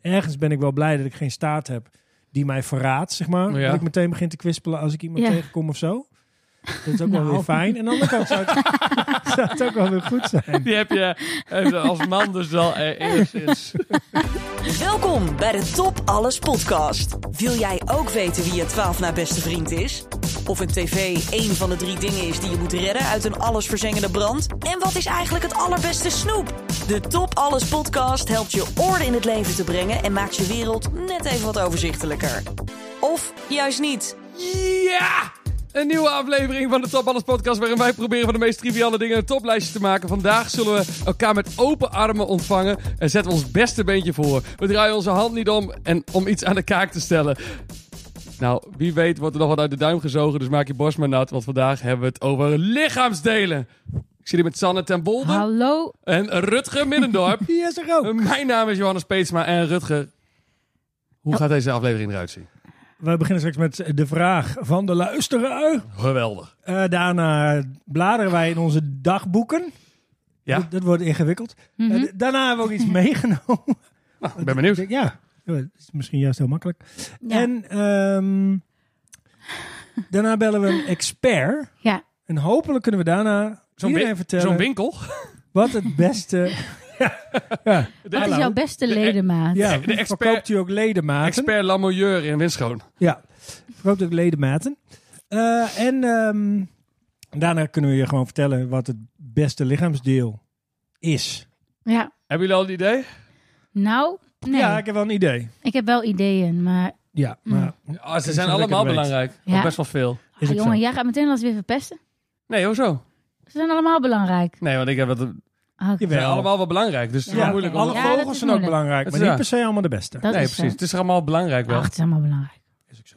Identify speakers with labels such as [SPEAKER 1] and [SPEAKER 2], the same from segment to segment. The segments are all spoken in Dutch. [SPEAKER 1] ergens ben ik wel blij dat ik geen staat heb die mij verraadt, zeg maar.
[SPEAKER 2] Ja.
[SPEAKER 1] Dat ik meteen begin te kwispelen als ik iemand
[SPEAKER 3] Ja.
[SPEAKER 1] tegenkom of zo. Dat is ook wel
[SPEAKER 3] Nou.
[SPEAKER 1] weer fijn. En aan de andere kant zou het, zou het ook wel weer goed zijn.
[SPEAKER 2] Die heb je even als man dus wel eh, enigszins.
[SPEAKER 4] Welkom bij de Top Alles podcast. Wil jij ook weten wie je 12 na beste vriend is? Of een tv één van de drie dingen is die je moet redden uit een allesverzengende brand? En wat is eigenlijk het allerbeste snoep? De Top Alles podcast helpt je orde in het leven te brengen en maakt je wereld net even wat overzichtelijker. Of juist niet.
[SPEAKER 2] Ja! Een nieuwe aflevering van de Top Alles podcast waarin wij proberen van de meest triviale dingen een toplijstje te maken. Vandaag zullen we elkaar met open armen ontvangen en zetten we ons beste beentje voor. We draaien onze hand niet om en om iets aan de kaak te stellen. Nou, wie weet wordt er nog wat uit de duim gezogen, dus maak je borst maar nat, want vandaag hebben we het over lichaamsdelen. Ik zit hier met Sanne ten Bolden
[SPEAKER 3] Hallo.
[SPEAKER 2] en Rutger Middendorp.
[SPEAKER 1] Hier is er ook.
[SPEAKER 2] Eh, Mijn naam is Johannes Peetsma en Rutger. Hoe gaat deze aflevering eruit zien?
[SPEAKER 1] We beginnen straks met de vraag van de luisteraar.
[SPEAKER 2] Geweldig.
[SPEAKER 1] Eh, daarna bladeren wij in onze dagboeken.
[SPEAKER 2] Ja.
[SPEAKER 1] Dat, dat wordt ingewikkeld.
[SPEAKER 3] Mhm.
[SPEAKER 1] Eh, d- daarna hebben we ook iets meegenomen.
[SPEAKER 2] Nou, ik ben benieuwd.
[SPEAKER 1] Ik denk, Ja, dat is misschien juist heel makkelijk.
[SPEAKER 3] Ja.
[SPEAKER 1] En ehm, daarna bellen we een expert.
[SPEAKER 3] Ja.
[SPEAKER 1] En hopelijk kunnen we daarna
[SPEAKER 2] Zo'n
[SPEAKER 1] iedereen
[SPEAKER 2] wi-
[SPEAKER 1] vertellen
[SPEAKER 2] Zo'n winkel.
[SPEAKER 1] eh, wat het beste... ja,
[SPEAKER 2] De,
[SPEAKER 3] Wat is jouw beste ledemaat?
[SPEAKER 1] ja,
[SPEAKER 2] de expert-
[SPEAKER 1] verkoopt u ook ledematen.
[SPEAKER 2] expert lamoyeur in Winschoon.
[SPEAKER 1] Ja, verkoopt ook ledematen. Eh, en ehm, daarna kunnen we je gewoon vertellen wat het beste lichaamsdeel is.
[SPEAKER 3] Ja.
[SPEAKER 2] Hebben jullie al een idee?
[SPEAKER 3] Nou, nee. Hm.
[SPEAKER 1] Ja, ik heb wel een idee.
[SPEAKER 3] Ik heb wel ideeën, maar...
[SPEAKER 1] Ja, maar
[SPEAKER 2] Ah, ze
[SPEAKER 1] Ik
[SPEAKER 2] zijn
[SPEAKER 1] vind
[SPEAKER 2] allemaal
[SPEAKER 1] het lekker
[SPEAKER 2] belangrijk.
[SPEAKER 3] Ja.
[SPEAKER 2] Of Best wel veel.
[SPEAKER 1] Is
[SPEAKER 3] Ah,
[SPEAKER 1] ook
[SPEAKER 3] jongen,
[SPEAKER 1] zo.
[SPEAKER 3] jij gaat meteen alles weer verpesten.
[SPEAKER 2] Nee, hoezo?
[SPEAKER 3] Ze zijn allemaal belangrijk.
[SPEAKER 2] Nee, want ik heb het. Ze
[SPEAKER 3] Ah, oké.
[SPEAKER 1] Jawel.
[SPEAKER 2] zijn allemaal wel belangrijk. Dus het is
[SPEAKER 1] Ja,
[SPEAKER 2] wel moeilijk. om-
[SPEAKER 1] alle
[SPEAKER 3] Ja, dat
[SPEAKER 1] vogels
[SPEAKER 3] is
[SPEAKER 1] zijn ook
[SPEAKER 3] moeilijk.
[SPEAKER 1] belangrijk,
[SPEAKER 2] Dat
[SPEAKER 1] maar
[SPEAKER 2] is
[SPEAKER 1] niet
[SPEAKER 2] waar.
[SPEAKER 1] per se allemaal de beste.
[SPEAKER 3] Dat
[SPEAKER 2] nee,
[SPEAKER 3] is zo.
[SPEAKER 2] precies. Het is allemaal belangrijk wel.
[SPEAKER 3] Ach, het is allemaal belangrijk.
[SPEAKER 1] Is ook zo.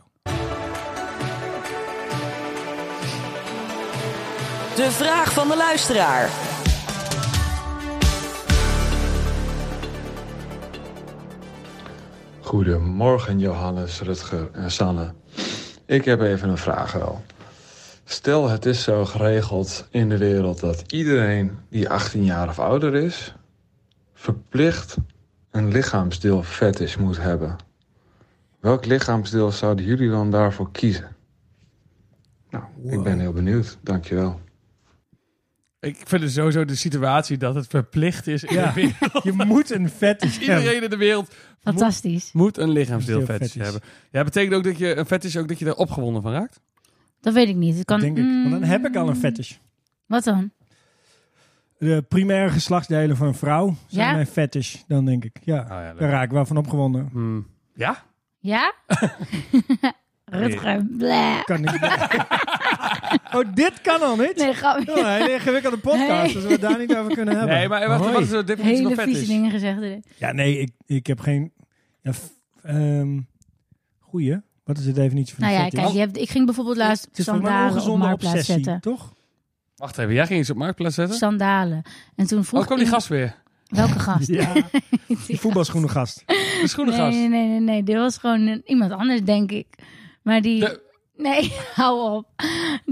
[SPEAKER 4] De vraag van de luisteraar.
[SPEAKER 5] Goedemorgen Johannes, Rutger en Sanne. Ik heb even een vraag al. Stel het is zo geregeld in de wereld dat iedereen die 18 jaar of ouder is... verplicht een lichaamsdeel vet is moet hebben. Welk lichaamsdeel zouden jullie dan daarvoor kiezen? Nou, ik ben heel benieuwd. Dankjewel.
[SPEAKER 2] Ik vind het sowieso de situatie dat het verplicht is. In
[SPEAKER 1] Ja.
[SPEAKER 2] de wereld.
[SPEAKER 1] Je moet een vet hebben.
[SPEAKER 2] Iedereen in de wereld
[SPEAKER 3] Fantastisch.
[SPEAKER 2] moet een lichaamsdeel
[SPEAKER 1] Heel
[SPEAKER 2] fetish
[SPEAKER 1] fetish.
[SPEAKER 2] hebben. Ja, betekent ook dat je een fetish ook dat je daar opgewonden van raakt?
[SPEAKER 3] Dat weet ik niet. Het kan,
[SPEAKER 1] Denk ik. Want dan heb ik al een
[SPEAKER 3] Mm,
[SPEAKER 1] fetish.
[SPEAKER 3] Wat dan?
[SPEAKER 1] De primaire geslachtsdelen van een vrouw zijn
[SPEAKER 3] Ja?
[SPEAKER 1] mijn fetish, dan denk ik. Ja,
[SPEAKER 2] Ah, ja,
[SPEAKER 1] daar raak ik wel van opgewonden.
[SPEAKER 2] Hmm. ja?
[SPEAKER 3] Ja? Rutger. bleh.
[SPEAKER 1] Kan niet. oh, dit kan al niet?
[SPEAKER 3] Nee, grapje.
[SPEAKER 1] Oh, een ingewikkelde podcast,
[SPEAKER 3] Nee.
[SPEAKER 1] dus we het daar niet over kunnen hebben.
[SPEAKER 2] Nee, maar wacht,
[SPEAKER 1] Hoi.
[SPEAKER 2] wat is de definitie
[SPEAKER 3] Oh, Hele
[SPEAKER 2] van
[SPEAKER 3] vieze
[SPEAKER 2] fetish?
[SPEAKER 3] dingen gezegd. Nou hè.
[SPEAKER 1] Ja, nee, ik, ik heb geen... Ja, f- ehm, goeie, wat is de definitie van
[SPEAKER 3] Nou
[SPEAKER 1] een
[SPEAKER 3] ja,
[SPEAKER 1] fetish?
[SPEAKER 3] kijk, je hebt, ik ging bijvoorbeeld laatst
[SPEAKER 1] het is voor mij een
[SPEAKER 3] sandalen op
[SPEAKER 1] ongezonde
[SPEAKER 3] marktplaats
[SPEAKER 1] obsessie,
[SPEAKER 3] zetten.
[SPEAKER 1] toch?
[SPEAKER 2] Wacht even, jij ging iets op marktplaats zetten?
[SPEAKER 3] Sandalen. En toen vroeg
[SPEAKER 2] Oh, kwam die
[SPEAKER 3] iemand-
[SPEAKER 2] gast weer.
[SPEAKER 3] Welke gast?
[SPEAKER 1] Ja, die voetbalschoenengast.
[SPEAKER 2] De schoenengast.
[SPEAKER 3] Nee, nee, nee, nee, nee. Dit was gewoon een- iemand anders, denk ik. Maar die...
[SPEAKER 2] De-
[SPEAKER 3] Nee, hou op.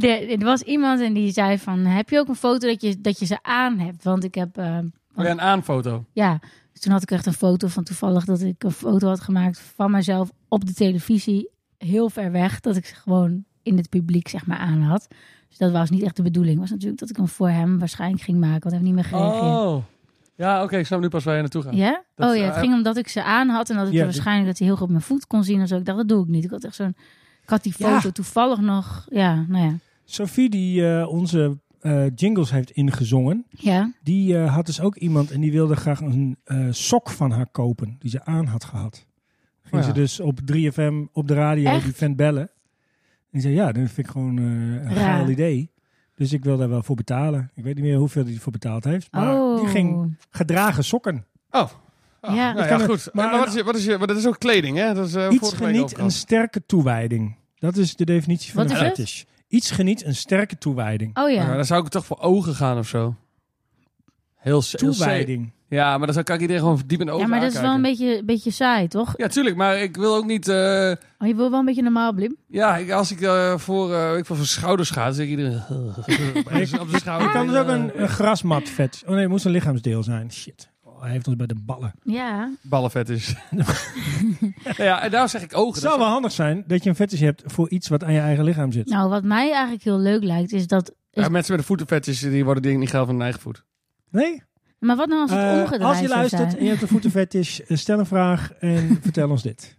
[SPEAKER 3] Er er was iemand en die zei van... Heb je ook een foto dat je, dat je ze aan hebt? Want ik heb... eh,
[SPEAKER 2] Weer een aanfoto.
[SPEAKER 3] ja, dus toen had ik echt een foto van toevallig... dat ik een foto had gemaakt van mezelf op de televisie. Heel ver weg. Dat ik ze gewoon in het publiek zeg maar aan had. Dus dat was niet echt de bedoeling. was natuurlijk dat ik hem voor hem waarschijnlijk ging maken. Want hij heeft niet meer gereageerd.
[SPEAKER 2] Oh. Ja, oké, ik snap nu pas waar je naartoe gaat.
[SPEAKER 3] Ja?
[SPEAKER 2] Dat-
[SPEAKER 3] oh ja, het
[SPEAKER 2] eh,
[SPEAKER 3] ging om dat ik ze aan had en dat ik
[SPEAKER 1] Ja,
[SPEAKER 3] er
[SPEAKER 1] dit-
[SPEAKER 3] waarschijnlijk dat hij heel goed mijn voet kon zien of zo. Ik dacht, dat doe ik niet. Ik had echt zo'n... Ik had die
[SPEAKER 1] Ja.
[SPEAKER 3] foto toevallig nog... Ja, nou ja.
[SPEAKER 1] Sophie, die eh, onze eh, jingles heeft ingezongen,
[SPEAKER 3] Ja,
[SPEAKER 1] die eh, had dus ook iemand en die wilde graag een eh, sok van haar kopen, die ze aan had gehad. Ging
[SPEAKER 2] Oh ja.
[SPEAKER 1] ze dus op 3FM op de radio
[SPEAKER 3] Echt?
[SPEAKER 1] die vent bellen. En die zei, ja, dat vind ik gewoon eh, een
[SPEAKER 3] Raar.
[SPEAKER 1] geil idee. Dus ik wil daar wel voor betalen. Ik weet niet meer hoeveel hij ervoor betaald heeft. Maar
[SPEAKER 3] oh.
[SPEAKER 1] die ging gedragen sokken.
[SPEAKER 2] Oh.
[SPEAKER 3] Ja.
[SPEAKER 2] ja, nou
[SPEAKER 1] kan
[SPEAKER 2] ja,
[SPEAKER 1] ook.
[SPEAKER 2] goed.
[SPEAKER 1] Maar
[SPEAKER 2] Maar, wat is je, wat is je, maar dat is ook kleding, hè? Dat is, eh,
[SPEAKER 1] Iets
[SPEAKER 2] vorige week ook
[SPEAKER 1] geniet
[SPEAKER 2] al.
[SPEAKER 1] een sterke toewijding. Dat is de definitie van
[SPEAKER 3] Wat
[SPEAKER 1] een
[SPEAKER 3] is het?
[SPEAKER 1] fetish. Iets geniet een sterke toewijding.
[SPEAKER 2] Ja,
[SPEAKER 3] Oh ja.
[SPEAKER 2] maar Nou, dan zou ik toch voor ogen gaan of zo. Heel se- heel se-
[SPEAKER 1] Toewijding.
[SPEAKER 2] Ja, maar dan zou- kan ik iedereen gewoon diep in de
[SPEAKER 3] Ja,
[SPEAKER 2] ogen
[SPEAKER 3] maar dat is wel een
[SPEAKER 2] aankijken.
[SPEAKER 3] beetje, beetje saai, toch?
[SPEAKER 2] Ja, tuurlijk, maar ik wil ook niet... eh,
[SPEAKER 3] Oh, je wil wel een beetje normaal, Blim.
[SPEAKER 2] ja, ik, als ik eh, voor, eh, ik voor zijn schouders ga, dan zeg ik iedereen... op zijn schouder.
[SPEAKER 1] dus Ik kan dus ook een, een grasmat vet. Oh nee, het moest een lichaamsdeel zijn. Shit. hij heeft ons bij de ballen.
[SPEAKER 3] Ja,
[SPEAKER 2] Ballenvet is. ja, en daar zeg ik ogen.
[SPEAKER 1] Het
[SPEAKER 2] Dat
[SPEAKER 1] zou wel handig zijn dat je een fetish hebt voor iets wat aan je eigen lichaam zit.
[SPEAKER 3] nou wat mij eigenlijk heel leuk lijkt is dat...
[SPEAKER 2] is- Ja, mensen met een voetenvetjes, die worden dingen niet geil van hun eigen voet.
[SPEAKER 1] Nee?
[SPEAKER 3] Maar wat nou als het
[SPEAKER 1] Eh,
[SPEAKER 3] omgedraaid
[SPEAKER 1] als je
[SPEAKER 3] zou
[SPEAKER 1] luistert
[SPEAKER 3] zijn?
[SPEAKER 1] en je hebt een voetenfetish, eh, stel een vraag en vertel ons dit.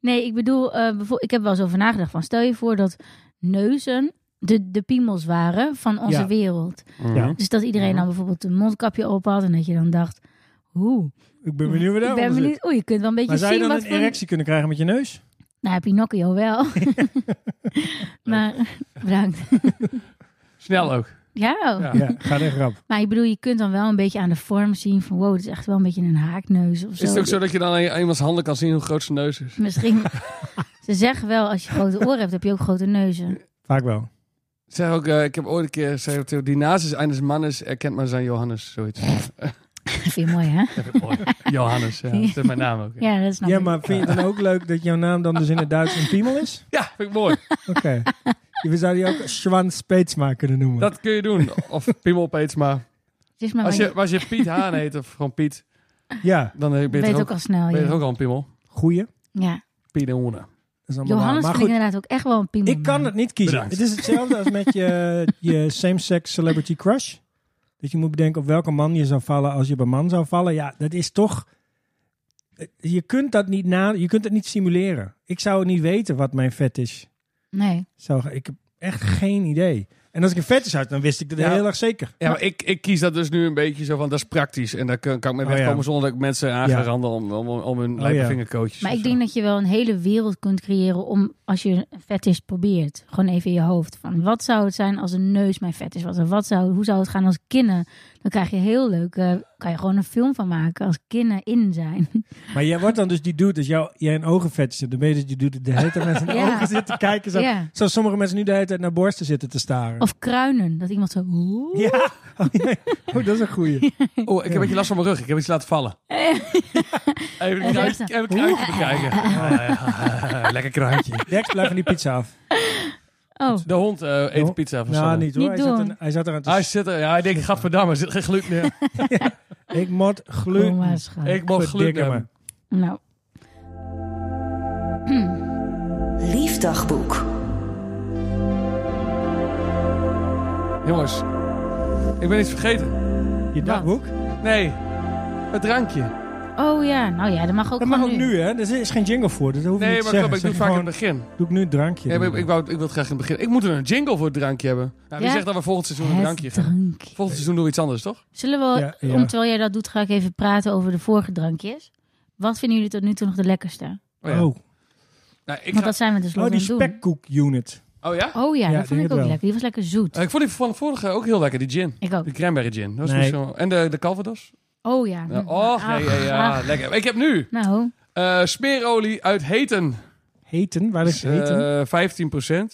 [SPEAKER 3] Nee, ik bedoel, eh, bijvoor- ik heb wel eens over nagedacht van... Stel je voor dat neuzen de, de piemels waren van onze
[SPEAKER 1] Ja.
[SPEAKER 3] wereld.
[SPEAKER 2] Mhm.
[SPEAKER 1] Ja.
[SPEAKER 3] Dus dat iedereen dan bijvoorbeeld een mondkapje op had en dat je dan dacht... Hoe?
[SPEAKER 1] Ik ben benieuwd waar
[SPEAKER 3] Ik
[SPEAKER 1] daaronder
[SPEAKER 3] ben
[SPEAKER 1] zit.
[SPEAKER 3] benieuwd. Oeh, je kunt wel een beetje
[SPEAKER 1] Maar zou je
[SPEAKER 3] zien
[SPEAKER 1] dan
[SPEAKER 3] wat
[SPEAKER 1] een
[SPEAKER 3] voor...
[SPEAKER 1] erectie kunnen krijgen met je neus?
[SPEAKER 3] Nou, Pinocchio wel. maar, bedankt.
[SPEAKER 2] Snel ook.
[SPEAKER 3] Ja,
[SPEAKER 2] Ja.
[SPEAKER 1] Ja, gaat echt rap.
[SPEAKER 3] maar ik bedoel, je kunt dan wel een beetje aan de vorm zien van... Wow, dit is echt wel een beetje een haakneus of zo.
[SPEAKER 2] Is het ook zo dat je dan aan iemands handen kan zien hoe groot zijn neus is?
[SPEAKER 3] Misschien... Ze zeggen wel, als je grote oren hebt, heb je ook grote neuzen.
[SPEAKER 1] Vaak wel.
[SPEAKER 2] Ik Zeg ook, eh, ik heb ooit een keer gezegd, die naast is eines mannes, erkent man zijn Johannes, zoiets.
[SPEAKER 3] Vind je mooi, hè?
[SPEAKER 2] Dat heb ik mooi. Johannes, ja. dat is mijn naam ook. Ja,
[SPEAKER 3] Ja, dat snap
[SPEAKER 1] Ja,
[SPEAKER 3] ik.
[SPEAKER 1] maar vind je het dan ook leuk dat jouw naam dan dus in het Duits een piemel is?
[SPEAKER 2] Ja, vind ik mooi.
[SPEAKER 1] Oké. We zouden die ook Schwanz Peetsma kunnen noemen.
[SPEAKER 2] Dat kun je doen. Of Piemel opeens, maar
[SPEAKER 3] Het is maar
[SPEAKER 2] als
[SPEAKER 3] wat
[SPEAKER 2] je, als je Piet Haan heet, of gewoon Piet,
[SPEAKER 1] Ja,
[SPEAKER 2] dan ben je
[SPEAKER 3] je weet
[SPEAKER 2] toch
[SPEAKER 3] ook
[SPEAKER 2] ook,
[SPEAKER 3] al snel.
[SPEAKER 2] ben je
[SPEAKER 3] ja.
[SPEAKER 2] toch ook al een Piemel.
[SPEAKER 1] goeie.
[SPEAKER 3] Ja.
[SPEAKER 2] Piet en Hoene.
[SPEAKER 1] Dat is allemaal waar.
[SPEAKER 3] Johannes
[SPEAKER 1] Maar
[SPEAKER 3] vind
[SPEAKER 1] goed,
[SPEAKER 3] ik inderdaad ook echt wel een piemel.
[SPEAKER 1] ik kan het niet kiezen.
[SPEAKER 2] Mm. Bedankt.
[SPEAKER 1] Het is hetzelfde als met je, je same-sex celebrity crush. Dat je moet bedenken op welke man je zou vallen als je op een man zou vallen. Ja, dat is toch... Je kunt dat niet, na, je kunt het niet simuleren. Ik zou niet weten wat mijn vet is.
[SPEAKER 3] Nee.
[SPEAKER 1] Zou, ik heb echt geen idee. En als ik een vet is had, dan wist ik dat
[SPEAKER 2] Ja.
[SPEAKER 1] heel erg zeker.
[SPEAKER 2] Ja, maar ik, ik kies dat dus nu een beetje zo van, dat is praktisch. En daar kan, kan ik mee
[SPEAKER 1] Oh,
[SPEAKER 2] wegkomen
[SPEAKER 1] ja.
[SPEAKER 2] zonder dat ik mensen aan ga
[SPEAKER 1] Ja.
[SPEAKER 2] randen om, om, om hun
[SPEAKER 1] Oh,
[SPEAKER 2] lijpe
[SPEAKER 1] ja.
[SPEAKER 2] vingerkootjes.
[SPEAKER 3] Maar
[SPEAKER 2] of
[SPEAKER 3] ik
[SPEAKER 2] zo.
[SPEAKER 3] denk dat je wel een hele wereld kunt creëren om, als je een fetish probeert, gewoon even in je hoofd. Van wat zou het zijn als een neus mijn fetish was? En wat zou, hoe zou het gaan als kinnen? Dan krijg je heel leuk, eh, kan je gewoon een film van maken als kinnen in zijn.
[SPEAKER 1] Maar jij wordt dan dus die dude, als jou, jij een ogenvet zit, dan ben je dus die dude die de hele tijd met zijn
[SPEAKER 3] Ja.
[SPEAKER 1] ogen zit te kijken. Zo,
[SPEAKER 3] Ja.
[SPEAKER 1] Zoals sommige mensen nu de hele tijd naar borsten zitten te staren.
[SPEAKER 3] Of kruinen, dat iemand zo... oeh.
[SPEAKER 1] Ja, oh, ja. Oh, dat is een goeie.
[SPEAKER 2] Oh, ik heb een beetje last van mijn rug. Ik heb iets laten vallen. Even een kruis- even een kruidje bekijken.
[SPEAKER 1] Oh,
[SPEAKER 2] Ah, ja. Lekker kruidje.
[SPEAKER 1] Dex, blijf van die pizza af.
[SPEAKER 3] Oh,
[SPEAKER 2] De hond eh, eet
[SPEAKER 1] Jo.
[SPEAKER 2] pizza van
[SPEAKER 1] Nou, niet hoor.
[SPEAKER 3] Niet
[SPEAKER 1] hij, zat
[SPEAKER 3] doen.
[SPEAKER 1] een, hij zat eraan te
[SPEAKER 2] Hij zit er, ja, hij denkt, gadverdamme, er zit geen gluten in.
[SPEAKER 1] s- Ik moet
[SPEAKER 3] kom
[SPEAKER 1] gluten.
[SPEAKER 3] maar schat.
[SPEAKER 2] Ik mocht gluten
[SPEAKER 1] Verdikke me.
[SPEAKER 2] hebben.
[SPEAKER 3] Nou,
[SPEAKER 4] Liefdagboek.
[SPEAKER 2] Jongens, ik ben iets vergeten.
[SPEAKER 1] Je dagboek?
[SPEAKER 2] Nee, het drankje.
[SPEAKER 3] oh ja, nou ja, dat mag ook
[SPEAKER 1] Dat mag
[SPEAKER 3] gewoon
[SPEAKER 1] ook nu, hè? Er is geen jingle voor. Dat hoef je
[SPEAKER 2] Nee,
[SPEAKER 1] niet
[SPEAKER 2] maar
[SPEAKER 1] te
[SPEAKER 2] klopt,
[SPEAKER 1] zeggen. Zeg
[SPEAKER 2] ik doe het vaak in het
[SPEAKER 1] gewoon,
[SPEAKER 2] begin.
[SPEAKER 1] doe ik nu een drankje.
[SPEAKER 2] Ja, maar ik, ik wou, ik wil het graag in het begin. Ik moet een jingle voor het drankje hebben. Nou, wie
[SPEAKER 3] Ja.
[SPEAKER 2] zegt dat we volgend seizoen een drankje
[SPEAKER 3] Het
[SPEAKER 2] gaan?
[SPEAKER 3] drankje.
[SPEAKER 2] Volgend seizoen doen we iets anders, toch?
[SPEAKER 3] Zullen we,
[SPEAKER 1] Ja, ja.
[SPEAKER 3] om- terwijl jij dat doet, ga ik even praten over de vorige drankjes. Wat vinden jullie tot nu toe nog de lekkerste?
[SPEAKER 2] Oh, ja.
[SPEAKER 1] oh.
[SPEAKER 2] Nou, ik
[SPEAKER 3] Want
[SPEAKER 2] ga...
[SPEAKER 3] dat zijn we dus
[SPEAKER 1] oh, die
[SPEAKER 3] aan het doen.
[SPEAKER 1] spekkoek unit.
[SPEAKER 2] oh ja?
[SPEAKER 3] Oh ja,
[SPEAKER 1] Ja,
[SPEAKER 3] dat
[SPEAKER 1] die
[SPEAKER 3] vond ik
[SPEAKER 1] heb
[SPEAKER 3] ook
[SPEAKER 1] wel.
[SPEAKER 3] lekker. Die was lekker zoet.
[SPEAKER 2] Eh, Ik vond die van de vorige ook heel lekker, die gin.
[SPEAKER 3] ik ook.
[SPEAKER 2] Die cranberry gin. Dat is
[SPEAKER 1] Nee.
[SPEAKER 2] niet zo... En de, de Calvados.
[SPEAKER 3] Oh ja.
[SPEAKER 2] Ja, oh, nee, ja, ja,
[SPEAKER 3] ach.
[SPEAKER 2] lekker. Ik heb nu
[SPEAKER 3] Nou,
[SPEAKER 2] eh, smeerolie uit Heten.
[SPEAKER 1] Heten? Waar is heten?
[SPEAKER 2] Eh, 15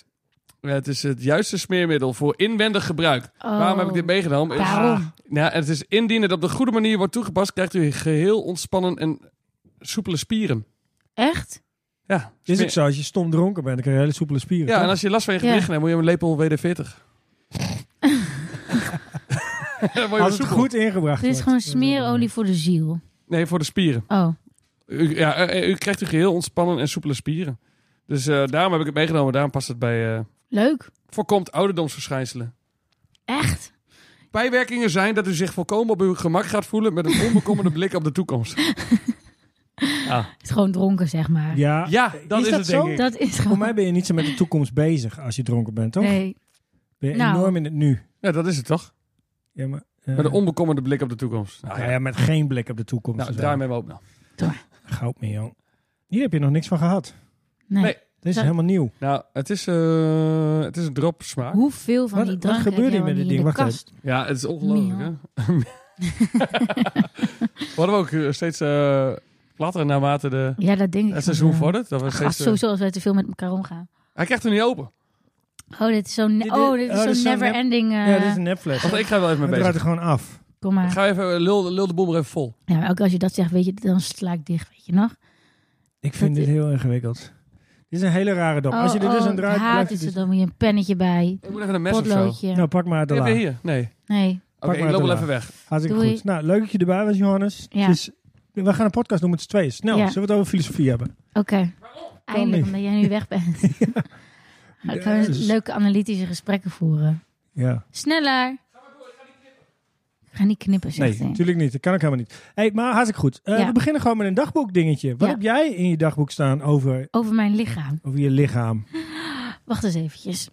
[SPEAKER 2] Het is het juiste smeermiddel voor inwendig gebruik.
[SPEAKER 3] Oh.
[SPEAKER 2] Waarom heb ik dit Ah. meegenomen? Is-
[SPEAKER 3] daarom.
[SPEAKER 2] Ja, het is indien het op de goede manier wordt toegepast, krijgt u geheel ontspannen en soepele spieren.
[SPEAKER 3] Echt?
[SPEAKER 2] Ja,
[SPEAKER 1] is
[SPEAKER 2] smeer-
[SPEAKER 1] ook zo, als je stom dronken bent, dan krijg je hele soepele spieren.
[SPEAKER 2] Ja,
[SPEAKER 1] toch?
[SPEAKER 2] en als je last van je
[SPEAKER 3] Ja.
[SPEAKER 2] gewrichten hebt, moet je een lepel WD-40. Dan word je
[SPEAKER 1] Als het
[SPEAKER 2] soepel.
[SPEAKER 1] goed ingebracht
[SPEAKER 3] Dit
[SPEAKER 1] wordt.
[SPEAKER 3] is gewoon smeerolie voor de ziel.
[SPEAKER 2] Nee, voor de spieren.
[SPEAKER 3] Oh,
[SPEAKER 2] U, ja, eh, eh, u krijgt u geheel ontspannen en soepele spieren. Dus eh, daarom heb ik het meegenomen. Daarom past het bij... eh
[SPEAKER 3] leuk.
[SPEAKER 2] voorkomt ouderdomsverschijnselen.
[SPEAKER 3] Echt?
[SPEAKER 2] Bijwerkingen zijn dat u zich volkomen op uw gemak gaat voelen met een onbekommerde blik op de toekomst. Ja,
[SPEAKER 3] Het is gewoon dronken, zeg maar.
[SPEAKER 1] Ja.
[SPEAKER 2] ja dat is,
[SPEAKER 1] dat
[SPEAKER 2] het
[SPEAKER 1] zo?
[SPEAKER 2] denk ik.
[SPEAKER 3] Dat is
[SPEAKER 1] Voor
[SPEAKER 3] gewoon...
[SPEAKER 1] mij ben je niet zo met de toekomst bezig als je dronken bent, toch?
[SPEAKER 3] Nee.
[SPEAKER 1] Ben je
[SPEAKER 3] Nou.
[SPEAKER 1] enorm in het nu.
[SPEAKER 2] Ja, dat is het toch?
[SPEAKER 1] Ja, maar, eh,
[SPEAKER 2] Met een onbekommerde blik op de toekomst. Nou,
[SPEAKER 1] ja,
[SPEAKER 2] ja.
[SPEAKER 1] ja, met geen blik op de toekomst.
[SPEAKER 2] nou
[SPEAKER 1] Dus,
[SPEAKER 2] draai
[SPEAKER 1] eh,
[SPEAKER 2] mij maar op nou.
[SPEAKER 1] Goud mee, joh. Hier heb je nog niks van gehad.
[SPEAKER 3] Nee.
[SPEAKER 2] Nee.
[SPEAKER 1] Dit is
[SPEAKER 3] Dat-
[SPEAKER 1] helemaal nieuw.
[SPEAKER 2] Nou, het is, eh, het is een drop smaak.
[SPEAKER 3] Hoeveel van
[SPEAKER 1] Wat-
[SPEAKER 3] die
[SPEAKER 1] wat
[SPEAKER 3] drank
[SPEAKER 1] gebeurt
[SPEAKER 3] heb
[SPEAKER 1] hier
[SPEAKER 3] jij
[SPEAKER 1] met
[SPEAKER 3] wel
[SPEAKER 1] dit
[SPEAKER 3] niet in
[SPEAKER 1] ding?
[SPEAKER 3] de
[SPEAKER 1] Wacht
[SPEAKER 3] kast?
[SPEAKER 2] Ja, het is ongelooflijk hè. We hadden ook eh, steeds eh, platter naarmate de,
[SPEAKER 3] Ja, dat denk
[SPEAKER 2] het
[SPEAKER 3] ik. van
[SPEAKER 2] seizoen
[SPEAKER 3] wel.
[SPEAKER 2] vordert. Dat we
[SPEAKER 3] Gast,
[SPEAKER 2] steeds, eh,
[SPEAKER 3] sowieso als wij te veel met elkaar omgaan.
[SPEAKER 2] hij krijgt er niet open.
[SPEAKER 3] Oh, dit is zo'n
[SPEAKER 1] dit-
[SPEAKER 3] oh, dit
[SPEAKER 1] oh, dit
[SPEAKER 3] is
[SPEAKER 1] is
[SPEAKER 3] zo
[SPEAKER 1] zo'n nep-
[SPEAKER 3] never ending. eh,
[SPEAKER 1] ja, dit is een nepfles.
[SPEAKER 2] Want ik ga er wel even
[SPEAKER 1] Het
[SPEAKER 2] mee
[SPEAKER 1] draait er
[SPEAKER 2] bezig.
[SPEAKER 1] gewoon af.
[SPEAKER 3] Kom
[SPEAKER 2] Ik
[SPEAKER 3] maar.
[SPEAKER 2] ga even, eh, lul, lul de boel maar even vol.
[SPEAKER 3] Ja, maar ook als je dat zegt, weet je, dan sla ik dicht, weet je nog?
[SPEAKER 1] Ik vind
[SPEAKER 3] Dat-
[SPEAKER 1] dit heel ingewikkeld. Dit is een hele rare dop.
[SPEAKER 3] Oh,
[SPEAKER 1] Als je er dus
[SPEAKER 3] oh,
[SPEAKER 1] aan draait,
[SPEAKER 3] haat
[SPEAKER 1] blijft
[SPEAKER 3] is
[SPEAKER 1] het
[SPEAKER 3] er
[SPEAKER 1] dus...
[SPEAKER 3] dan weer een pennetje bij,
[SPEAKER 2] Ik moet even een mes of zo.
[SPEAKER 3] potloodje.
[SPEAKER 1] Nou, pak maar de
[SPEAKER 2] Heb je
[SPEAKER 1] la.
[SPEAKER 2] hier? Nee.
[SPEAKER 3] Nee,
[SPEAKER 2] Oké,
[SPEAKER 1] maar
[SPEAKER 2] ik loop
[SPEAKER 1] uit
[SPEAKER 2] wel
[SPEAKER 1] de
[SPEAKER 2] even weg.
[SPEAKER 1] Hartstikke
[SPEAKER 3] Doei.
[SPEAKER 1] goed. Nou, leuk dat je erbij was, Johannes.
[SPEAKER 3] Ja.
[SPEAKER 1] Het is- we gaan een podcast doen met z'n tweeën. Snel,
[SPEAKER 3] Ja.
[SPEAKER 1] zullen we het over filosofie hebben?
[SPEAKER 3] Oké. Eindelijk,
[SPEAKER 1] niet.
[SPEAKER 3] omdat jij nu weg bent. Dan kunnen we
[SPEAKER 1] Jezus.
[SPEAKER 3] leuke analytische gesprekken voeren.
[SPEAKER 1] Ja.
[SPEAKER 3] Sneller! Ik ga niet knippen,
[SPEAKER 1] Nee,
[SPEAKER 3] zegt hij.
[SPEAKER 1] natuurlijk niet. Dat kan ik helemaal niet. Hey, maar hartstikke goed. Eh,
[SPEAKER 3] Ja.
[SPEAKER 1] We beginnen gewoon met een dagboekdingetje. Wat
[SPEAKER 3] Ja.
[SPEAKER 1] heb jij in je dagboek staan over,
[SPEAKER 3] Over mijn lichaam.
[SPEAKER 1] over je lichaam?
[SPEAKER 3] Wacht eens eventjes.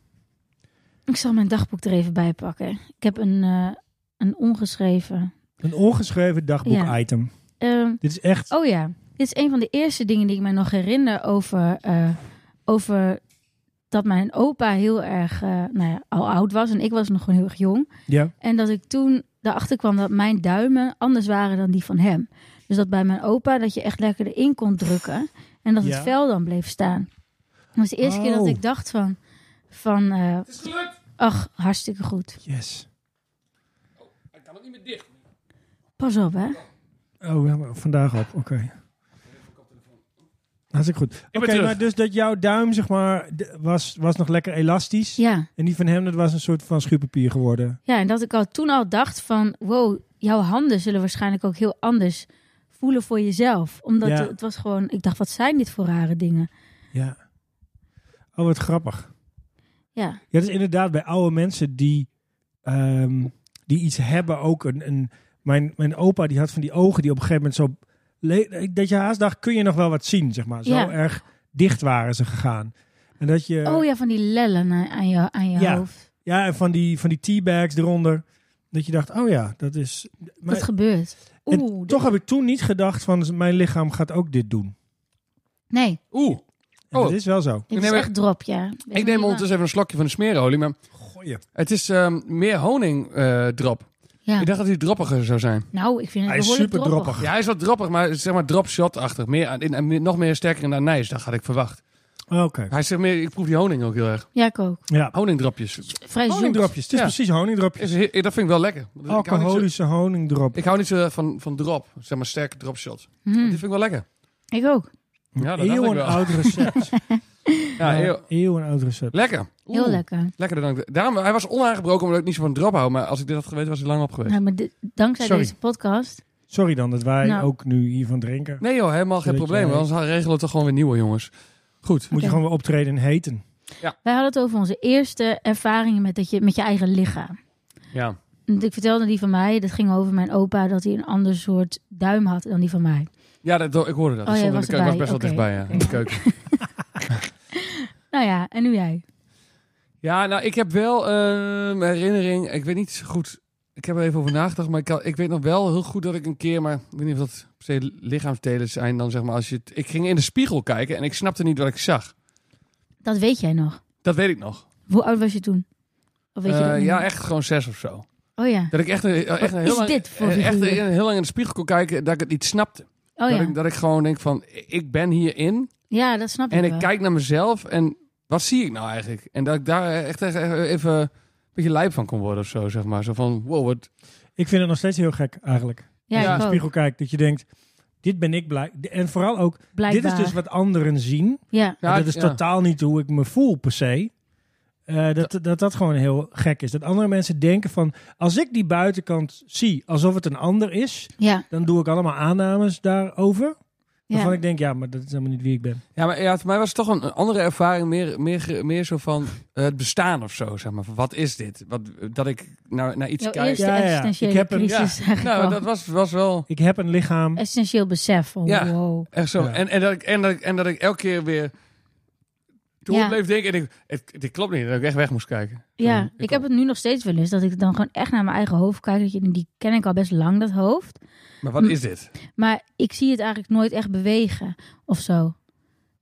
[SPEAKER 3] Ik zal mijn dagboek er even bij pakken. Ik heb een, eh, een ongeschreven...
[SPEAKER 1] Een ongeschreven dagboek-item.
[SPEAKER 3] Ehm,
[SPEAKER 1] Dit is echt...
[SPEAKER 3] Oh ja, dit is een van de eerste dingen die ik mij nog herinner over, eh, over dat mijn opa heel erg eh, nou ja, al oud was en ik was nog gewoon heel erg jong.
[SPEAKER 1] Ja.
[SPEAKER 3] En dat ik toen erachter kwam dat mijn duimen anders waren dan die van hem. Dus dat bij mijn opa dat je echt lekker erin kon drukken en dat
[SPEAKER 1] Ja.
[SPEAKER 3] het vel dan bleef staan. Dat was de eerste keer dat
[SPEAKER 1] Oh.
[SPEAKER 3] ik dacht van, van eh,
[SPEAKER 2] Het is gelukt!
[SPEAKER 3] ach, hartstikke goed.
[SPEAKER 1] Yes.
[SPEAKER 2] Ik kan het niet meer dicht.
[SPEAKER 3] Pas op hè.
[SPEAKER 1] Oh, we hebben vandaag op. Oké. Hartstikke goed.
[SPEAKER 2] ben
[SPEAKER 1] Oké,
[SPEAKER 2] terug.
[SPEAKER 1] maar dus dat jouw duim, zeg maar, d- was, was nog lekker elastisch.
[SPEAKER 3] Ja.
[SPEAKER 1] En die van hem, dat was een soort van schuurpapier geworden.
[SPEAKER 3] Ja, en dat ik al toen al dacht van, wow, jouw handen zullen waarschijnlijk ook heel anders voelen voor jezelf. Omdat
[SPEAKER 1] Ja.
[SPEAKER 3] het was gewoon, ik dacht, wat zijn dit voor rare dingen?
[SPEAKER 1] Ja. Oh, wat grappig.
[SPEAKER 3] Ja,
[SPEAKER 1] Ja, dat is inderdaad bij oude mensen die, ehm, die iets hebben ook een... een mijn, mijn opa die had van die ogen die op een gegeven moment zo... le- Dat je haast dacht, kun je nog wel wat zien, zeg maar. Zo
[SPEAKER 3] Ja.
[SPEAKER 1] erg dicht waren ze gegaan. En dat je...
[SPEAKER 3] oh ja, van die lellen aan- aan je, aan je
[SPEAKER 1] Ja,
[SPEAKER 3] hoofd.
[SPEAKER 1] Ja, en van die, van die teabags eronder. Dat je dacht, oh ja, dat is... maar-
[SPEAKER 3] dat gebeurt.
[SPEAKER 1] en
[SPEAKER 3] Oeh,
[SPEAKER 1] toch heb ik toen niet gedacht van, mijn lichaam gaat ook dit doen.
[SPEAKER 3] nee,
[SPEAKER 2] Oeh,
[SPEAKER 1] En
[SPEAKER 2] Oh.
[SPEAKER 1] dat is wel zo.
[SPEAKER 3] dit
[SPEAKER 2] Ik
[SPEAKER 3] is
[SPEAKER 2] neem-
[SPEAKER 3] echt drop, ja. Weet
[SPEAKER 2] ik
[SPEAKER 3] niet
[SPEAKER 2] neem
[SPEAKER 3] waar.
[SPEAKER 2] ondertussen even een slokje van de smeerolie, maar
[SPEAKER 1] Goeie.
[SPEAKER 2] het is ehm, meer honingdrop.
[SPEAKER 3] Ja.
[SPEAKER 2] Ik dacht dat hij droppiger zou zijn.
[SPEAKER 3] Nou, ik vind het
[SPEAKER 1] Hij is
[SPEAKER 3] behoorlijk
[SPEAKER 1] super
[SPEAKER 3] droppig.
[SPEAKER 1] droppig.
[SPEAKER 2] Ja, hij is wat droppig, maar zeg maar dropshot-achtig. Meer, aan- in, in- nog meer sterker in de anijs, dat had ik verwacht.
[SPEAKER 1] Oké.
[SPEAKER 2] Hij zegt meer, ik proef die honing ook heel erg.
[SPEAKER 3] Ja, ik ook.
[SPEAKER 1] Ja.
[SPEAKER 2] Honingdropjes.
[SPEAKER 3] Vrij
[SPEAKER 1] Oh,
[SPEAKER 3] zoet.
[SPEAKER 1] Honingdropjes. Het is
[SPEAKER 2] Ja.
[SPEAKER 1] precies honingdropjes.
[SPEAKER 2] Is, he- eh, dat vind ik wel lekker. Ik hou niet zo-
[SPEAKER 1] Alcoholische honingdrop.
[SPEAKER 2] Ik hou niet zo van, van drop, zeg maar sterke dropshot.
[SPEAKER 3] Mhm.
[SPEAKER 2] Die vind ik wel lekker.
[SPEAKER 3] Ik ook.
[SPEAKER 2] Ja, dat dacht ik
[SPEAKER 1] Eeuwen
[SPEAKER 2] wel.
[SPEAKER 1] oud recept.
[SPEAKER 2] Ja, heel,
[SPEAKER 1] Eeuwen oud recept.
[SPEAKER 2] lekker. Oeh,
[SPEAKER 3] Heel lekker.
[SPEAKER 2] Lekkerder dan ik- Daarom, hij was onaangebroken omdat ik niet zo van drop hou. Maar als ik dit had geweten, was hij lang op geweest.
[SPEAKER 3] Nou, maar dit- dankzij
[SPEAKER 1] Sorry.
[SPEAKER 3] deze podcast.
[SPEAKER 1] Sorry dan dat wij
[SPEAKER 3] Nou.
[SPEAKER 1] ook nu hiervan drinken.
[SPEAKER 2] Nee joh, helemaal geen
[SPEAKER 1] Zodat
[SPEAKER 2] probleem.
[SPEAKER 1] jij-
[SPEAKER 2] want Anders regelen we het toch gewoon weer nieuwe jongens.
[SPEAKER 1] Moet
[SPEAKER 2] Goed.
[SPEAKER 1] je
[SPEAKER 3] Oké.
[SPEAKER 1] gewoon weer optreden en heten.
[SPEAKER 3] Wij hadden het over onze eerste ervaringen met, dat je, met je eigen lichaam.
[SPEAKER 2] Ja.
[SPEAKER 3] Want Ik vertelde die van mij, dat ging over mijn opa, dat hij een ander soort duim had dan die van mij.
[SPEAKER 2] Ja, dat, ik hoorde dat.
[SPEAKER 3] Oh,
[SPEAKER 2] Ik
[SPEAKER 3] jij
[SPEAKER 2] stond in
[SPEAKER 3] was
[SPEAKER 2] de keuken, was
[SPEAKER 3] erbij.
[SPEAKER 2] best wel
[SPEAKER 3] Oké.
[SPEAKER 2] dichtbij, ja. In de keuken.
[SPEAKER 3] Nou ja, en nu jij.
[SPEAKER 2] Ja, nou, ik heb wel ehm, herinnering. Ik weet niet zo goed. Ik heb er even over nagedacht, maar ik, kan- ik weet nog wel heel goed dat ik een keer, maar ik weet niet of dat per se lichaamsdelen zijn dan zeg maar als je. het- ik ging in de spiegel kijken en ik snapte niet wat ik zag.
[SPEAKER 3] Dat weet jij nog.
[SPEAKER 2] Dat weet ik nog.
[SPEAKER 3] Hoe oud was je toen? Of weet je
[SPEAKER 2] Eh,
[SPEAKER 3] dat niet?
[SPEAKER 2] ja, echt gewoon zes of zo.
[SPEAKER 3] Oh ja.
[SPEAKER 2] Dat ik echt, een- echt een
[SPEAKER 3] Wat
[SPEAKER 2] heel
[SPEAKER 3] is
[SPEAKER 2] lang,
[SPEAKER 3] dit voor
[SPEAKER 2] eh, echt
[SPEAKER 3] figuur?
[SPEAKER 2] een- heel lang in de spiegel kon kijken dat ik het niet snapte.
[SPEAKER 3] Oh
[SPEAKER 2] dat,
[SPEAKER 3] ja.
[SPEAKER 2] ik, dat ik gewoon denk van, ik ben hierin
[SPEAKER 3] Ja, dat snap ik
[SPEAKER 2] en ik
[SPEAKER 3] wel.
[SPEAKER 2] kijk naar mezelf en wat zie ik nou eigenlijk? En dat ik daar echt even, even een beetje lijp van kon worden of zo, zeg maar. Zo van, wow, wat...
[SPEAKER 1] Ik vind het nog steeds heel gek eigenlijk.
[SPEAKER 3] ja,
[SPEAKER 2] ja,
[SPEAKER 3] ik ook.
[SPEAKER 1] Spiegel kijkt dat je denkt, dit ben ik blij. En vooral ook, dit
[SPEAKER 3] Blijkbaar.
[SPEAKER 1] is dus wat anderen zien.
[SPEAKER 3] Ja,
[SPEAKER 1] En
[SPEAKER 2] Ja,
[SPEAKER 1] dat is
[SPEAKER 2] ja.
[SPEAKER 1] totaal niet hoe ik me voel per se. Eh, dat, dat dat gewoon heel gek is. Dat andere mensen denken van, als ik die buitenkant zie alsof het een ander is,
[SPEAKER 3] ja,
[SPEAKER 1] dan doe ik allemaal aannames daarover. Waarvan
[SPEAKER 3] ja.
[SPEAKER 1] ik denk, ja, maar dat is helemaal niet wie ik ben.
[SPEAKER 2] Ja, maar ja, voor mij was het toch een, een andere ervaring. Meer, meer, ge- meer zo van eh, het bestaan of zo, zeg maar. Van, Wat is dit? Wat, dat ik naar, naar iets
[SPEAKER 3] Jouw
[SPEAKER 2] kijk.
[SPEAKER 3] eerste
[SPEAKER 1] Ja, ja, ja.
[SPEAKER 3] existentiële
[SPEAKER 1] Ik heb een-
[SPEAKER 3] crisis eigenlijk
[SPEAKER 2] Nou,
[SPEAKER 3] wel.
[SPEAKER 2] dat was, was wel
[SPEAKER 1] Ik heb een lichaam.
[SPEAKER 3] Essentieel besef van
[SPEAKER 2] Ja.
[SPEAKER 3] wow.
[SPEAKER 2] echt zo.
[SPEAKER 1] Ja.
[SPEAKER 2] En, en, dat ik, en, dat ik, en dat ik elke keer weer door
[SPEAKER 3] Ja.
[SPEAKER 2] bleef denken. En ik, het, dit klopt niet. Dat ik echt weg moest kijken. Mm.
[SPEAKER 3] Ja,
[SPEAKER 2] Zo,
[SPEAKER 3] ik, heb het nu nog steeds wel eens dat ik dan gewoon echt naar mijn eigen hoofd kijk. Dat je, die ken ik al best lang, dat hoofd.
[SPEAKER 2] Maar wat is dit?
[SPEAKER 3] Maar ik zie het eigenlijk nooit echt bewegen of zo.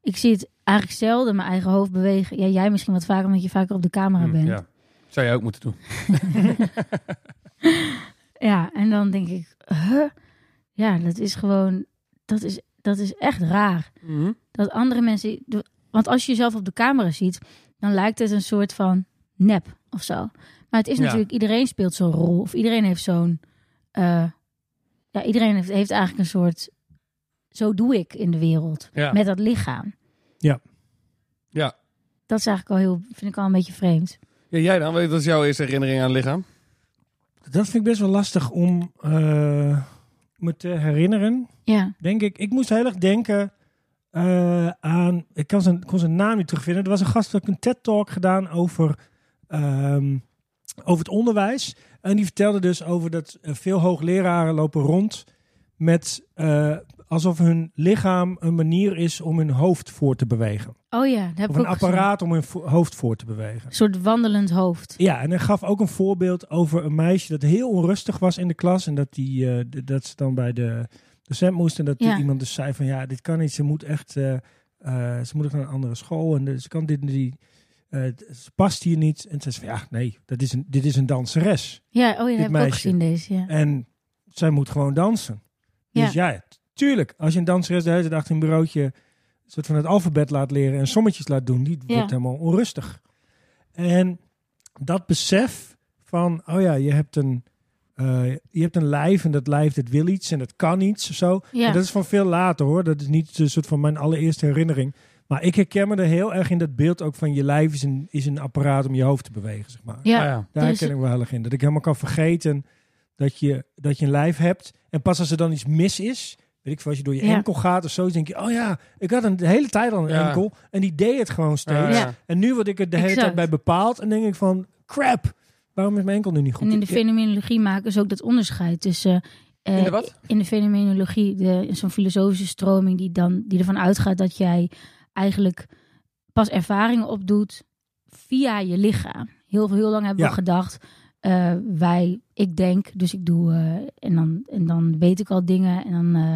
[SPEAKER 3] Ik zie het eigenlijk zelden mijn eigen hoofd bewegen. Ja, jij misschien wat vaker, omdat je vaker op de camera
[SPEAKER 2] Hm,
[SPEAKER 3] bent. Ja.
[SPEAKER 2] ja. Zou jij ook moeten doen.
[SPEAKER 3] en dan denk ik, huh? Ja, dat is gewoon, dat is, dat is echt raar.
[SPEAKER 2] Mhm.
[SPEAKER 3] Dat andere mensen, want als je jezelf op de camera ziet, dan lijkt het een soort van nep of zo. Maar het is
[SPEAKER 2] Ja.
[SPEAKER 3] natuurlijk, iedereen speelt zo'n rol. Of iedereen heeft zo'n, eh, ja, iedereen heeft, heeft eigenlijk een soort, zo doe ik in de wereld.
[SPEAKER 2] Ja.
[SPEAKER 3] Met dat lichaam.
[SPEAKER 2] Ja.
[SPEAKER 3] Dat is eigenlijk al heel, vind ik al een beetje vreemd.
[SPEAKER 2] ja. Jij dan? Wat is jouw eerste herinnering aan het lichaam?
[SPEAKER 1] Dat vind ik best wel lastig om eh, me te herinneren.
[SPEAKER 3] Ja.
[SPEAKER 1] Denk ik. Ik moest heel erg denken eh, aan. Ik kan zijn, kon zijn naam niet terugvinden. Er was een gast die had een TED-talk gedaan over, ehm, over het onderwijs. En die vertelde dus over dat eh, veel hoogleraren lopen rond met. eh, alsof hun lichaam een manier is om hun hoofd voor te bewegen.
[SPEAKER 3] Oh ja, dat heb
[SPEAKER 1] Of
[SPEAKER 3] ik
[SPEAKER 1] een
[SPEAKER 3] ook gezien.
[SPEAKER 1] apparaat om hun vo- hoofd voor te bewegen.
[SPEAKER 3] Een soort wandelend hoofd.
[SPEAKER 1] Ja, en hij gaf ook een voorbeeld over een meisje dat heel onrustig was in de klas. En dat, die, eh, d- dat ze dan bij de docent moest. En dat die
[SPEAKER 3] Ja.
[SPEAKER 1] iemand dus zei van ja, dit kan niet. Ze moet echt, eh, eh, ze moet ook naar een andere school. En eh, ze kan dit en die, eh, d- ze past hier niet. En ze zei van ja, nee, dat is een, dit is een danseres.
[SPEAKER 3] Ja, oh ja, dat heb ik ook
[SPEAKER 1] meisje.
[SPEAKER 3] gezien deze. Ja.
[SPEAKER 1] En zij moet gewoon dansen. Dus ja, t- tuurlijk. Als je een danseres de hele dag achter een bureautje een soort van het alfabet laat leren en sommetjes laat doen, die
[SPEAKER 3] Ja.
[SPEAKER 1] wordt helemaal onrustig. En dat besef van, oh ja, je hebt een, eh, je hebt een lijf en dat lijf dat wil iets en dat kan iets of zo.
[SPEAKER 3] Ja.
[SPEAKER 1] En dat is van veel later hoor. Dat is niet een soort van mijn allereerste herinnering. Maar ik herken me er heel erg in dat beeld ook van je lijf is een, is een apparaat om je hoofd te bewegen, zeg maar.
[SPEAKER 3] Ja.
[SPEAKER 2] Ah, ja.
[SPEAKER 1] Daar
[SPEAKER 3] Er is-
[SPEAKER 1] herken ik me heel erg in. Dat ik helemaal kan vergeten dat je, dat je een lijf hebt. En pas als er dan iets mis is, weet ik veel, als je door je
[SPEAKER 3] Ja.
[SPEAKER 1] enkel gaat of zo, denk je, oh ja, ik had een de hele tijd al een
[SPEAKER 2] Ja.
[SPEAKER 1] enkel. En die deed het gewoon steeds.
[SPEAKER 2] Ah,
[SPEAKER 3] Ja.
[SPEAKER 1] En nu word ik er de hele
[SPEAKER 3] Exact.
[SPEAKER 1] tijd bij bepaald. En denk ik van, crap, waarom is mijn enkel nu niet goed?
[SPEAKER 3] En in de
[SPEAKER 1] Ik-
[SPEAKER 3] fenomenologie maken ze ook dat onderscheid tussen. eh,
[SPEAKER 2] In de wat?
[SPEAKER 3] in de fenomenologie, de, zo'n filosofische stroming die, dan, die ervan uitgaat dat jij eigenlijk pas ervaringen opdoet via je lichaam. Heel, heel lang hebben
[SPEAKER 1] Ja.
[SPEAKER 3] we gedacht, eh, wij, ik denk, dus ik doe. eh, en, dan, en dan weet ik al dingen. En dan, eh,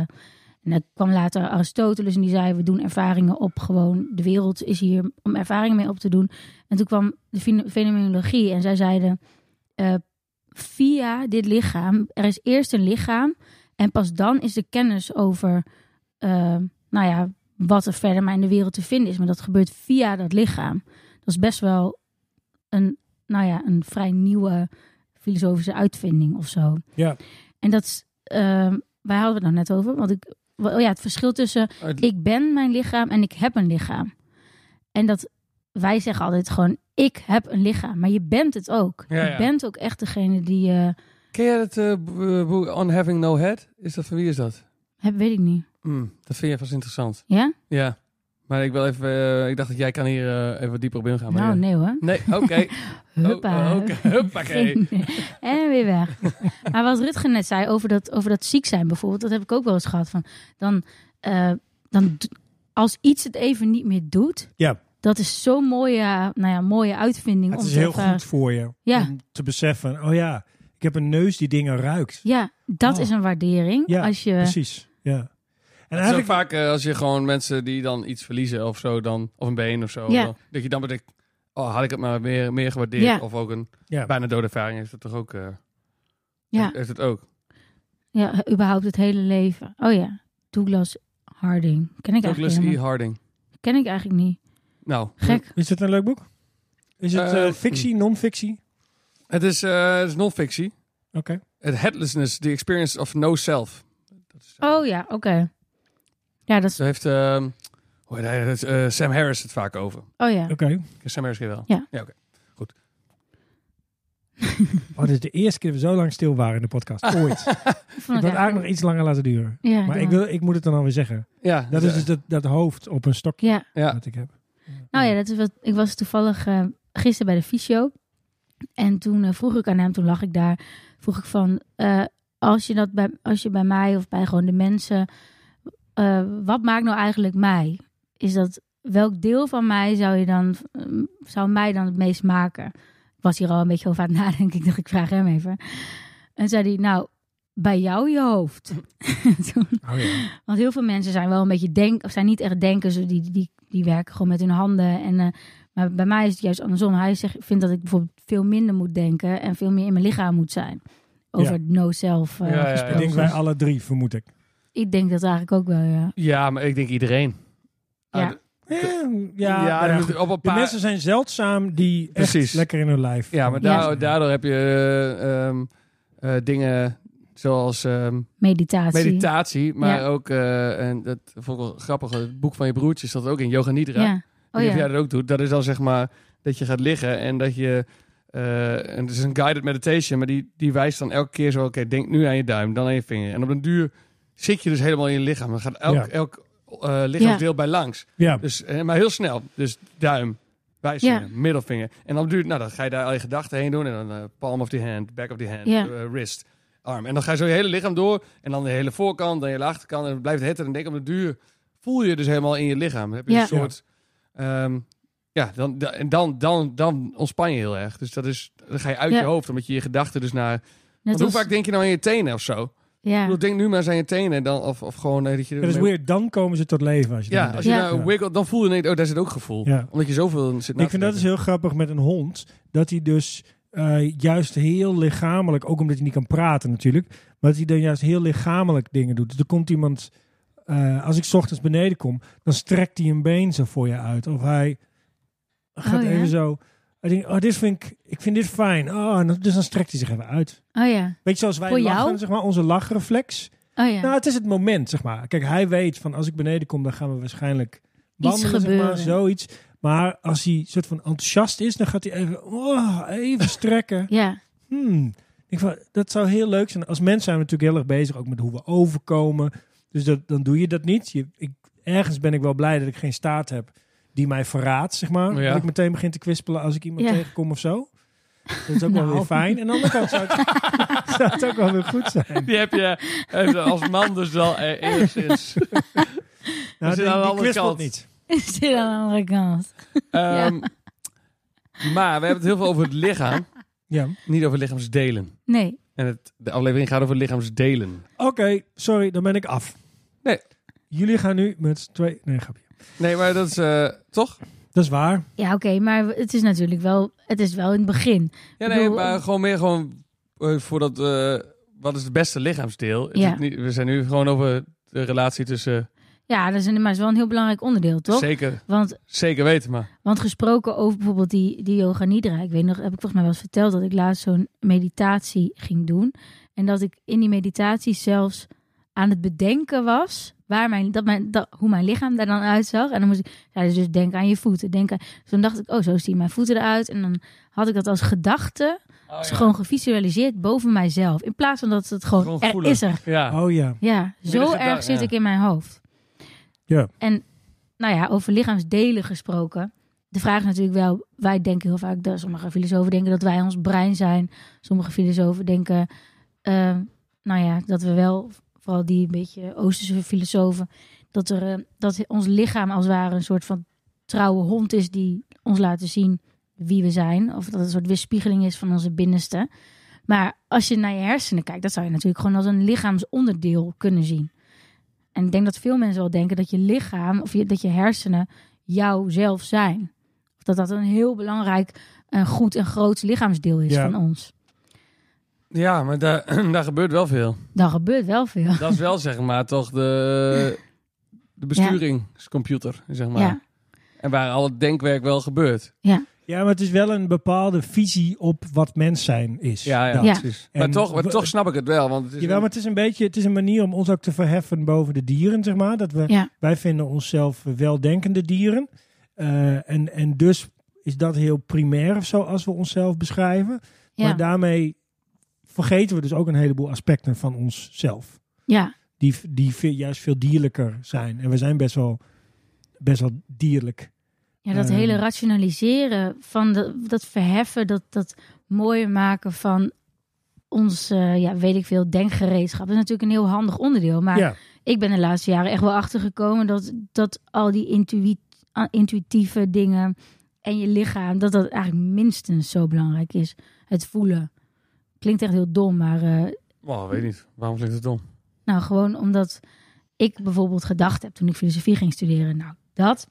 [SPEAKER 3] en dan kwam later Aristoteles en die zei, we doen ervaringen op gewoon. De wereld is hier om ervaringen mee op te doen. En toen kwam de fino- fenomenologie en zij zeiden, eh, via dit lichaam, er is eerst een lichaam en pas dan is de kennis over, eh, nou ja, wat er verder maar in de wereld te vinden is. Maar dat gebeurt via dat lichaam. Dat is best wel een, nou ja, een vrij nieuwe filosofische uitvinding of zo.
[SPEAKER 1] Ja.
[SPEAKER 3] En dat is, eh, wij hadden het nou net over, want ik, oh ja, het verschil tussen
[SPEAKER 2] Uit-
[SPEAKER 3] ik ben mijn lichaam en ik heb een lichaam. En dat wij zeggen altijd gewoon, ik heb een lichaam, maar je bent het ook.
[SPEAKER 2] Ja,
[SPEAKER 3] je
[SPEAKER 2] ja.
[SPEAKER 3] bent ook echt degene die, eh,
[SPEAKER 2] Ken jij dat eh, b- eh, boek On Having No Head? Is dat van wie is dat?
[SPEAKER 3] heb, weet ik niet.
[SPEAKER 2] Hmm, dat vind je vast interessant.
[SPEAKER 3] Ja?
[SPEAKER 2] Ja. Maar ik wil even. eh, ik dacht dat jij kan hier eh, even wat dieper op ingaan. maar
[SPEAKER 3] nou,
[SPEAKER 2] ja.
[SPEAKER 3] nee hoor.
[SPEAKER 2] Nee, oké.
[SPEAKER 3] Huppa.
[SPEAKER 2] Oh, oké. Huppakee.
[SPEAKER 3] Geen- en weer weg. maar wat Rutger net zei over dat, over dat ziek zijn bijvoorbeeld, dat heb ik ook wel eens gehad. Van, dan, eh, dan, d- als iets het even niet meer doet,
[SPEAKER 1] Ja.
[SPEAKER 3] dat is zo'n mooie, nou ja, mooie uitvinding.
[SPEAKER 1] Het
[SPEAKER 3] om
[SPEAKER 1] is
[SPEAKER 3] te
[SPEAKER 1] heel
[SPEAKER 3] ervaren.
[SPEAKER 1] goed voor je
[SPEAKER 3] Ja.
[SPEAKER 1] om te beseffen, oh ja, ik heb een neus die dingen ruikt.
[SPEAKER 3] Ja, dat
[SPEAKER 1] Oh.
[SPEAKER 3] is een waardering.
[SPEAKER 1] Ja,
[SPEAKER 3] als je,
[SPEAKER 1] Precies, ja. En
[SPEAKER 2] Het is ook vaak eh, als je gewoon mensen die dan iets verliezen of zo dan, of een been of zo,
[SPEAKER 3] Ja.
[SPEAKER 2] dan- dat je dan bedenkt, oh had ik het maar meer, meer gewaardeerd.
[SPEAKER 3] Ja.
[SPEAKER 2] Of ook een
[SPEAKER 1] Ja.
[SPEAKER 2] bijna dode ervaring is dat toch ook, eh
[SPEAKER 3] ja.
[SPEAKER 2] is het ook.
[SPEAKER 3] Ja, überhaupt het hele leven. Oh ja, Douglas Harding. Ken ik,
[SPEAKER 2] Douglas
[SPEAKER 3] eigenlijk,
[SPEAKER 2] E.
[SPEAKER 3] helemaal-
[SPEAKER 2] Harding.
[SPEAKER 3] ken ik eigenlijk niet.
[SPEAKER 2] Nou,
[SPEAKER 3] Gek.
[SPEAKER 1] Is het een leuk boek? Is het
[SPEAKER 2] Eh,
[SPEAKER 1] eh, fictie, non-fictie?
[SPEAKER 2] het is, eh het is non-fictie.
[SPEAKER 1] Oké.
[SPEAKER 2] Het headlessness, the experience of no self. Dat is,
[SPEAKER 3] Oh ja, oké. Ja, dat is...
[SPEAKER 2] Zo heeft eh, hoe heet hij, dat is, eh, Sam Harris het vaak over.
[SPEAKER 3] Oh ja.
[SPEAKER 1] Oké.
[SPEAKER 2] Ken Sam Harris ken je wel.
[SPEAKER 3] Ja.
[SPEAKER 2] ja oké.
[SPEAKER 1] Oh, dit is de eerste keer dat we zo lang stil waren in de podcast. Ooit. ik
[SPEAKER 3] Ik
[SPEAKER 1] wil
[SPEAKER 3] vond
[SPEAKER 1] het
[SPEAKER 3] het
[SPEAKER 1] eigenlijk nog iets langer laten duren.
[SPEAKER 3] Ja,
[SPEAKER 1] Maar
[SPEAKER 3] doe
[SPEAKER 1] ik, wil, ik moet het dan alweer zeggen.
[SPEAKER 2] Ja,
[SPEAKER 1] Dat is dus dat, dat hoofd op een stokje
[SPEAKER 3] Ja.
[SPEAKER 2] Ja.
[SPEAKER 1] dat ik heb.
[SPEAKER 3] Nou ja, dat is wat, ik was toevallig eh, gisteren bij de fysio. En toen eh, vroeg ik aan hem, toen lag ik daar, vroeg ik van, eh, als, je dat bij, als je bij mij of bij gewoon de mensen, eh, wat maakt nou eigenlijk mij? Is dat, welk deel van mij zou, je dan, mm, zou mij dan het meest maken? Ik was hier al een beetje over aan het nadenken, ik dacht, ik vraag hem even. En zei hij, nou, bij jou je hoofd. toen,
[SPEAKER 1] Oh, ja.
[SPEAKER 3] want heel veel mensen zijn wel een beetje denk, of zijn niet echt denkers, dus die, die, die werken gewoon met hun handen. En, eh, maar bij mij is het juist andersom. Hij zegt, vindt dat ik bijvoorbeeld veel minder moet denken en veel meer in mijn lichaam moet zijn. Over
[SPEAKER 1] Ja.
[SPEAKER 3] het no-self. eh,
[SPEAKER 2] Ja, ja, ja.
[SPEAKER 1] Ik
[SPEAKER 3] gesproken.
[SPEAKER 1] denk wij alle drie, vermoed ik.
[SPEAKER 3] Ik denk dat eigenlijk ook wel, ja.
[SPEAKER 2] Ja, maar ik denk iedereen.
[SPEAKER 3] Ja.
[SPEAKER 2] Ah, d-
[SPEAKER 1] Ja, ja,
[SPEAKER 2] ja,
[SPEAKER 1] nou ja,
[SPEAKER 2] er
[SPEAKER 1] goed.
[SPEAKER 2] moeten op een
[SPEAKER 1] De
[SPEAKER 2] paar...
[SPEAKER 1] mensen zijn zeldzaam die echt
[SPEAKER 2] Precies.
[SPEAKER 1] lekker in hun lijf.
[SPEAKER 2] Ja, maar
[SPEAKER 3] Ja.
[SPEAKER 2] daardoor, daardoor heb je eh, ehm, eh, dingen zoals ehm,
[SPEAKER 3] Meditatie.
[SPEAKER 2] meditatie, maar
[SPEAKER 3] Ja.
[SPEAKER 2] ook, eh, en dat vond ik wel grappig, het boek van je broertje staat ook in Yoga Nidra.
[SPEAKER 3] ja.
[SPEAKER 2] Ik weet
[SPEAKER 3] Oh
[SPEAKER 2] niet of jij
[SPEAKER 3] ja.
[SPEAKER 2] dat ook doet. Dat is dan zeg maar dat je gaat liggen en dat je eh, en het is een guided meditation, maar die, die wijst dan elke keer zo: oké, denk nu aan je duim, dan aan je vinger. En op een duur zit je dus helemaal in je lichaam. Dan gaat elk,
[SPEAKER 1] Ja.
[SPEAKER 2] elk eh, lichaamsdeel bij langs.
[SPEAKER 1] Ja,
[SPEAKER 2] Dus, eh, maar heel snel. Dus duim, wijsvinger, middelvinger. En dan duurt, nou, dan ga je daar al je gedachten heen doen. En dan eh, palm of the hand, back of the hand,
[SPEAKER 3] Ja.
[SPEAKER 2] eh, wrist, arm. En dan ga je zo je hele lichaam door. En dan de hele voorkant, dan je hele achterkant. En het blijft het. En denk op de duur voel je dus helemaal in je lichaam. Dan heb je
[SPEAKER 3] Ja.
[SPEAKER 2] een soort... ehm, ja, dan, da- en dan, dan, dan ontspan je heel erg. Dus dat is, dan ga je uit
[SPEAKER 3] Ja.
[SPEAKER 2] je hoofd, omdat je je gedachten dus naar...
[SPEAKER 3] Net
[SPEAKER 2] Want hoe
[SPEAKER 3] als,
[SPEAKER 2] vaak denk je nou aan je tenen of zo? Ik
[SPEAKER 3] ja.
[SPEAKER 2] bedoel, denk nu maar eens aan je tenen. en Dan, of, of gewoon eh, dat je...
[SPEAKER 1] dat is weird. Dan komen ze tot leven. Als je
[SPEAKER 2] Ja,
[SPEAKER 1] dat
[SPEAKER 2] als
[SPEAKER 1] doet.
[SPEAKER 2] je
[SPEAKER 3] Ja.
[SPEAKER 2] nou wiggelt, dan voel je ineens, oh, daar zit ook gevoel.
[SPEAKER 1] Ja.
[SPEAKER 2] Omdat je zoveel zit na
[SPEAKER 1] ik
[SPEAKER 2] te
[SPEAKER 1] vind dat is
[SPEAKER 2] denken.
[SPEAKER 1] heel grappig met een hond. Dat hij dus eh, juist heel lichamelijk, ook omdat hij niet kan praten natuurlijk, maar dat hij dan juist heel lichamelijk dingen doet. Dus er komt iemand, eh, als ik 's ochtends beneden kom, dan strekt hij een been zo voor je uit. Of hij gaat
[SPEAKER 3] Oh, ja?
[SPEAKER 1] even zo. Hij denkt, oh, dit vind ik, ik vind dit fijn. Oh, en dan- dus dan strekt hij zich even uit.
[SPEAKER 3] Oh ja.
[SPEAKER 1] Weet je, zoals wij
[SPEAKER 3] Voor jou?
[SPEAKER 1] lachen, zeg maar, onze lachreflex.
[SPEAKER 3] Oh ja.
[SPEAKER 1] Nou, het is het moment, zeg maar. Kijk, hij weet van als ik beneden kom, dan gaan we waarschijnlijk wandelen, zeg maar,
[SPEAKER 3] gebeuren.
[SPEAKER 1] zoiets. Maar als hij soort van enthousiast is, dan gaat hij even, oh, even strekken.
[SPEAKER 3] ja.
[SPEAKER 1] Hmm. Ik van, dat zou heel leuk zijn. Als mens zijn we natuurlijk heel erg bezig, ook met hoe we overkomen. Dus dat, dan doe je dat niet. Je, ik, ergens ben ik wel blij dat ik geen staat heb die mij verraadt, zeg maar.
[SPEAKER 2] Ja.
[SPEAKER 1] Dat ik meteen begin te kwispelen als ik iemand
[SPEAKER 3] Ja.
[SPEAKER 1] tegenkom of zo. Dat is ook wel
[SPEAKER 3] Nou.
[SPEAKER 1] weer fijn. En aan de andere kant zou het, zou het ook wel weer goed zijn.
[SPEAKER 2] Die heb je eh, als man dus wel eh, enigszins.
[SPEAKER 1] Nou,
[SPEAKER 2] zit
[SPEAKER 1] die,
[SPEAKER 2] aan de
[SPEAKER 1] die
[SPEAKER 2] andere
[SPEAKER 1] kwispelt
[SPEAKER 2] kant.
[SPEAKER 1] niet.
[SPEAKER 3] Zit aan de andere kant.
[SPEAKER 2] Ehm, Maar we hebben het heel veel over het lichaam,
[SPEAKER 1] Ja.
[SPEAKER 2] niet over lichaamsdelen.
[SPEAKER 3] Nee.
[SPEAKER 2] En het, de aflevering gaat over lichaamsdelen.
[SPEAKER 1] Oké, sorry, dan ben ik af.
[SPEAKER 2] Nee.
[SPEAKER 1] Jullie gaan nu met twee... Nee, grapje.
[SPEAKER 2] Nee, maar dat is eh, toch?
[SPEAKER 1] Dat is waar.
[SPEAKER 3] Ja, oké, maar het is natuurlijk wel, het is wel in het begin.
[SPEAKER 2] Ja,
[SPEAKER 3] Ik
[SPEAKER 2] nee,
[SPEAKER 3] bedoel,
[SPEAKER 2] maar
[SPEAKER 3] eh,
[SPEAKER 2] gewoon meer gewoon eh, voor dat. eh, wat is het beste lichaamsdeel? Het is
[SPEAKER 3] Ja.
[SPEAKER 2] niet- we zijn nu gewoon over de relatie tussen.
[SPEAKER 3] Ja, dat is, een, maar het is wel een heel belangrijk onderdeel, toch?
[SPEAKER 2] Zeker,
[SPEAKER 3] Want,
[SPEAKER 2] zeker weten, maar.
[SPEAKER 3] want gesproken over bijvoorbeeld die, die yoga nidra. Ik weet nog, heb ik volgens mij wel eens verteld dat ik laatst zo'n meditatie ging doen. En dat ik in die meditatie zelfs aan het bedenken was waar mijn, dat mijn, dat, hoe mijn lichaam daar dan uitzag. En dan moest ik, ja, dus denk aan je voeten. Denk aan, dus toen dacht ik, oh, zo zien mijn voeten eruit. En dan had ik dat als gedachte,
[SPEAKER 2] Oh
[SPEAKER 3] als gewoon gevisualiseerd boven mijzelf. In plaats van dat het gewoon,
[SPEAKER 2] Gewoon
[SPEAKER 3] er
[SPEAKER 2] voelen.
[SPEAKER 3] is er.
[SPEAKER 2] Ja.
[SPEAKER 1] Oh ja.
[SPEAKER 3] Ja,
[SPEAKER 2] Midden
[SPEAKER 3] zo
[SPEAKER 2] zit daar,
[SPEAKER 3] erg zit
[SPEAKER 2] ja.
[SPEAKER 3] ik in mijn hoofd.
[SPEAKER 1] Ja.
[SPEAKER 3] En nou ja, over lichaamsdelen gesproken. De vraag is natuurlijk wel, wij denken heel vaak, dat sommige filosofen denken dat wij ons brein zijn. Sommige filosofen denken, eh, nou ja, dat we wel, vooral die een beetje Oosterse filosofen, dat, er, eh, dat ons lichaam als het ware een soort van trouwe hond is die ons laat zien wie we zijn. Of dat het een soort weerspiegeling is van onze binnenste. Maar als je naar je hersenen kijkt, dat zou je natuurlijk gewoon als een lichaamsonderdeel kunnen zien. En ik denk dat veel mensen wel denken dat je lichaam of je, dat je hersenen jouzelf zijn. Of dat dat een heel belangrijk, en goed en groot lichaamsdeel is
[SPEAKER 1] Ja.
[SPEAKER 3] van ons.
[SPEAKER 2] ja, maar daar, daar gebeurt wel veel.
[SPEAKER 3] Dan gebeurt wel veel.
[SPEAKER 2] Dat is wel zeg maar toch de, de besturingscomputer, zeg maar.
[SPEAKER 3] Ja,
[SPEAKER 2] En waar al het denkwerk wel gebeurt.
[SPEAKER 1] Ja, maar het is wel een bepaalde visie op wat mens zijn is.
[SPEAKER 2] Ja, ja,
[SPEAKER 1] Dat.
[SPEAKER 3] Ja.
[SPEAKER 2] precies.
[SPEAKER 1] En
[SPEAKER 2] maar, toch, maar
[SPEAKER 1] w-
[SPEAKER 2] toch snap ik het wel. Want het is
[SPEAKER 1] Jawel, maar het is een beetje, het is een manier om ons ook te verheffen boven de dieren, zeg maar. Dat we,
[SPEAKER 3] Ja.
[SPEAKER 1] wij vinden onszelf weldenkende dieren. Eh, en, en dus is dat heel primair of zo, als we onszelf beschrijven.
[SPEAKER 3] ja,
[SPEAKER 1] Maar daarmee vergeten we dus ook een heleboel aspecten van onszelf.
[SPEAKER 3] ja,
[SPEAKER 1] die, die veel- juist veel dierlijker zijn. En we zijn best wel, best wel dierlijk.
[SPEAKER 3] ja, dat
[SPEAKER 1] Ehm.
[SPEAKER 3] hele rationaliseren van de, dat verheffen, dat, dat mooie maken van ons, eh, ja, weet ik veel, denkgereedschap. Dat is natuurlijk een heel handig onderdeel. Maar
[SPEAKER 1] ja,
[SPEAKER 3] ik ben de laatste jaren echt wel achtergekomen dat, dat al die intuï- ah, intuïtieve dingen en je lichaam, dat dat eigenlijk minstens zo belangrijk is. Het voelen. Klinkt echt heel dom, maar eh,
[SPEAKER 2] Wow, weet niet. Waarom klinkt het dom?
[SPEAKER 3] nou gewoon omdat ik bijvoorbeeld gedacht heb toen ik filosofie ging studeren. Nou, dat,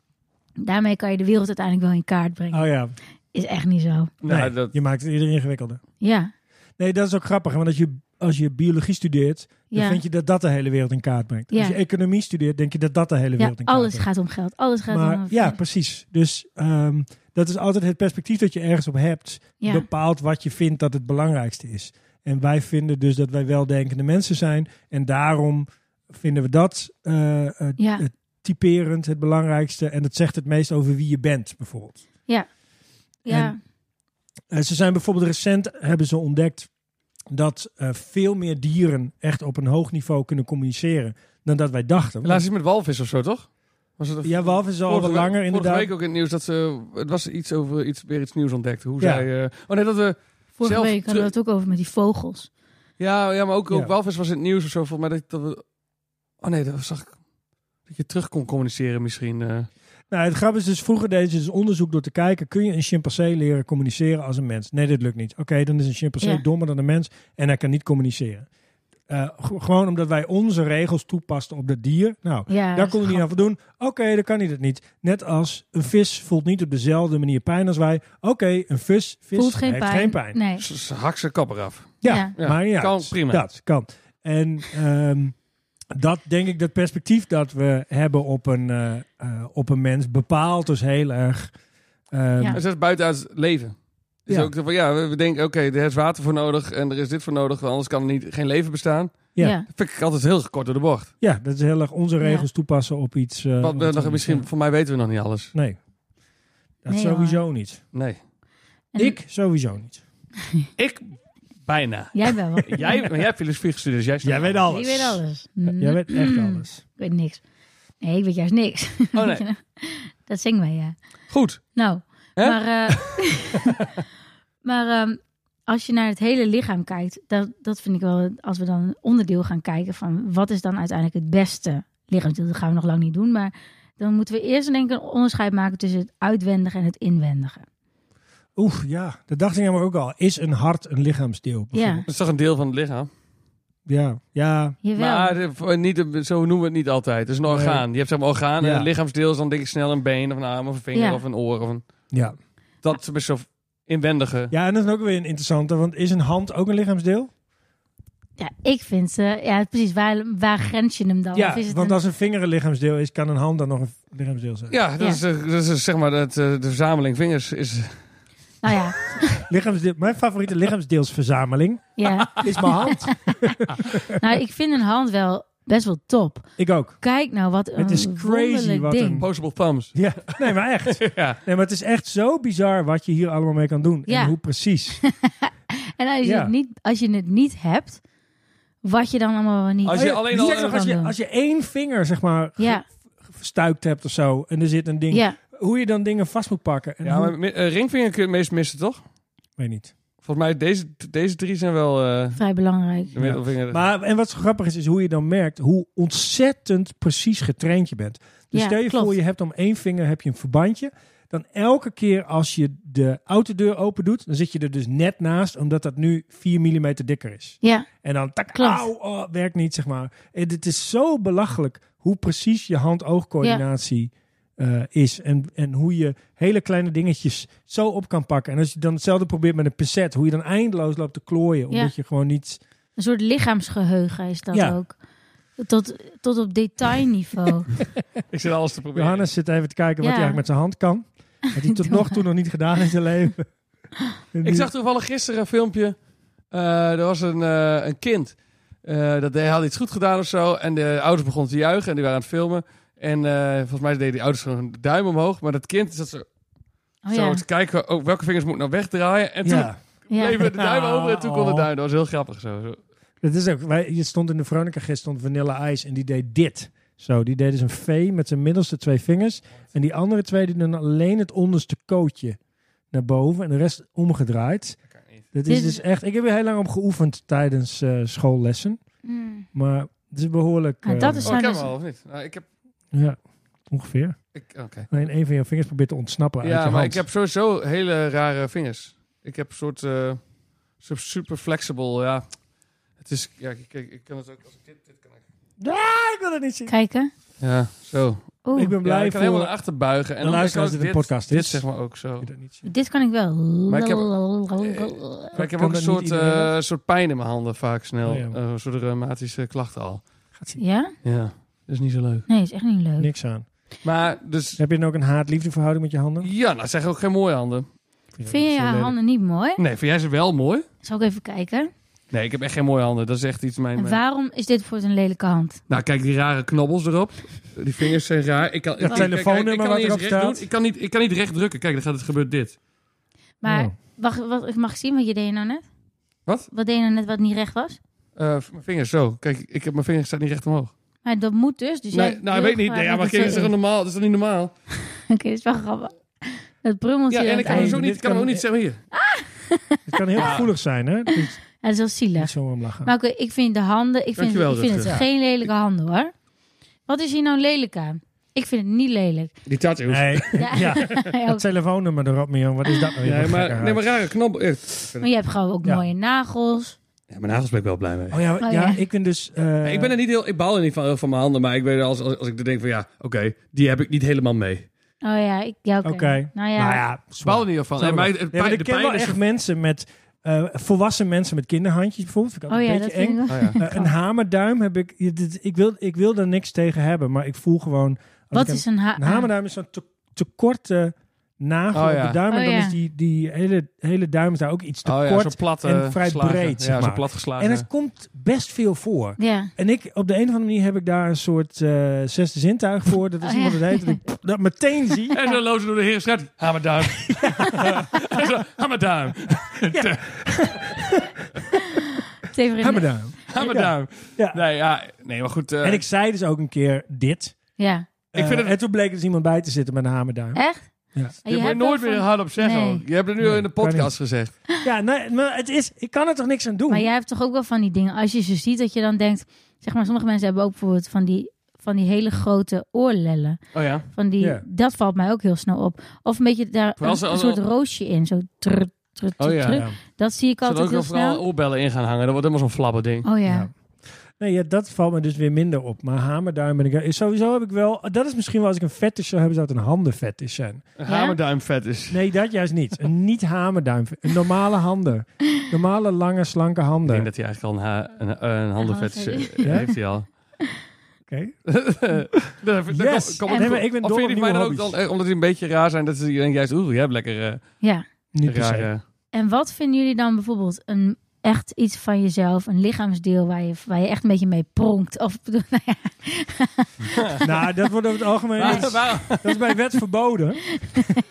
[SPEAKER 3] daarmee kan je de wereld uiteindelijk wel in kaart brengen.
[SPEAKER 1] oh ja.
[SPEAKER 3] Is echt niet zo.
[SPEAKER 1] Nee,
[SPEAKER 2] Nou, dat,
[SPEAKER 1] Je maakt het iedereen ingewikkelder.
[SPEAKER 3] Ja,
[SPEAKER 1] Nee, dat is ook grappig. Want als je, als je biologie studeert, dan
[SPEAKER 3] ja.
[SPEAKER 1] vind je dat dat de hele wereld in kaart brengt.
[SPEAKER 3] Ja.
[SPEAKER 1] Als je economie studeert, denk je dat dat de hele
[SPEAKER 3] ja,
[SPEAKER 1] wereld in kaart
[SPEAKER 3] alles
[SPEAKER 1] brengt.
[SPEAKER 3] gaat om geld. Alles gaat om... eh,
[SPEAKER 1] maar, ja, precies. Dus ehm, dat is altijd het perspectief dat je ergens op hebt,
[SPEAKER 3] ja.
[SPEAKER 1] bepaalt wat je vindt dat het belangrijkste is. En wij vinden dus dat wij weldenkende mensen zijn. En daarom vinden we dat eh, eh,
[SPEAKER 3] ja.
[SPEAKER 1] typerend het belangrijkste. En dat zegt het meest over wie je bent, bijvoorbeeld.
[SPEAKER 3] Ja.
[SPEAKER 1] En Eh, ze zijn bijvoorbeeld recent hebben ze ontdekt dat eh, veel meer dieren echt op een hoog niveau kunnen communiceren dan dat wij dachten.
[SPEAKER 2] Laatst iets met walvis of zo, toch? Was het
[SPEAKER 1] ja, walvis is al wat
[SPEAKER 2] Vorige
[SPEAKER 1] langer
[SPEAKER 2] week-
[SPEAKER 1] inderdaad.
[SPEAKER 2] Vorige week ook in het nieuws dat ze... Het was iets over iets, weer iets nieuws ontdekt. Hoe
[SPEAKER 1] Ja.
[SPEAKER 2] zij... eh, oh nee, dat we...
[SPEAKER 3] Vorige
[SPEAKER 2] Zelf
[SPEAKER 3] week hadden we het ook over met die vogels.
[SPEAKER 2] Ja, ja maar ook, ook
[SPEAKER 1] Ja.
[SPEAKER 2] walvis was in het nieuws of zo. Volgens mij dat, dat we... Oh nee, dat zag ik... Dat je terug kon communiceren misschien. eh.
[SPEAKER 1] Nou, het grap is dus, vroeger deden ze dus onderzoek door te kijken... kun je een chimpansee leren communiceren als een mens? Nee, dit lukt niet. Oké, dan is een chimpansee
[SPEAKER 3] Ja.
[SPEAKER 1] dommer dan een mens en hij kan niet communiceren. Eh, g- gewoon omdat wij onze regels toepasten op dat dier. Nou,
[SPEAKER 3] Ja,
[SPEAKER 1] daar kon hij niet
[SPEAKER 3] grap-
[SPEAKER 1] aan voldoen. Oké, dan kan hij dat niet. Net als een vis voelt niet op dezelfde manier pijn als wij. Oké, een vis, vis
[SPEAKER 3] Voelt geen
[SPEAKER 1] heeft
[SPEAKER 3] pijn.
[SPEAKER 1] geen pijn.
[SPEAKER 3] Nee.
[SPEAKER 2] Ze, ze hak zijn kapper af.
[SPEAKER 1] Ja,
[SPEAKER 3] Ja.
[SPEAKER 2] Ja,
[SPEAKER 1] maar ja,
[SPEAKER 2] kan
[SPEAKER 1] het-
[SPEAKER 2] prima.
[SPEAKER 1] Dat kan. En ehm, dat denk ik, dat perspectief dat we hebben op een, eh, eh, op een mens bepaalt dus heel erg. ehm,
[SPEAKER 3] Ja.
[SPEAKER 2] Het is buiten uit het leven. Dus
[SPEAKER 1] Ja.
[SPEAKER 2] ook van, ja, we, we denken, oké, er is water voor nodig en er is dit voor nodig, want anders kan er niet, geen leven bestaan.
[SPEAKER 1] Ja.
[SPEAKER 3] Ja.
[SPEAKER 2] Dat vind ik altijd heel kort door de bocht.
[SPEAKER 1] ja, dat is heel erg onze
[SPEAKER 3] Ja.
[SPEAKER 1] regels toepassen op iets. eh,
[SPEAKER 2] Want we
[SPEAKER 1] wat
[SPEAKER 2] nog,
[SPEAKER 1] we-
[SPEAKER 2] misschien, voor mij weten we nog niet alles.
[SPEAKER 1] Nee. Dat
[SPEAKER 3] Nee,
[SPEAKER 1] sowieso niet.
[SPEAKER 2] Nee.
[SPEAKER 3] En-
[SPEAKER 1] Ik sowieso niet.
[SPEAKER 2] Ik bijna.
[SPEAKER 3] Jij wel. wel.
[SPEAKER 2] Jij, maar jij hebt filosofie gestudeerd, dus jij snapt
[SPEAKER 1] Jij weet alles.
[SPEAKER 3] Ik weet alles.
[SPEAKER 1] Jij weet echt
[SPEAKER 3] Mm.
[SPEAKER 1] alles.
[SPEAKER 3] Ik weet niks. Nee, ik weet juist niks.
[SPEAKER 2] Oh, nee.
[SPEAKER 3] Dat zingen wij, ja.
[SPEAKER 2] Goed.
[SPEAKER 3] Nou,
[SPEAKER 2] Hè?
[SPEAKER 3] maar, eh, maar ehm, als je naar het hele lichaam kijkt, dat, dat vind ik wel, als we dan een onderdeel gaan kijken van wat is dan uiteindelijk het beste lichaamsdeel, dat gaan we nog lang niet doen, maar dan moeten we eerst denk ik een onderscheid maken tussen het uitwendige en het inwendige.
[SPEAKER 1] Oeh, ja. Dat dacht ik namelijk ook al. Is een hart een lichaamsdeel?
[SPEAKER 3] Ja,
[SPEAKER 1] bijvoorbeeld?
[SPEAKER 2] Dat is toch een deel van het lichaam?
[SPEAKER 1] Ja. Ja.
[SPEAKER 3] jawel.
[SPEAKER 2] Maar eh, voor- niet, een- zo noemen we het niet altijd. Het is een
[SPEAKER 1] Nee.
[SPEAKER 2] orgaan. Je hebt zeg maar orgaan en
[SPEAKER 1] Ja.
[SPEAKER 2] een lichaamsdeel is dan denk ik snel een been of een arm of een vinger
[SPEAKER 3] Ja.
[SPEAKER 2] of een oor. Of een,
[SPEAKER 1] Ja.
[SPEAKER 2] dat is best wel inwendige.
[SPEAKER 1] Ja, en dat is ook weer een interessante. Want is een hand ook een lichaamsdeel?
[SPEAKER 3] Ja, ik vind, eh, ja precies, waar, waar grens je hem dan?
[SPEAKER 1] ja,
[SPEAKER 3] Of is het
[SPEAKER 1] want
[SPEAKER 3] een-
[SPEAKER 1] als een vinger een lichaamsdeel is, kan een hand dan nog een lichaamsdeel zijn.
[SPEAKER 2] Ja, dat,
[SPEAKER 3] Ja.
[SPEAKER 2] Is, eh, dat is zeg maar dat, eh, de verzameling vingers. Is,
[SPEAKER 3] Nou ja,
[SPEAKER 1] Lichaamsdeel, mijn favoriete lichaamsdeelsverzameling
[SPEAKER 3] ja.
[SPEAKER 1] is mijn hand.
[SPEAKER 3] nou ik vind een hand wel best wel top.
[SPEAKER 1] Ik ook.
[SPEAKER 3] Kijk nou wat een
[SPEAKER 1] Het is crazy
[SPEAKER 3] wonderlijk
[SPEAKER 1] wat
[SPEAKER 3] ding.
[SPEAKER 1] een-
[SPEAKER 2] Possible thumbs.
[SPEAKER 1] Ja, nee, maar echt.
[SPEAKER 2] Ja.
[SPEAKER 1] Nee, maar het is echt zo bizar wat je hier allemaal mee kan doen.
[SPEAKER 3] Ja.
[SPEAKER 1] En hoe precies.
[SPEAKER 3] En als je,
[SPEAKER 1] Ja.
[SPEAKER 3] het, niet, als je het niet hebt, wat je dan allemaal wel niet...
[SPEAKER 2] Als je alleen al-
[SPEAKER 1] Sterker nog, als, je, als je één vinger, zeg maar, ge-
[SPEAKER 3] Ja,
[SPEAKER 1] verstuikt hebt of zo, en er zit een ding,
[SPEAKER 3] ja.
[SPEAKER 1] hoe je dan dingen vast moet pakken. En
[SPEAKER 2] Ja,
[SPEAKER 1] hoe-
[SPEAKER 2] maar mi- eh, ringvinger kun je het meest missen, toch?
[SPEAKER 1] weet niet.
[SPEAKER 2] Volgens mij, deze, deze drie zijn wel eh,
[SPEAKER 3] vrij belangrijk.
[SPEAKER 2] de middelvinger.
[SPEAKER 1] Maar, en wat zo grappig is, is hoe je dan merkt hoe ontzettend precies getraind je bent. Dus
[SPEAKER 3] Ja,
[SPEAKER 1] stel je
[SPEAKER 3] klopt.
[SPEAKER 1] voor, je hebt om één vinger heb je een verbandje. Dan elke keer als je de autodeur open doet, dan zit je er dus net naast, omdat dat nu 4 mm dikker is.
[SPEAKER 3] Ja,
[SPEAKER 1] En dan tak,
[SPEAKER 3] Klopt.
[SPEAKER 1] auw, oh, werkt niet, zeg maar. En het is zo belachelijk hoe precies je hand-oogcoördinatie eh, is. En, en hoe je hele kleine dingetjes zo op kan pakken. En als je dan hetzelfde probeert met een pincet, hoe je dan eindeloos loopt te klooien,
[SPEAKER 3] Ja.
[SPEAKER 1] omdat je gewoon niet...
[SPEAKER 3] een soort lichaamsgeheugen is dat
[SPEAKER 1] Ja.
[SPEAKER 3] ook. Tot, tot op detailniveau. Oh
[SPEAKER 2] Ik zit alles te proberen.
[SPEAKER 1] Johannes zit even te kijken wat hij
[SPEAKER 3] Ja.
[SPEAKER 1] eigenlijk met zijn hand kan. Wat hij tot
[SPEAKER 3] Doe
[SPEAKER 1] nog toe nog niet gedaan in zijn leven. En nu-
[SPEAKER 2] Ik zag toevallig gisteren een filmpje. Eh, er was een, eh, een kind. Eh, dat hij had iets goed gedaan of zo. En de ouders begonnen te juichen en die waren aan het filmen. En eh, volgens mij deden die ouders gewoon een duim omhoog. Maar dat kind zat zo,
[SPEAKER 3] Oh
[SPEAKER 2] zo
[SPEAKER 3] ja,
[SPEAKER 2] te kijken oh, welke vingers moet ik nou wegdraaien. En toen
[SPEAKER 1] ja,
[SPEAKER 3] ja.
[SPEAKER 2] bleven de duim over en toen kon de
[SPEAKER 1] Oh.
[SPEAKER 2] duim. Dat was heel grappig zo. zo.
[SPEAKER 1] dat is ook. Wij, je stond in de Veronica gisteren stond Vanilla Ice en die deed dit. Zo, die deed dus een V met zijn middelste twee vingers. En die andere twee die doen alleen het onderste kootje naar boven. En de rest omgedraaid. Dat is
[SPEAKER 3] Dit is-
[SPEAKER 1] dus echt... Ik heb er heel lang op geoefend tijdens eh, schoollessen.
[SPEAKER 3] Mm.
[SPEAKER 1] Maar het is behoorlijk...
[SPEAKER 3] Nou,
[SPEAKER 1] eh,
[SPEAKER 3] dat is-
[SPEAKER 2] Oh, ik
[SPEAKER 3] zijn
[SPEAKER 2] heb
[SPEAKER 3] dus-
[SPEAKER 2] hem al, of niet? Nou, ik heb...
[SPEAKER 1] Ja, ongeveer.
[SPEAKER 2] Ik, oké.
[SPEAKER 1] Alleen één van jouw vingers probeert te ontsnappen uit je
[SPEAKER 2] Ja, maar
[SPEAKER 1] hand.
[SPEAKER 2] ik heb sowieso hele rare vingers. Ik heb een soort eh, soort super flexible, ja. Het is, ja, ik, ik, ik kan het ook als ik dit, dit kan ik.
[SPEAKER 1] Ah, ik wil het niet zien.
[SPEAKER 3] Kijken.
[SPEAKER 2] Ja, zo.
[SPEAKER 3] Oeh,
[SPEAKER 1] Ik ben blij
[SPEAKER 2] ja, ik
[SPEAKER 1] voor...
[SPEAKER 2] kan helemaal naar achter buigen. En
[SPEAKER 1] de
[SPEAKER 2] dan kan
[SPEAKER 1] luisteraars
[SPEAKER 2] ik
[SPEAKER 1] die
[SPEAKER 2] dit,
[SPEAKER 1] de podcast
[SPEAKER 2] dit
[SPEAKER 1] is.
[SPEAKER 2] zeg maar ook zo.
[SPEAKER 3] dit kan ik wel.
[SPEAKER 2] Maar ik heb-
[SPEAKER 3] Lalalala.
[SPEAKER 2] Maar ik heb
[SPEAKER 1] Kan
[SPEAKER 2] ook een
[SPEAKER 1] dat niet
[SPEAKER 2] soort,
[SPEAKER 1] iedereen
[SPEAKER 2] eh, soort pijn in mijn handen vaak snel.
[SPEAKER 1] Oh, ja.
[SPEAKER 2] Eh, een soort reumatische klachten al.
[SPEAKER 3] Ja?
[SPEAKER 2] Ja, dat is niet zo leuk.
[SPEAKER 3] Nee, is echt niet leuk.
[SPEAKER 1] Niks aan.
[SPEAKER 2] Maar dus,
[SPEAKER 1] Heb je dan ook een haat-liefde verhouding met je handen?
[SPEAKER 2] ja, nou zeg ook geen mooie handen.
[SPEAKER 3] Vind je
[SPEAKER 1] zo
[SPEAKER 3] haar
[SPEAKER 1] lelijk.
[SPEAKER 3] handen niet mooi?
[SPEAKER 2] Nee, vind jij ze wel mooi?
[SPEAKER 3] Zal ik even kijken?
[SPEAKER 2] Nee, ik heb echt geen mooie handen. Dat is echt iets mijn...
[SPEAKER 3] En
[SPEAKER 2] mijn-
[SPEAKER 3] waarom is dit voor een lelijke hand?
[SPEAKER 2] Nou, kijk die rare knobbels erop. Die vingers zijn raar. Ik kan, ik-
[SPEAKER 1] telefoonnummer
[SPEAKER 2] kijk, ik kan
[SPEAKER 1] wat
[SPEAKER 2] niet eens
[SPEAKER 1] erop
[SPEAKER 2] recht
[SPEAKER 1] staat.
[SPEAKER 2] doen. Ik kan, niet, ik kan niet recht drukken. Kijk, dan gaat het gebeurt dit.
[SPEAKER 3] Maar
[SPEAKER 1] Ja.
[SPEAKER 3] wacht, wat, mag ik zien wat je deed nou net?
[SPEAKER 2] Wat?
[SPEAKER 3] Wat deed je nou net wat niet recht was?
[SPEAKER 2] Eh, mijn vingers zo. Kijk, ik heb, mijn vingers staat niet recht omhoog.
[SPEAKER 3] Maar dat moet dus. dus
[SPEAKER 2] nee,
[SPEAKER 3] jij
[SPEAKER 2] nou, ik
[SPEAKER 3] wil
[SPEAKER 2] weet niet.
[SPEAKER 3] gewoon
[SPEAKER 2] Nee, ja,
[SPEAKER 3] dat
[SPEAKER 2] maar
[SPEAKER 3] het
[SPEAKER 2] kijk,
[SPEAKER 3] zo
[SPEAKER 2] dat is toch
[SPEAKER 3] is.
[SPEAKER 2] normaal? Dat is toch niet normaal?
[SPEAKER 3] Oké, dat is wel grappig. Dat brummelt
[SPEAKER 2] Ja,
[SPEAKER 3] hier
[SPEAKER 2] en
[SPEAKER 3] aan
[SPEAKER 2] ik
[SPEAKER 3] het
[SPEAKER 2] kan,
[SPEAKER 1] het
[SPEAKER 2] dus ook
[SPEAKER 3] eind.
[SPEAKER 1] einde.
[SPEAKER 2] niet, ik kan hem ook niet zeggen hier.
[SPEAKER 1] Het kan heel gevoelig zijn, hè? Het is
[SPEAKER 3] Ja, dat is wel zielig.
[SPEAKER 1] niet zo om lachen.
[SPEAKER 3] Maar oké, ik vind de handen... Ik vind,
[SPEAKER 2] Dankjewel,
[SPEAKER 3] ik vind het
[SPEAKER 2] Rutger.
[SPEAKER 3] geen lelijke handen, hoor. Wat is hier nou lelijk aan? Ik vind het niet lelijk.
[SPEAKER 2] Die tattoos. Nee,
[SPEAKER 1] Nee,
[SPEAKER 3] Ja,
[SPEAKER 1] Dus- ja.
[SPEAKER 3] ja,
[SPEAKER 1] dat telefoonnummer erop, Mion. Wat is dat nou? weer voor
[SPEAKER 2] maar,
[SPEAKER 1] gekkigheid?
[SPEAKER 2] nee, maar rare knop. eh,
[SPEAKER 3] maar je hebt gewoon ook
[SPEAKER 1] Ja.
[SPEAKER 3] mooie nagels.
[SPEAKER 2] Ja, mijn nagels ben ik wel blij mee.
[SPEAKER 1] Oh ja,
[SPEAKER 3] Oh,
[SPEAKER 1] ja,
[SPEAKER 3] ja.
[SPEAKER 1] ik ben dus... eh,
[SPEAKER 2] Nee, ik ben er niet heel, ik baal er niet van, heel van mijn handen, maar ik weet als, als, als ik er denk van ja, oké, die heb ik niet helemaal mee.
[SPEAKER 3] Oh ja, ik, ja oké.
[SPEAKER 1] Oké.
[SPEAKER 3] Nou
[SPEAKER 1] Nou
[SPEAKER 3] ja,
[SPEAKER 1] ja,
[SPEAKER 2] Ik
[SPEAKER 1] zwaar.
[SPEAKER 2] baal er niet van.
[SPEAKER 1] Zo
[SPEAKER 2] En
[SPEAKER 1] wel.
[SPEAKER 2] mij,
[SPEAKER 1] Ja,
[SPEAKER 2] het
[SPEAKER 1] maar
[SPEAKER 2] pijn,
[SPEAKER 1] ik
[SPEAKER 2] de
[SPEAKER 1] ken
[SPEAKER 2] pijn
[SPEAKER 1] wel
[SPEAKER 2] is
[SPEAKER 1] echt mensen met... eh, volwassen mensen met kinderhandjes bijvoorbeeld. Vind ik
[SPEAKER 3] oh
[SPEAKER 1] altijd
[SPEAKER 3] ja,
[SPEAKER 1] een
[SPEAKER 3] dat
[SPEAKER 1] beetje eng.
[SPEAKER 3] vind ik wel.
[SPEAKER 2] Oh ja.
[SPEAKER 1] Eh, een hamerduim heb ik... je- dit- Ik wil, ik wil daar niks tegen hebben, maar ik voel gewoon... als ik
[SPEAKER 3] Wat
[SPEAKER 1] een-
[SPEAKER 3] is een, ha
[SPEAKER 1] Een hamerduim is zo'n te, te korte nagel
[SPEAKER 2] Oh
[SPEAKER 1] op
[SPEAKER 2] ja.
[SPEAKER 1] de duim. En
[SPEAKER 3] ah. Oh
[SPEAKER 1] dan
[SPEAKER 3] ja.
[SPEAKER 1] is die, die hele, hele duim is daar ook iets te
[SPEAKER 2] Oh ja, zo
[SPEAKER 1] kort.
[SPEAKER 2] plat
[SPEAKER 1] en
[SPEAKER 2] eh,
[SPEAKER 1] vrij
[SPEAKER 2] geslagen.
[SPEAKER 1] breed, zeg
[SPEAKER 2] Ja, zo
[SPEAKER 1] maar.
[SPEAKER 2] plat geslagen.
[SPEAKER 1] en het komt best veel voor.
[SPEAKER 3] Ja.
[SPEAKER 1] En ik, op de een of andere manier heb ik daar een soort eh, zesde zintuig voor. Dat is
[SPEAKER 3] Oh,
[SPEAKER 1] niet
[SPEAKER 3] ja.
[SPEAKER 1] wat het heet. Dat ik dat meteen zie.
[SPEAKER 2] En dan lopen ze door de heren straat. Hamerduim. En zo, Hamerduim.
[SPEAKER 3] Teverin-
[SPEAKER 1] Hamerduim.
[SPEAKER 2] Hamerduim.
[SPEAKER 1] Ja.
[SPEAKER 2] Nee, ja, nee, maar goed. eh,
[SPEAKER 1] En ik zei dus ook een keer dit.
[SPEAKER 3] Ja.
[SPEAKER 2] Ik
[SPEAKER 1] Eh,
[SPEAKER 2] vind het-
[SPEAKER 1] En toen bleek er dus iemand bij te zitten met een hamerduim.
[SPEAKER 3] Echt?
[SPEAKER 1] Ja.
[SPEAKER 3] En
[SPEAKER 2] je moet
[SPEAKER 3] hebt
[SPEAKER 2] nooit
[SPEAKER 3] wel
[SPEAKER 2] meer
[SPEAKER 3] van-
[SPEAKER 2] hardop zeggen.
[SPEAKER 3] Nee.
[SPEAKER 2] ook. Je hebt het nu
[SPEAKER 1] Nee,
[SPEAKER 2] al in de
[SPEAKER 1] kan
[SPEAKER 2] podcast gezegd.
[SPEAKER 1] Ja, nee, maar het is, ik kan er toch niks aan doen?
[SPEAKER 3] Maar jij hebt toch ook wel van die dingen, als je ze ziet, dat je dan denkt, zeg maar, sommige mensen hebben ook bijvoorbeeld van die, van die hele grote oorlellen.
[SPEAKER 2] Oh ja.
[SPEAKER 3] Van die,
[SPEAKER 1] Ja.
[SPEAKER 3] Dat valt mij ook heel snel op. Of een beetje daar
[SPEAKER 2] Vooral
[SPEAKER 3] een,
[SPEAKER 2] als-
[SPEAKER 3] een soort
[SPEAKER 2] als-
[SPEAKER 3] roosje in, zo trr, trr, trr,
[SPEAKER 2] Oh ja,
[SPEAKER 3] trr.
[SPEAKER 1] ja.
[SPEAKER 3] Dat zie ik
[SPEAKER 2] Ze er
[SPEAKER 3] altijd
[SPEAKER 2] ook
[SPEAKER 3] heel
[SPEAKER 2] nog vooral
[SPEAKER 3] snel.
[SPEAKER 2] oorbellen in gaan hangen. Dat wordt helemaal zo'n flabber ding.
[SPEAKER 3] Oh ja.
[SPEAKER 1] Ja. Nee, ja, dat valt me dus weer minder op. Maar hamerduim ben ik... is- Sowieso heb ik wel... Dat is misschien wel als ik een fetish zou hebben, zou het een handenfetish zijn.
[SPEAKER 2] Een Hamerduimvet is.
[SPEAKER 1] Nee, dat juist niet. Een niet hamerduim. Een normale handen. Normale, lange, slanke
[SPEAKER 2] Ik
[SPEAKER 1] handen.
[SPEAKER 2] denk dat hij eigenlijk al een, ha- een, een handenvet
[SPEAKER 3] Oh,
[SPEAKER 2] is, eh,
[SPEAKER 1] Ja?
[SPEAKER 2] heeft. Hij al.
[SPEAKER 1] Oké.
[SPEAKER 2] Dat- dat
[SPEAKER 1] Yes!
[SPEAKER 2] kom- kom-
[SPEAKER 3] En-
[SPEAKER 1] Nee, maar ik ben
[SPEAKER 2] of
[SPEAKER 1] dol
[SPEAKER 2] vind
[SPEAKER 1] op
[SPEAKER 2] je die
[SPEAKER 1] nieuwe
[SPEAKER 2] fijn ook
[SPEAKER 1] hobby's.
[SPEAKER 2] dan, eh, omdat die een beetje raar zijn, dat ze denken juist, oeh, jij hebt lekker eh
[SPEAKER 3] ja.
[SPEAKER 1] Niet per se.
[SPEAKER 2] raar. eh.
[SPEAKER 3] En wat vinden jullie dan bijvoorbeeld een echt iets van jezelf, een lichaamsdeel waar je, waar je echt een beetje mee pronkt? Of bedoel, nou ja,
[SPEAKER 1] Nou, dat wordt over het algemeen...
[SPEAKER 2] Waar-
[SPEAKER 1] dat is-
[SPEAKER 2] waar-
[SPEAKER 1] dat is bij wet verboden.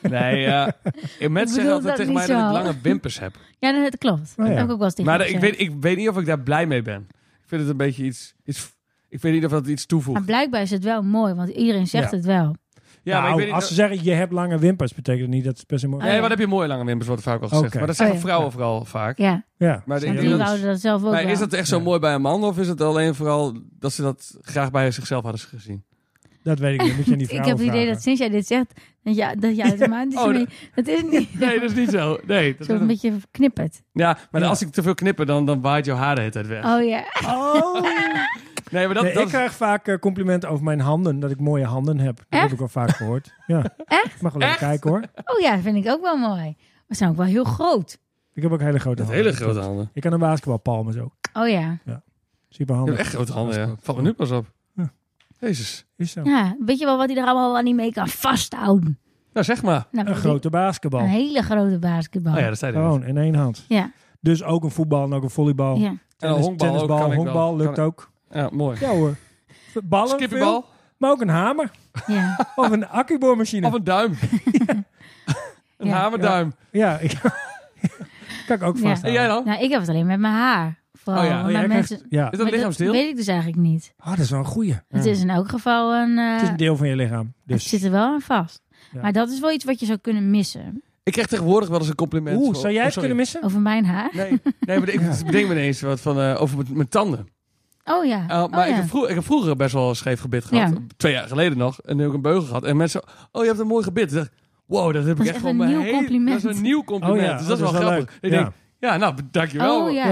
[SPEAKER 2] Nee, ja. Mensen zeggen
[SPEAKER 3] bedoel
[SPEAKER 2] altijd
[SPEAKER 3] dat
[SPEAKER 2] tegen mij
[SPEAKER 3] niet
[SPEAKER 2] dat ik
[SPEAKER 3] zo.
[SPEAKER 2] lange wimpers heb.
[SPEAKER 3] ja, dat- dat klopt.
[SPEAKER 1] Oh ja.
[SPEAKER 3] Dat heb ik ook wel eens tegen
[SPEAKER 2] Maar
[SPEAKER 3] je
[SPEAKER 2] ik
[SPEAKER 3] gezegd.
[SPEAKER 2] weet, ik weet niet of ik daar blij mee ben. Ik vind het een beetje iets... iets ik weet niet of dat iets toevoegt.
[SPEAKER 3] Maar blijkbaar is het wel mooi, want iedereen zegt
[SPEAKER 1] Ja.
[SPEAKER 3] het wel.
[SPEAKER 2] Ja,
[SPEAKER 1] Nou,
[SPEAKER 2] maar ik weet
[SPEAKER 1] als ze
[SPEAKER 2] niet... Oh,
[SPEAKER 1] zeggen, je hebt lange wimpers, betekent dat niet dat ze per se mooi...
[SPEAKER 2] Nee, wat heb je mooie lange wimpers, wordt vaak al gezegd.
[SPEAKER 1] Oké.
[SPEAKER 2] Maar dat zeggen
[SPEAKER 3] Oh, ja.
[SPEAKER 2] vrouwen vooral vaak.
[SPEAKER 3] Ja,
[SPEAKER 1] Ja.
[SPEAKER 2] Maar,
[SPEAKER 3] want
[SPEAKER 1] dat
[SPEAKER 3] die
[SPEAKER 1] is-
[SPEAKER 3] wouden dat zelf ook
[SPEAKER 2] maar
[SPEAKER 3] wel.
[SPEAKER 2] is dat echt zo
[SPEAKER 1] Ja.
[SPEAKER 2] mooi bij een man? Of is het alleen vooral dat ze dat graag bij zichzelf hadden gezien?
[SPEAKER 1] Dat weet ik niet. Moet je aan die
[SPEAKER 3] ik
[SPEAKER 1] vrouwen
[SPEAKER 3] heb het idee
[SPEAKER 1] vragen.
[SPEAKER 3] dat sinds jij dit zegt, dat ja, dat ja, dat maar het is
[SPEAKER 2] Oh,
[SPEAKER 3] niet- dat is niet.
[SPEAKER 2] Nee, dat is niet zo. Nee, dat
[SPEAKER 3] Zo een beetje knipperd.
[SPEAKER 2] Ja, maar
[SPEAKER 1] Ja.
[SPEAKER 2] als ik te veel knipper, dan, dan waait jouw haar de hele tijd weg.
[SPEAKER 3] Oh ja.
[SPEAKER 1] Oh!
[SPEAKER 2] Nee, maar dat,
[SPEAKER 1] Nee,
[SPEAKER 2] dat
[SPEAKER 1] ik krijg vaak eh, complimenten over mijn handen, dat ik mooie handen heb. Dat heb
[SPEAKER 3] Echt?
[SPEAKER 1] ik al vaak gehoord. Ja. Echt? Mag wel even
[SPEAKER 2] Echt?
[SPEAKER 1] kijken hoor.
[SPEAKER 3] Oh ja, vind ik ook wel mooi. Maar ze zijn ook wel heel groot.
[SPEAKER 1] Ik heb ook hele grote
[SPEAKER 2] is
[SPEAKER 1] handen.
[SPEAKER 2] hele grote handen.
[SPEAKER 1] Ik kan een basketbalpalm zo.
[SPEAKER 3] Oh ja.
[SPEAKER 1] Super
[SPEAKER 2] Je
[SPEAKER 1] handig.
[SPEAKER 2] hebt echt grote handen, ja. Valt me nu pas op.
[SPEAKER 1] Ja.
[SPEAKER 2] Jezus.
[SPEAKER 1] Is zo.
[SPEAKER 3] ja. Weet je wel wat hij er allemaal niet mee kan vasthouden?
[SPEAKER 2] Nou, zeg maar.
[SPEAKER 3] Nou,
[SPEAKER 1] Een
[SPEAKER 3] die-
[SPEAKER 1] grote basketbal.
[SPEAKER 3] Een hele grote basketbal.
[SPEAKER 2] Oh ja, dat zei hij. net.
[SPEAKER 1] Gewoon in één hand.
[SPEAKER 3] Ja.
[SPEAKER 1] Dus ook een voetbal en ook een volleybal.
[SPEAKER 2] oh.
[SPEAKER 3] ja.
[SPEAKER 2] En een honkbal ook,
[SPEAKER 1] tennisbal,
[SPEAKER 2] kan ik wel.
[SPEAKER 1] honkbal lukt
[SPEAKER 2] Kan-
[SPEAKER 1] ook.
[SPEAKER 2] Ja, mooi.
[SPEAKER 1] Ja hoor. Ballen
[SPEAKER 2] Skippenbal
[SPEAKER 1] veel, maar ook een hamer.
[SPEAKER 3] Ja,
[SPEAKER 1] Of een accuboormachine.
[SPEAKER 2] of een duim. een
[SPEAKER 3] Ja.
[SPEAKER 2] hamerduim.
[SPEAKER 1] Ja, ik... kan ik ook
[SPEAKER 3] Ja.
[SPEAKER 1] vast.
[SPEAKER 2] En jij dan?
[SPEAKER 3] nou, ik heb het alleen met mijn haar. Vooral,
[SPEAKER 2] Oh ja.
[SPEAKER 3] want
[SPEAKER 1] Oh, jij
[SPEAKER 3] mijn
[SPEAKER 1] krijgt-
[SPEAKER 3] mensen,
[SPEAKER 1] ja.
[SPEAKER 2] Is dat
[SPEAKER 3] maar
[SPEAKER 2] een lichaamsdeel?
[SPEAKER 3] weet ik dus eigenlijk niet.
[SPEAKER 1] Ah, dat is wel een goeie.
[SPEAKER 3] Het is in elk geval een... eh,
[SPEAKER 1] Het is een deel van je lichaam.
[SPEAKER 3] het
[SPEAKER 1] Dus.
[SPEAKER 3] zit er wel aan vast.
[SPEAKER 1] Ja.
[SPEAKER 3] Maar dat is wel iets wat je zou kunnen missen.
[SPEAKER 2] Ik krijg tegenwoordig wel eens een compliment.
[SPEAKER 1] Oeh,
[SPEAKER 2] voor-
[SPEAKER 1] zou jij
[SPEAKER 2] Oh,
[SPEAKER 1] het
[SPEAKER 2] sorry.
[SPEAKER 1] kunnen missen?
[SPEAKER 3] Over mijn haar.
[SPEAKER 2] Nee, nee maar ik bedenk me ineens wat van, eh, over mijn, mijn tanden.
[SPEAKER 3] Oh ja.
[SPEAKER 2] Eh, maar
[SPEAKER 3] oh,
[SPEAKER 2] ik,
[SPEAKER 3] ja.
[SPEAKER 2] heb vroeger, ik heb vroeger best wel een scheef gebit gehad.
[SPEAKER 3] Ja.
[SPEAKER 2] Twee jaar geleden nog. En nu heb ik een beugel gehad. En mensen, oh, je hebt een mooi gebit. Ik dacht, wow, dat heb
[SPEAKER 3] Dat
[SPEAKER 2] ik
[SPEAKER 3] is
[SPEAKER 2] echt
[SPEAKER 3] echt
[SPEAKER 2] van
[SPEAKER 3] een
[SPEAKER 2] mijn
[SPEAKER 3] nieuw
[SPEAKER 2] hele-
[SPEAKER 3] compliment.
[SPEAKER 2] Dat is een nieuw compliment.
[SPEAKER 1] Oh ja,
[SPEAKER 2] dus
[SPEAKER 1] dat
[SPEAKER 2] dat, is
[SPEAKER 1] is
[SPEAKER 2] wel
[SPEAKER 1] wel
[SPEAKER 2] grappig.
[SPEAKER 1] leuk.
[SPEAKER 2] Ik
[SPEAKER 1] Ja.
[SPEAKER 2] denk, ja, nou, dankjewel.
[SPEAKER 3] Oh, ja.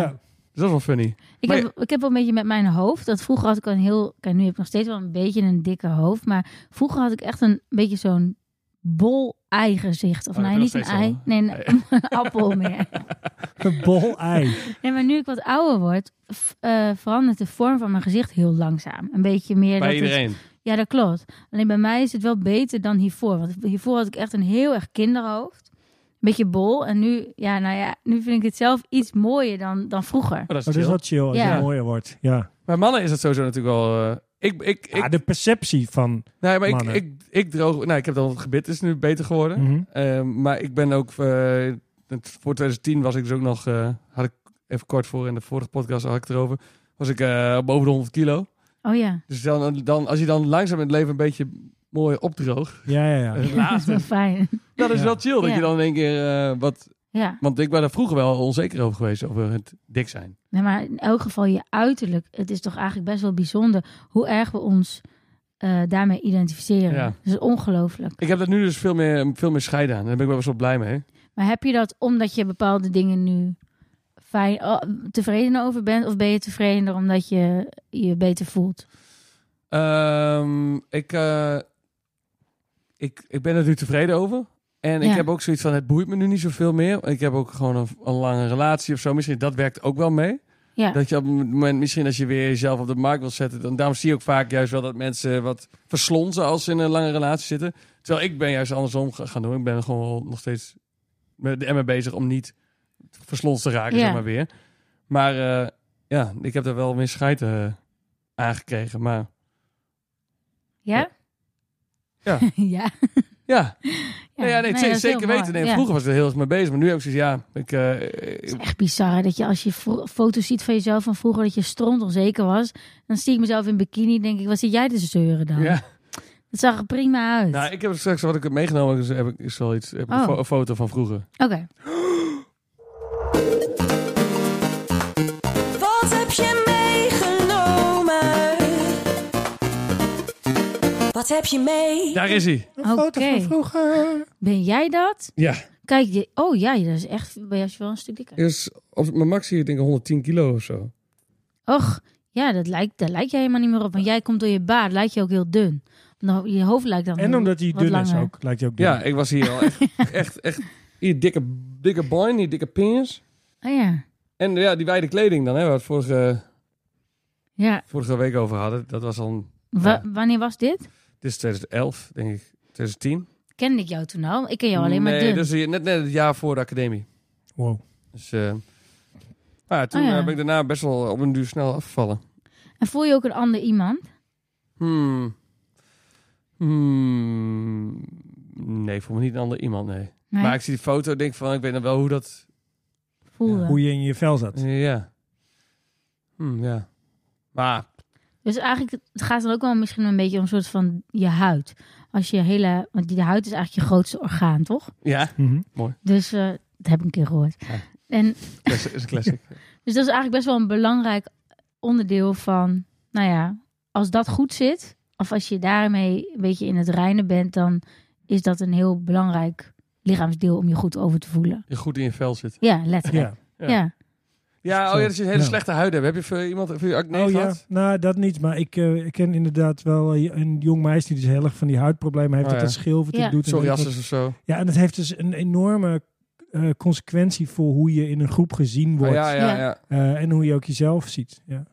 [SPEAKER 2] Dat is wel funny.
[SPEAKER 3] Ik,
[SPEAKER 2] Maar
[SPEAKER 3] heb, ik heb wel een beetje met mijn hoofd. Dat vroeger had ik een heel. Kijk, nu heb ik nog steeds wel een beetje een dikke hoofd. Maar vroeger had ik echt een beetje zo'n bol ei gezicht. Of
[SPEAKER 2] Oh, dat heb
[SPEAKER 3] nee, niet
[SPEAKER 2] je
[SPEAKER 3] een
[SPEAKER 2] nog
[SPEAKER 3] ei. Nee, een, een appel meer.
[SPEAKER 1] Een bol ei. Oh,
[SPEAKER 3] Nee, maar nu ik wat ouder word, v- eh, verandert de vorm van mijn gezicht heel langzaam. Een beetje meer. dat
[SPEAKER 2] Bij
[SPEAKER 3] het-
[SPEAKER 2] iedereen. Oh,
[SPEAKER 3] ja, dat klopt. Alleen bij mij is het wel beter dan hiervoor. Want hiervoor had ik echt een heel erg kinderhoofd. Een beetje bol. En nu, ja, nou ja, nu vind ik het zelf iets mooier dan, dan vroeger.
[SPEAKER 2] Maar dat is
[SPEAKER 1] Dat is
[SPEAKER 2] chill.
[SPEAKER 1] wel chill als
[SPEAKER 3] Ja.
[SPEAKER 1] je mooier wordt. Ja.
[SPEAKER 2] Bij mannen is het sowieso natuurlijk wel... eh, ik, ik, ik,
[SPEAKER 1] ja, de perceptie van...
[SPEAKER 2] nee, maar ik,
[SPEAKER 1] mannen. Mm.
[SPEAKER 2] ik, ik droog... Nou, ik heb dan het gebit is nu beter geworden.
[SPEAKER 1] Mhm.
[SPEAKER 2] Eh, maar ik ben ook eh, het- voor 2010 was ik dus ook nog, eh, had ik even kort voor in de vorige podcast had ik het erover, was ik eh, boven de 100 kilo.
[SPEAKER 3] Oh ja,
[SPEAKER 2] Dus dan, dan, als je dan langzaam in het leven een beetje mooi opdroogt,
[SPEAKER 1] Ja, ja, ja.
[SPEAKER 2] eh,
[SPEAKER 3] dat is wel
[SPEAKER 2] later,
[SPEAKER 3] fijn.
[SPEAKER 2] dat is
[SPEAKER 1] Ja.
[SPEAKER 2] wel chill. Dat
[SPEAKER 3] Ja.
[SPEAKER 2] je dan in één keer eh, wat...
[SPEAKER 3] Ja,
[SPEAKER 2] Want ik ben daar vroeger wel onzeker over geweest, over het dik zijn.
[SPEAKER 3] nee, maar in elk geval je uiterlijk. Het is toch eigenlijk best wel bijzonder hoe erg we ons eh, daarmee identificeren.
[SPEAKER 2] Ja.
[SPEAKER 3] Dat is ongelooflijk.
[SPEAKER 2] Ik heb dat nu dus veel meer, veel meer scheiden aan. Daar ben ik wel best wel blij mee.
[SPEAKER 3] Maar heb je dat omdat je bepaalde dingen nu fijn, oh, tevreden over bent? Of ben je tevredener omdat je je beter voelt?
[SPEAKER 2] Ehm, ik, eh, ik, ik ben er nu tevreden over. En
[SPEAKER 3] Ja.
[SPEAKER 2] ik heb ook zoiets van, het boeit me nu niet zoveel meer. Ik heb ook gewoon een, een lange relatie of zo. Misschien dat werkt ook wel mee.
[SPEAKER 3] Ja,
[SPEAKER 2] Dat je op het moment, misschien als je weer jezelf op de markt wil zetten. Dan, daarom zie je ook vaak juist wel dat mensen wat verslonzen als ze in een lange relatie zitten. Terwijl ik ben juist andersom ga- gaan doen. Ik ben gewoon wel nog steeds met ermee bezig om niet verslonst te raken,
[SPEAKER 3] Ja.
[SPEAKER 2] zeg maar weer. Maar eh, ja, ik heb daar wel meer scheid eh, aan gekregen. Maar
[SPEAKER 3] ja?
[SPEAKER 2] Ja.
[SPEAKER 3] ja.
[SPEAKER 2] ja,
[SPEAKER 3] Ja,
[SPEAKER 2] Ja, nee,
[SPEAKER 3] nee,
[SPEAKER 2] ze-
[SPEAKER 3] dat is
[SPEAKER 2] zeker
[SPEAKER 3] heel mooi.
[SPEAKER 2] weten. Nee,
[SPEAKER 3] Ja.
[SPEAKER 2] Vroeger was ik er heel erg mee bezig, maar nu heb ik zoiets, ja, ik, eh,
[SPEAKER 3] Het is echt bizar hè, dat je als je vro- foto's ziet van jezelf van vroeger dat je stront onzeker was. Dan zie ik mezelf in bikini en denk ik, wat zit jij te zeuren dan?
[SPEAKER 2] ja.
[SPEAKER 3] Dat zag er prima uit.
[SPEAKER 2] Nou, ik heb straks wat ik heb meegenomen, dus heb ik is wel iets, heb ik
[SPEAKER 3] Oh.
[SPEAKER 2] een fo- een foto van vroeger.
[SPEAKER 3] Oké,
[SPEAKER 4] Wat heb je meegenomen? Wat heb je mee?
[SPEAKER 2] Daar is hij.
[SPEAKER 1] Een foto
[SPEAKER 3] Oké.
[SPEAKER 1] van vroeger.
[SPEAKER 3] ben jij dat?
[SPEAKER 2] Ja.
[SPEAKER 3] Kijk, je- oh ja, dat is echt, ben je wel een stuk dikker.
[SPEAKER 2] Is Dus op mijn max hier denk ik 110 kilo of zo.
[SPEAKER 3] Och, ja, dat lijkt, daar lijk jij helemaal niet meer op. Want jij komt door je baard, lijkt je ook heel dun. Nou, je hoofd lijkt dan
[SPEAKER 1] En omdat hij
[SPEAKER 3] wat
[SPEAKER 1] dun is
[SPEAKER 3] langer.
[SPEAKER 1] ook, lijkt hij ook dun.
[SPEAKER 2] Ja, ik was hier al echt, echt, echt hier dikke, dikke boin, die dikke pins.
[SPEAKER 3] Oh ja,
[SPEAKER 2] En ja, die wijde kleding dan, hè, waar we het vorige,
[SPEAKER 3] ja.
[SPEAKER 2] vorige week over hadden. Dat was dan,
[SPEAKER 3] Wa- Wanneer was dit?
[SPEAKER 2] dit is 2011, denk ik, 2010.
[SPEAKER 3] Kende ik jou toen al? Ik ken jou alleen maar
[SPEAKER 2] nee,
[SPEAKER 3] dun.
[SPEAKER 2] dus hier- net, net het jaar voor de academie.
[SPEAKER 1] Wow.
[SPEAKER 2] Dus eh, nou ja, toen
[SPEAKER 3] Oh ja.
[SPEAKER 2] eh, ben ik daarna best wel op een duur snel afgevallen.
[SPEAKER 3] En voel je ook een ander iemand?
[SPEAKER 2] Hmm. Hmm. Nee, voor me niet een ander iemand, nee.
[SPEAKER 3] Nee,
[SPEAKER 2] Maar ik zie die foto en denk van, ik weet nog wel hoe dat... eh,
[SPEAKER 3] voel
[SPEAKER 1] Hoe je in je vel zat.
[SPEAKER 2] Ja. Hmm, ja. Maar,
[SPEAKER 3] Dus eigenlijk het gaat dan ook wel misschien een beetje om een soort van je huid. Als je hele, want die huid is eigenlijk je grootste orgaan, toch?
[SPEAKER 2] ja.
[SPEAKER 1] Mhm.
[SPEAKER 3] Dus eh, dat heb ik een keer gehoord.
[SPEAKER 2] Ja.
[SPEAKER 3] En
[SPEAKER 2] Dat is een classic.
[SPEAKER 3] dus dat is eigenlijk best wel een belangrijk onderdeel van, nou ja, als dat goed zit, of als je daarmee een beetje in het reine bent, dan is dat een heel belangrijk lichaamsdeel om je goed over te voelen.
[SPEAKER 2] Je goed in je vel zit.
[SPEAKER 3] Ja, letterlijk.
[SPEAKER 1] Ja.
[SPEAKER 3] Ja.
[SPEAKER 2] Ja. Ja, oh ja, dat je een hele
[SPEAKER 1] Ja.
[SPEAKER 2] slechte huid hebt. Heb je voor iemand, heb je acne
[SPEAKER 1] oh ja,
[SPEAKER 2] gehad?
[SPEAKER 1] nou dat niet, maar ik, eh, ik ken inderdaad wel eh, een jong meisje die dus heel erg van die huidproblemen heeft.
[SPEAKER 2] Oh
[SPEAKER 1] Dat
[SPEAKER 2] ja.
[SPEAKER 1] dat schilvert
[SPEAKER 3] Ja.
[SPEAKER 1] doet. en weet ik wat.
[SPEAKER 2] Psoriasis of zo.
[SPEAKER 1] Ja, en dat heeft dus een enorme eh, consequentie voor hoe je in een groep gezien
[SPEAKER 2] Oh,
[SPEAKER 1] wordt.
[SPEAKER 2] ja, ja,
[SPEAKER 3] Ja.
[SPEAKER 2] ja.
[SPEAKER 1] Eh, en hoe je ook jezelf ziet. Ja.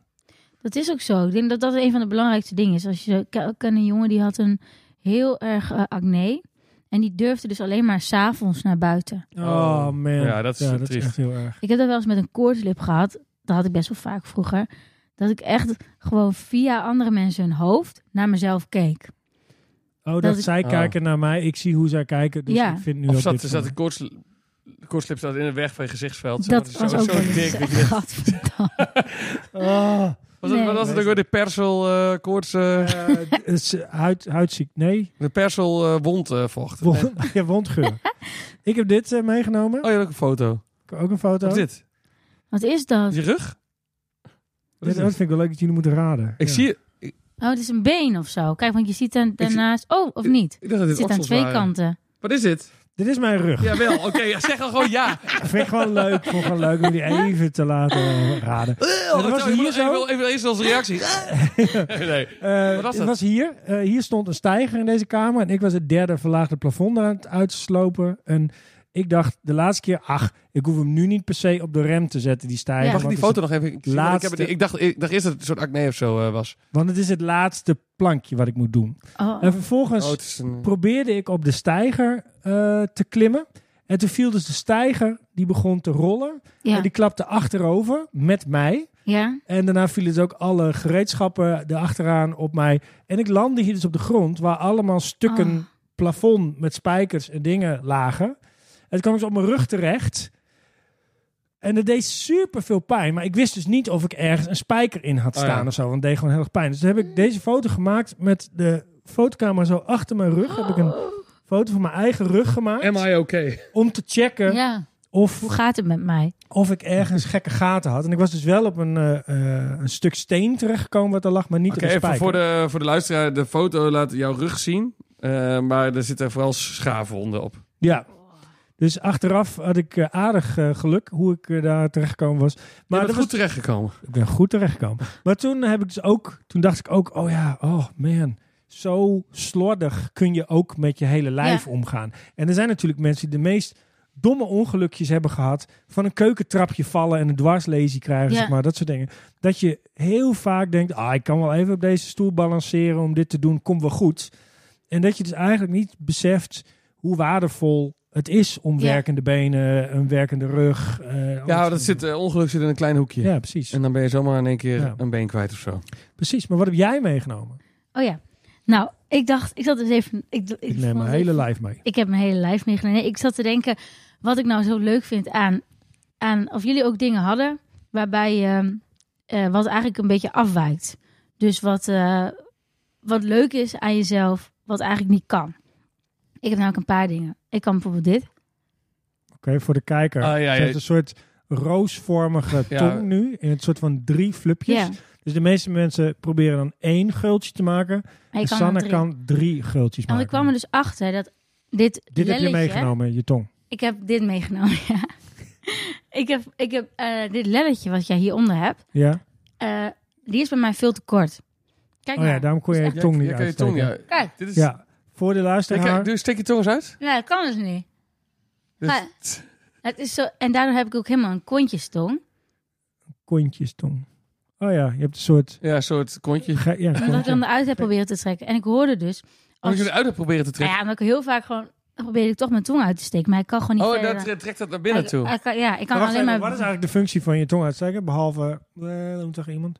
[SPEAKER 3] Dat is ook zo. Ik denk dat dat een van de belangrijkste dingen is. Als je ik ken- ik ken een jongen die had een heel erg eh, acne. En die durfde dus alleen maar s'avonds naar buiten.
[SPEAKER 1] Oh,
[SPEAKER 2] Oh.
[SPEAKER 1] man.
[SPEAKER 2] Ja, dat is
[SPEAKER 1] ja,
[SPEAKER 2] triest.
[SPEAKER 1] echt heel erg.
[SPEAKER 3] Ik heb dat wel eens met een koortslip gehad. Dat had ik best wel vaak vroeger. Dat ik echt gewoon via andere mensen hun hoofd naar mezelf keek.
[SPEAKER 1] Oh, dat,
[SPEAKER 3] Dat ik-
[SPEAKER 1] zij
[SPEAKER 2] Oh.
[SPEAKER 1] kijken naar mij. Ik zie hoe zij kijken. Dus
[SPEAKER 3] Ja.
[SPEAKER 1] ik vind nu
[SPEAKER 2] Of
[SPEAKER 1] ook
[SPEAKER 2] zat,
[SPEAKER 1] dit
[SPEAKER 2] zat de
[SPEAKER 1] van-
[SPEAKER 2] koorts, de koortslip zat in de weg van je gezichtsveld. zo.
[SPEAKER 3] dat
[SPEAKER 2] is
[SPEAKER 3] was
[SPEAKER 2] zo-
[SPEAKER 3] ook
[SPEAKER 2] zo
[SPEAKER 3] wel
[SPEAKER 2] dik,
[SPEAKER 3] eens.
[SPEAKER 2] weet je.
[SPEAKER 3] Gadverdamme.
[SPEAKER 1] Ah,
[SPEAKER 2] Was dat,
[SPEAKER 3] Nee.
[SPEAKER 2] wat was het ook weer? De persel eh, koorts, eh,
[SPEAKER 1] eh, het is, eh, huid, huidziek. Nee,
[SPEAKER 2] de persel eh, wond eh, vocht. Nee.
[SPEAKER 1] wond, ja, wondgeur. ik heb dit eh, meegenomen.
[SPEAKER 2] Oh, je hebt ook een foto.
[SPEAKER 1] Ik heb ook een foto.
[SPEAKER 2] Wat is dit?
[SPEAKER 3] Wat is dat?
[SPEAKER 2] Is je rug? Wat
[SPEAKER 1] Dit
[SPEAKER 2] is
[SPEAKER 1] dat
[SPEAKER 2] dit?
[SPEAKER 1] vind ik wel leuk dat jullie moeten raden.
[SPEAKER 2] Ik
[SPEAKER 1] Ja.
[SPEAKER 2] zie,
[SPEAKER 3] Oh, het is een been of zo. Kijk, want je ziet dan
[SPEAKER 2] zie-
[SPEAKER 3] daarnaast... Oh, of niet?
[SPEAKER 2] ik dacht dat
[SPEAKER 3] Het
[SPEAKER 2] dit
[SPEAKER 3] zit aan
[SPEAKER 2] oksels
[SPEAKER 3] twee
[SPEAKER 2] waren.
[SPEAKER 3] kanten.
[SPEAKER 2] Wat is dit?
[SPEAKER 1] Dit is mijn rug.
[SPEAKER 2] Jawel, oké, ja, zeg dan gewoon ja.
[SPEAKER 1] Dat vind ik gewoon leuk. Vond ik gewoon leuk om jullie even te laten eh, raden.
[SPEAKER 2] Oh,
[SPEAKER 1] was
[SPEAKER 2] zo, ik
[SPEAKER 1] hier
[SPEAKER 2] wil
[SPEAKER 1] zo?
[SPEAKER 2] ik wil even eerst als reactie. nee.
[SPEAKER 1] Eh,
[SPEAKER 2] Wat was
[SPEAKER 1] het
[SPEAKER 2] dat?
[SPEAKER 1] was hier. Eh, hier stond een stijger in deze kamer. En ik was het derde verlaagde plafond aan het uitslopen. En ik dacht de laatste keer, ach, ik hoef hem nu niet per se op de rem te zetten, die stijger.
[SPEAKER 3] Ja.
[SPEAKER 2] Mag ik
[SPEAKER 1] want
[SPEAKER 2] die
[SPEAKER 1] het is-
[SPEAKER 2] foto nog even zien? Want ik
[SPEAKER 1] Laatste.
[SPEAKER 2] heb het niet- Ik, dacht, ik dacht eerst dat het een soort acne of zo eh, was.
[SPEAKER 1] Want het is het laatste plankje wat ik moet doen.
[SPEAKER 3] Oh,
[SPEAKER 1] En vervolgens
[SPEAKER 2] Oh, het is een...
[SPEAKER 1] probeerde ik op de stijger eh, te klimmen. En toen viel dus de stijger, die begon te rollen.
[SPEAKER 3] ja.
[SPEAKER 1] En die klapte achterover met mij.
[SPEAKER 3] ja.
[SPEAKER 1] En daarna vielen dus ook alle gereedschappen erachteraan op mij. En ik landde hier dus op de grond, waar allemaal stukken
[SPEAKER 3] Oh.
[SPEAKER 1] plafond met spijkers en dingen lagen. En Het kwam dus op mijn rug terecht. En dat deed super veel pijn. Maar ik wist dus niet of ik ergens een spijker in had
[SPEAKER 2] Oh,
[SPEAKER 1] staan
[SPEAKER 2] ja.
[SPEAKER 1] of zo. Want het deed gewoon heel erg pijn. Dus toen heb
[SPEAKER 3] Hmm.
[SPEAKER 1] ik deze foto gemaakt met de fotocamera zo achter mijn rug. Heb ik
[SPEAKER 3] Oh.
[SPEAKER 1] een foto van mijn eigen rug gemaakt.
[SPEAKER 2] Am I okay?
[SPEAKER 1] Om te checken
[SPEAKER 3] Ja,
[SPEAKER 1] of
[SPEAKER 3] hoe gaat het met mij?
[SPEAKER 1] of ik ergens gekke gaten had. En ik was dus wel op een, eh, eh, een stuk steen terechtgekomen wat er lag, maar niet
[SPEAKER 2] Oké,
[SPEAKER 1] op een
[SPEAKER 2] even
[SPEAKER 1] spijker.
[SPEAKER 2] voor de, voor de luisteraar. De foto laat jouw rug zien. eh, maar er zitten vooral schaafwonden op.
[SPEAKER 1] Ja. Dus achteraf had ik eh, aardig eh, geluk hoe ik eh, daar terechtgekomen was.
[SPEAKER 2] Maar
[SPEAKER 1] Maar
[SPEAKER 2] je
[SPEAKER 1] dat
[SPEAKER 2] bent
[SPEAKER 1] was,
[SPEAKER 2] goed terechtgekomen.
[SPEAKER 1] ik ben goed terechtgekomen. maar toen heb ik dus ook, toen dacht ik ook, oh ja, oh man, zo slordig kun je ook met je hele lijf omgaan. En er zijn natuurlijk mensen die de meest domme ongelukjes hebben gehad, van een keukentrapje vallen en een dwarslesie krijgen,
[SPEAKER 3] Ja.
[SPEAKER 1] zeg maar, dat soort dingen. Dat je heel vaak denkt, ah, ik kan wel even op deze stoel balanceren om dit te doen, komt wel goed. En dat je dus eigenlijk niet beseft hoe waardevol het is om
[SPEAKER 3] Ja.
[SPEAKER 1] werkende benen, een werkende rug. eh,
[SPEAKER 2] Ja,
[SPEAKER 1] alles-
[SPEAKER 2] dat zit, eh, ongeluk zit in een klein hoekje.
[SPEAKER 1] Ja, precies.
[SPEAKER 2] En dan ben je zomaar in één keer
[SPEAKER 1] Ja.
[SPEAKER 2] een been kwijt of zo.
[SPEAKER 1] Precies, maar wat heb jij meegenomen?
[SPEAKER 3] Oh ja. Nou, ik dacht, ik zat dus even...
[SPEAKER 1] Ik
[SPEAKER 3] Ik, ik, vond
[SPEAKER 1] neem mijn
[SPEAKER 3] het
[SPEAKER 1] hele
[SPEAKER 3] even-
[SPEAKER 1] lijf mee.
[SPEAKER 3] Ik heb mijn hele lijf meegenomen. Nee, ik zat te denken, wat ik nou zo leuk vind aan... aan of jullie ook dingen hadden waarbij ehm, eh, wat eigenlijk een beetje afwijkt. Dus wat, eh, wat leuk is aan jezelf, wat eigenlijk niet kan. Ik heb namelijk een paar dingen. Ik kan bijvoorbeeld dit.
[SPEAKER 1] Oké, voor de kijker.
[SPEAKER 2] Ah, ja, ja.
[SPEAKER 1] Ze heeft een soort roosvormige
[SPEAKER 2] Ja.
[SPEAKER 1] tong nu. In het soort van drie flupjes.
[SPEAKER 3] Ja,
[SPEAKER 1] Dus de meeste mensen proberen dan één geultje te maken.
[SPEAKER 3] maar
[SPEAKER 1] En
[SPEAKER 3] ik kan er
[SPEAKER 1] Sanne
[SPEAKER 3] drie.
[SPEAKER 1] kan drie geultjes
[SPEAKER 3] En
[SPEAKER 1] maken.
[SPEAKER 3] ik kwam er dus achter dat dit
[SPEAKER 1] Dit heb je
[SPEAKER 3] lelletje-
[SPEAKER 1] meegenomen, je tong.
[SPEAKER 3] Ik heb dit meegenomen, ja. ik heb, ik heb eh, dit lelletje wat jij hieronder hebt,
[SPEAKER 1] Ja?
[SPEAKER 3] eh, die is bij mij veel te kort. Kijk
[SPEAKER 1] Oh ja,
[SPEAKER 3] nou.
[SPEAKER 1] daarom kon je je
[SPEAKER 3] Dus
[SPEAKER 1] tong niet
[SPEAKER 2] ja, kan je
[SPEAKER 1] uitsteken.
[SPEAKER 2] tong niet uit.
[SPEAKER 3] Kijk.
[SPEAKER 2] Dit is, ja.
[SPEAKER 1] Ja, voor de luisteraar.
[SPEAKER 2] Kijk, steek je tong eens uit.
[SPEAKER 3] Ja, dat kan dus niet.
[SPEAKER 2] Dit is-
[SPEAKER 3] Ja. Het is zo, en daardoor heb ik ook helemaal een kontjestong.
[SPEAKER 1] Kontjes tong. Oh ja, je hebt een soort...
[SPEAKER 2] Ja, een soort kontje.
[SPEAKER 1] ge- Ja,
[SPEAKER 3] Omdat ik
[SPEAKER 1] kontje.
[SPEAKER 3] dan eruit heb proberen te trekken. En ik hoorde dus...
[SPEAKER 2] Als
[SPEAKER 3] Als,
[SPEAKER 2] je eruit hebt proberen te
[SPEAKER 3] nou
[SPEAKER 2] trekken.
[SPEAKER 3] ja, maar ik heel vaak gewoon... dan probeerde ik toch mijn tong uit te steken. Maar ik kan gewoon niet
[SPEAKER 2] Oh,
[SPEAKER 3] verder
[SPEAKER 2] dat
[SPEAKER 3] dan-
[SPEAKER 2] tre- trekt dat naar binnen
[SPEAKER 3] Ik-
[SPEAKER 2] toe.
[SPEAKER 3] ik kan- ja, ik
[SPEAKER 1] Maar
[SPEAKER 3] kan
[SPEAKER 1] wacht
[SPEAKER 3] alleen
[SPEAKER 1] even,
[SPEAKER 3] maar...
[SPEAKER 1] Wat is eigenlijk de functie van je tong uitsteken? Behalve, eh, dat moet toch iemand?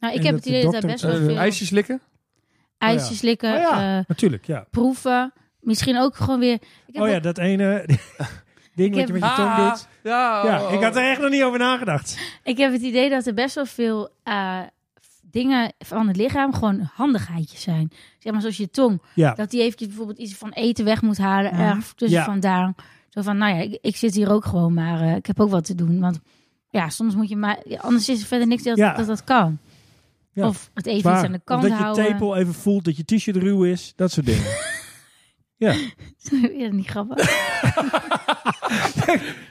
[SPEAKER 3] nou, ik
[SPEAKER 1] en
[SPEAKER 3] heb
[SPEAKER 1] dat
[SPEAKER 3] het
[SPEAKER 1] de
[SPEAKER 3] idee dat daar
[SPEAKER 1] dokter-
[SPEAKER 3] best wel
[SPEAKER 2] Eh,
[SPEAKER 3] veel
[SPEAKER 2] ijsjes likken.
[SPEAKER 3] ijsjes likken,
[SPEAKER 1] Oh ja,
[SPEAKER 3] eh,
[SPEAKER 1] natuurlijk, ja.
[SPEAKER 3] proeven. Misschien ook gewoon weer... Ik heb
[SPEAKER 1] Oh ja,
[SPEAKER 3] ook-
[SPEAKER 1] dat ene ding wat
[SPEAKER 3] heb-
[SPEAKER 1] je met je tong
[SPEAKER 2] Ah,
[SPEAKER 1] doet.
[SPEAKER 2] Ja,
[SPEAKER 1] Ja,
[SPEAKER 2] oh, oh.
[SPEAKER 1] ik had er echt nog niet over nagedacht.
[SPEAKER 3] Ik heb het idee dat er best wel veel eh, f- dingen van het lichaam gewoon handigheidjes zijn. Zeg maar zoals je tong.
[SPEAKER 1] Ja,
[SPEAKER 3] Dat die eventjes bijvoorbeeld iets van eten weg moet halen.
[SPEAKER 1] Ja.
[SPEAKER 3] Ergens tussen
[SPEAKER 1] Ja.
[SPEAKER 3] vandaan. Zo van, nou ja, ik, ik zit hier ook gewoon, maar eh, ik heb ook wat te doen. Want ja, soms moet je maar... ja, Anders is er verder niks dat
[SPEAKER 1] Ja.
[SPEAKER 3] dat, dat kan.
[SPEAKER 1] Ja,
[SPEAKER 3] Of het even
[SPEAKER 1] Waar?
[SPEAKER 3] iets aan de kant
[SPEAKER 1] dat je
[SPEAKER 3] houden.
[SPEAKER 1] tepel even voelt, dat je t-shirt ruw is, dat soort dingen. ja.
[SPEAKER 3] ja, niet grappig.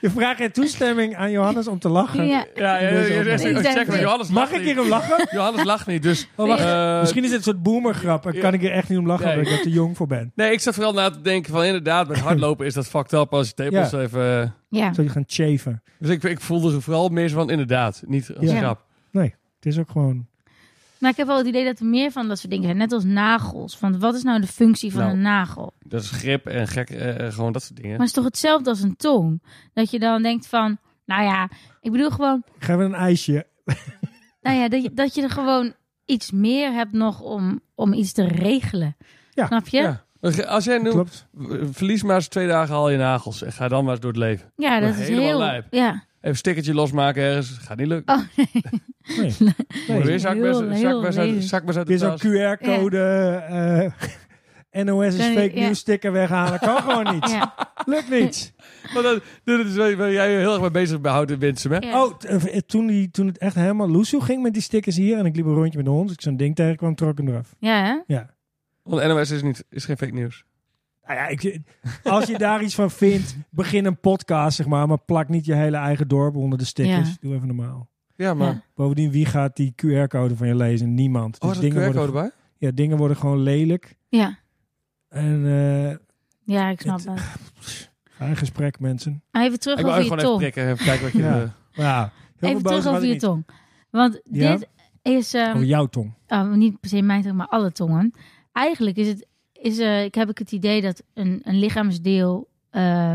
[SPEAKER 1] Je vraagt je toestemming aan Johannes om te lachen.
[SPEAKER 3] ja.
[SPEAKER 2] Ja, ja, ja,
[SPEAKER 1] Deze
[SPEAKER 2] ja,
[SPEAKER 1] ook
[SPEAKER 2] ja,
[SPEAKER 1] nog.
[SPEAKER 2] ja,
[SPEAKER 3] Ik
[SPEAKER 2] ja,
[SPEAKER 3] denk-
[SPEAKER 2] check maar. Johannes
[SPEAKER 1] Mag
[SPEAKER 2] lacht
[SPEAKER 1] ik
[SPEAKER 2] niet.
[SPEAKER 1] hier om lachen?
[SPEAKER 2] Johannes lacht niet, dus...
[SPEAKER 1] Oh, wacht.
[SPEAKER 2] eh,
[SPEAKER 1] Misschien is het een soort boomergrap en kan ik er echt niet om lachen
[SPEAKER 2] Nee.
[SPEAKER 1] omdat ik er te jong voor ben.
[SPEAKER 2] Nee, ik zat vooral na te denken van inderdaad, met hardlopen is dat fucked up als je tepels even... eh,
[SPEAKER 3] Ja.
[SPEAKER 1] Zou je gaan chaven?
[SPEAKER 2] Dus ik, ik voelde er vooral meer zo van inderdaad, niet als
[SPEAKER 1] Ja.
[SPEAKER 2] grap.
[SPEAKER 1] Het is ook gewoon...
[SPEAKER 3] Maar ik heb wel het idee dat er meer van dat soort dingen zijn. Net als nagels. Want wat is nou de functie van
[SPEAKER 2] Nou.
[SPEAKER 3] een nagel?
[SPEAKER 2] Dat is grip en gek, eh, eh, gewoon dat soort dingen.
[SPEAKER 3] Maar het is toch hetzelfde als een tong? Dat je dan denkt van, nou ja, ik bedoel gewoon,
[SPEAKER 1] Ik ga even een ijsje.
[SPEAKER 3] nou ja, dat je, dat je er gewoon iets meer hebt nog om, om iets te regelen.
[SPEAKER 1] Ja.
[SPEAKER 3] Snap je? Ja,
[SPEAKER 2] Ja. Als jij nu...
[SPEAKER 1] Klopt.
[SPEAKER 2] Verlies maar eens twee dagen al je nagels en ga dan maar eens door het leven.
[SPEAKER 3] dat
[SPEAKER 2] Maar
[SPEAKER 3] is
[SPEAKER 2] helemaal
[SPEAKER 3] heel.
[SPEAKER 2] lijp.
[SPEAKER 3] Ja,
[SPEAKER 2] Even een stickertje losmaken ergens, gaat niet lukken.
[SPEAKER 3] Oh,
[SPEAKER 1] Nee.
[SPEAKER 2] Moet
[SPEAKER 1] Nee.
[SPEAKER 2] weer zakmes-
[SPEAKER 3] Heel,
[SPEAKER 2] zakmes
[SPEAKER 3] heel
[SPEAKER 2] uit-
[SPEAKER 3] lelijk.
[SPEAKER 2] zakmes uit de
[SPEAKER 1] Weer zo'n
[SPEAKER 2] tas.
[SPEAKER 1] QR-code, eh, NOS is
[SPEAKER 3] Kan je-
[SPEAKER 1] fake
[SPEAKER 3] ja.
[SPEAKER 1] news sticker weghalen. Kan gewoon niet.
[SPEAKER 3] ja,
[SPEAKER 1] Lukt niet.
[SPEAKER 2] Maar dat, dat is waar waar jij je heel erg mee bezig bent, houdt in Winsum, hè?
[SPEAKER 3] ja.
[SPEAKER 1] Oh, t- eh, toen, die, toen het echt helemaal loesoe ging met die stickers hier. En ik liep een rondje met de hond. Dus ik zo'n ding tegenkwam, trok ik hem eraf.
[SPEAKER 3] Ja, hè?
[SPEAKER 1] Ja.
[SPEAKER 2] Want NOS is, niet, is geen fake nieuws.
[SPEAKER 1] Nou ja, ik, als je daar iets van vindt, begin een podcast, zeg maar. Maar plak niet je hele eigen dorp onder de stickers.
[SPEAKER 3] Ja.
[SPEAKER 1] Doe even normaal.
[SPEAKER 2] Ja, maar...
[SPEAKER 3] Ja.
[SPEAKER 1] Bovendien, wie gaat die QR-code van je lezen? Niemand.
[SPEAKER 2] Oh,
[SPEAKER 1] Dus
[SPEAKER 2] is er een QR-code
[SPEAKER 1] worden,
[SPEAKER 2] bij?
[SPEAKER 1] ja, dingen worden gewoon lelijk.
[SPEAKER 3] ja.
[SPEAKER 1] En eh,
[SPEAKER 3] Ja, ik snap
[SPEAKER 1] Het-
[SPEAKER 3] dat.
[SPEAKER 1] ga in gesprek, mensen.
[SPEAKER 3] Maar even terug
[SPEAKER 2] Ik wil
[SPEAKER 3] over je
[SPEAKER 2] even gewoon even
[SPEAKER 3] tong.
[SPEAKER 2] prikken, even kijken wat je...
[SPEAKER 1] Ja.
[SPEAKER 2] eh,
[SPEAKER 1] Maar ja, heel veel
[SPEAKER 3] Even terug
[SPEAKER 1] boze was
[SPEAKER 3] over
[SPEAKER 1] ik
[SPEAKER 3] je
[SPEAKER 1] niet.
[SPEAKER 3] tong. Want
[SPEAKER 1] Ja?
[SPEAKER 3] dit is. ehm,
[SPEAKER 1] Over jouw tong.
[SPEAKER 3] Oh, niet per se mijn tong, maar alle tongen. Eigenlijk is het, is, eh, ik heb ik het idee dat een, een lichaamsdeel eh,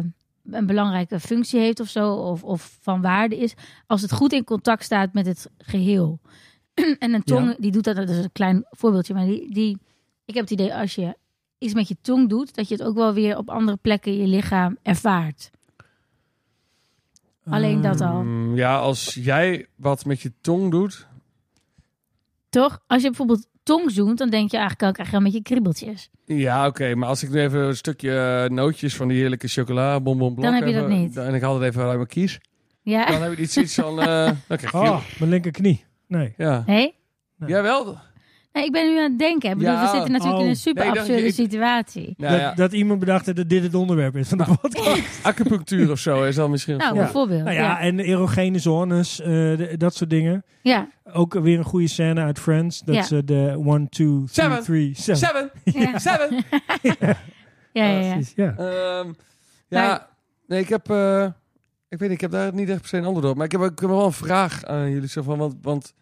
[SPEAKER 3] een belangrijke functie heeft of zo, of, of van waarde is, als het goed in contact staat met het geheel. en een tong,
[SPEAKER 1] Ja.
[SPEAKER 3] die doet dat, dat is een klein voorbeeldje, maar die, die, ik heb het idee als je iets met je tong doet, dat je het ook wel weer op andere plekken in je lichaam ervaart. Alleen dat al.
[SPEAKER 2] Mm, Ja, als jij wat met je tong doet.
[SPEAKER 3] Toch? Als je bijvoorbeeld tong zoent, dan denk je "Ah, eigenlijk ook echt wel met je kriebeltjes.
[SPEAKER 2] Ja, oké, maar als ik nu even een stukje eh, nootjes van die heerlijke chocola, bonbon blok
[SPEAKER 3] Dan heb je dat
[SPEAKER 2] even-
[SPEAKER 3] niet.
[SPEAKER 2] En ik haal het even uit mijn kies.
[SPEAKER 3] Ja.
[SPEAKER 2] Dan heb je iets, iets van. eh, dan krijg je-
[SPEAKER 1] Oh, mijn linkerknie. Nee.
[SPEAKER 2] Ja.
[SPEAKER 3] Nee?
[SPEAKER 2] Jawel. Nou
[SPEAKER 3] nee, ik ben nu aan het denken. Ik bedoel,
[SPEAKER 2] Ja.
[SPEAKER 3] we zitten natuurlijk
[SPEAKER 1] Oh.
[SPEAKER 3] in een super
[SPEAKER 2] Nee, ik dacht,
[SPEAKER 3] absurde
[SPEAKER 2] ik-
[SPEAKER 3] situatie.
[SPEAKER 1] dat,
[SPEAKER 2] ja, Nou.
[SPEAKER 1] dat iemand bedacht had dat dit het onderwerp is van de podcast.
[SPEAKER 2] acupunctuur of zo is dan misschien.
[SPEAKER 3] Nou,
[SPEAKER 1] Ja.
[SPEAKER 3] bijvoorbeeld.
[SPEAKER 1] Nou ja,
[SPEAKER 3] ja.
[SPEAKER 1] en erogene zones, eh, de- dat soort dingen.
[SPEAKER 3] Ja.
[SPEAKER 1] Ook weer een goede scène uit Friends. Dat
[SPEAKER 3] Ja.
[SPEAKER 1] ze de 1, 2,
[SPEAKER 2] Seven.
[SPEAKER 1] 3, 3, 7.
[SPEAKER 2] Seven!
[SPEAKER 3] Ja.
[SPEAKER 2] Seven!
[SPEAKER 3] Ja, ja, ja.
[SPEAKER 1] Precies, ja.
[SPEAKER 2] Ehm, ja, nee, ik heb. eh, ik weet niet, ik heb daar niet echt per se een antwoord op. Maar ik heb, ook- ik heb wel een vraag aan jullie. Zo van, want, want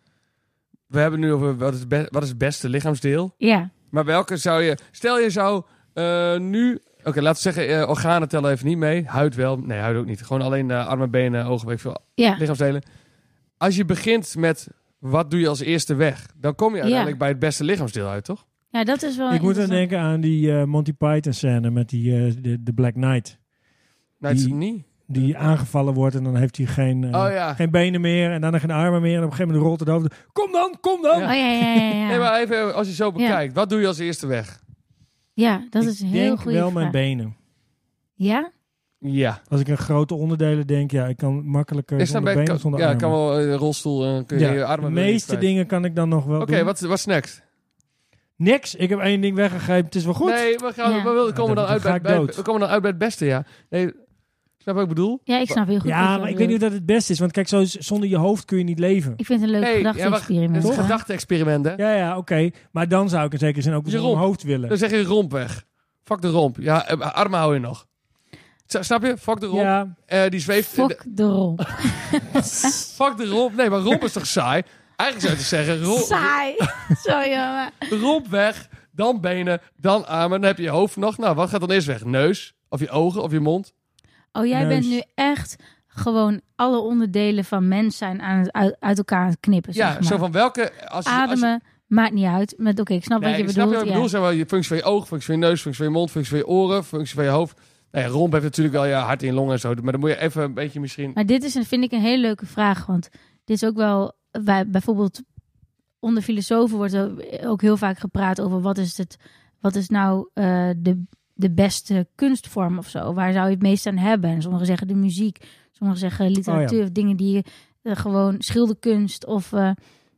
[SPEAKER 2] we hebben nu over wat is, het be- wat is het beste lichaamsdeel.
[SPEAKER 3] Ja.
[SPEAKER 2] Maar welke zou je. Stel je zou eh, nu. Oké, laten we zeggen, eh, organen tellen even niet mee. Huid wel. Nee, huid ook niet. Gewoon alleen de armen, benen, ogen, weet ik veel.
[SPEAKER 3] Ja.
[SPEAKER 2] Lichaamsdelen. Als je begint met wat doe je als eerste weg, dan kom je uiteindelijk bij het beste lichaamsdeel uit, toch?
[SPEAKER 3] ja, dat is wel
[SPEAKER 1] Ik moet dan
[SPEAKER 3] Oh, interessant.
[SPEAKER 1] denken aan die eh, Monty Python scène met die, eh, de, de Black Knight.
[SPEAKER 2] Nee, het is
[SPEAKER 1] Die-
[SPEAKER 2] niet.
[SPEAKER 1] Die aangevallen wordt en dan heeft hij geen, eh,
[SPEAKER 2] Oh ja.
[SPEAKER 1] geen benen meer en dan geen armen meer. En op een gegeven moment rolt het over. Kom dan, kom dan!
[SPEAKER 2] Ja.
[SPEAKER 3] Oh ja, ja, ja. Ja,
[SPEAKER 2] Nee, maar even als je zo bekijkt, wat doe je als eerste weg?
[SPEAKER 3] ja dat
[SPEAKER 1] Ik
[SPEAKER 3] is een heel
[SPEAKER 1] denk
[SPEAKER 3] goede
[SPEAKER 1] wel
[SPEAKER 3] vraag.
[SPEAKER 1] mijn benen.
[SPEAKER 3] Ja?
[SPEAKER 2] Ja.
[SPEAKER 1] Als ik aan grote onderdelen denk, ja, ik kan makkelijker
[SPEAKER 2] Is dan
[SPEAKER 1] zonder
[SPEAKER 2] bij,
[SPEAKER 1] benen,
[SPEAKER 2] kan,
[SPEAKER 1] zonder
[SPEAKER 2] ja,
[SPEAKER 1] armen.
[SPEAKER 2] kan wel eh, rolstoel, eh, kun je
[SPEAKER 1] Ja,
[SPEAKER 2] je armen
[SPEAKER 1] de
[SPEAKER 2] weer
[SPEAKER 1] meeste
[SPEAKER 2] kwijt.
[SPEAKER 1] dingen kan ik dan nog wel
[SPEAKER 2] Oké,
[SPEAKER 1] doen.
[SPEAKER 2] wat, wat is next?
[SPEAKER 1] Niks, ik heb één ding weggegrepen, het is wel goed.
[SPEAKER 2] Nee, we, gaan,
[SPEAKER 3] Ja.
[SPEAKER 2] we, willen-
[SPEAKER 1] Ja,
[SPEAKER 2] komen
[SPEAKER 1] dan
[SPEAKER 2] dan uit
[SPEAKER 1] ga
[SPEAKER 2] bij,
[SPEAKER 1] ik
[SPEAKER 2] bij-
[SPEAKER 1] dood.
[SPEAKER 2] we komen dan uit bij het beste, ja. Nee, snap wat ik bedoel?
[SPEAKER 3] ja, ik snap heel goed. wat
[SPEAKER 1] ja,
[SPEAKER 3] je
[SPEAKER 1] maar ik weet
[SPEAKER 3] bedoelt.
[SPEAKER 1] niet of dat het beste is. Want kijk, zo, z- zonder je hoofd kun je niet leven.
[SPEAKER 3] Ik vind het een leuk
[SPEAKER 2] Nee, ja, wacht,
[SPEAKER 3] gedachte-experiment.
[SPEAKER 2] Het is een
[SPEAKER 3] hoor.
[SPEAKER 2] gedachte-experiment, hè?
[SPEAKER 1] Ja, ja, oké. Maar dan zou ik in zekere zin ook zonder
[SPEAKER 2] Jeroen.
[SPEAKER 1] mijn hoofd willen.
[SPEAKER 2] Dan zeg je romp weg. Fuck de romp. Ja, eh, armen hou je nog. Sa- Snap je? Fuck de romp.
[SPEAKER 1] ja,
[SPEAKER 2] Eh, die zweeft... eh,
[SPEAKER 3] Fuck de romp.
[SPEAKER 2] de- fuck de romp. Nee, maar romp is toch saai? Eigenlijk zou je zeggen, ro-
[SPEAKER 3] Saai. Sorry, jongen.
[SPEAKER 2] romp weg, dan benen, dan armen. Dan heb je je hoofd nog. Nou, wat gaat dan eerst weg? Neus? Of je ogen? Of je mond?
[SPEAKER 3] Oh, jij
[SPEAKER 1] Neus.
[SPEAKER 3] bent nu echt gewoon alle onderdelen van mens zijn aan het uit, uit elkaar aan het knippen.
[SPEAKER 2] ja,
[SPEAKER 3] zeg maar.
[SPEAKER 2] zo van welke... Als, je- als je-
[SPEAKER 3] Ademen maakt niet uit. Met oké, ik snap
[SPEAKER 2] Nee,
[SPEAKER 3] wat je
[SPEAKER 2] ik snap
[SPEAKER 3] bedoelt.
[SPEAKER 2] je wat ik
[SPEAKER 3] ja.
[SPEAKER 2] bedoel? Zeg maar, je functie van je oog, functie van je neus, functie van je mond, functie van je oren, functie van je hoofd. Nou ja, romp heeft natuurlijk wel je hart in je longen en zo. Maar dan moet je even een beetje misschien...
[SPEAKER 3] Maar dit is een, vind ik een hele leuke vraag. Want dit is ook wel. Wij, bijvoorbeeld onder filosofen wordt er ook heel vaak gepraat over wat is het. Wat is nou eh, de, de beste kunstvorm of zo? Waar zou je het meest aan hebben? En sommigen zeggen de muziek, sommigen zeggen literatuur
[SPEAKER 1] Oh
[SPEAKER 3] of dingen die je eh, gewoon schilderkunst of. eh,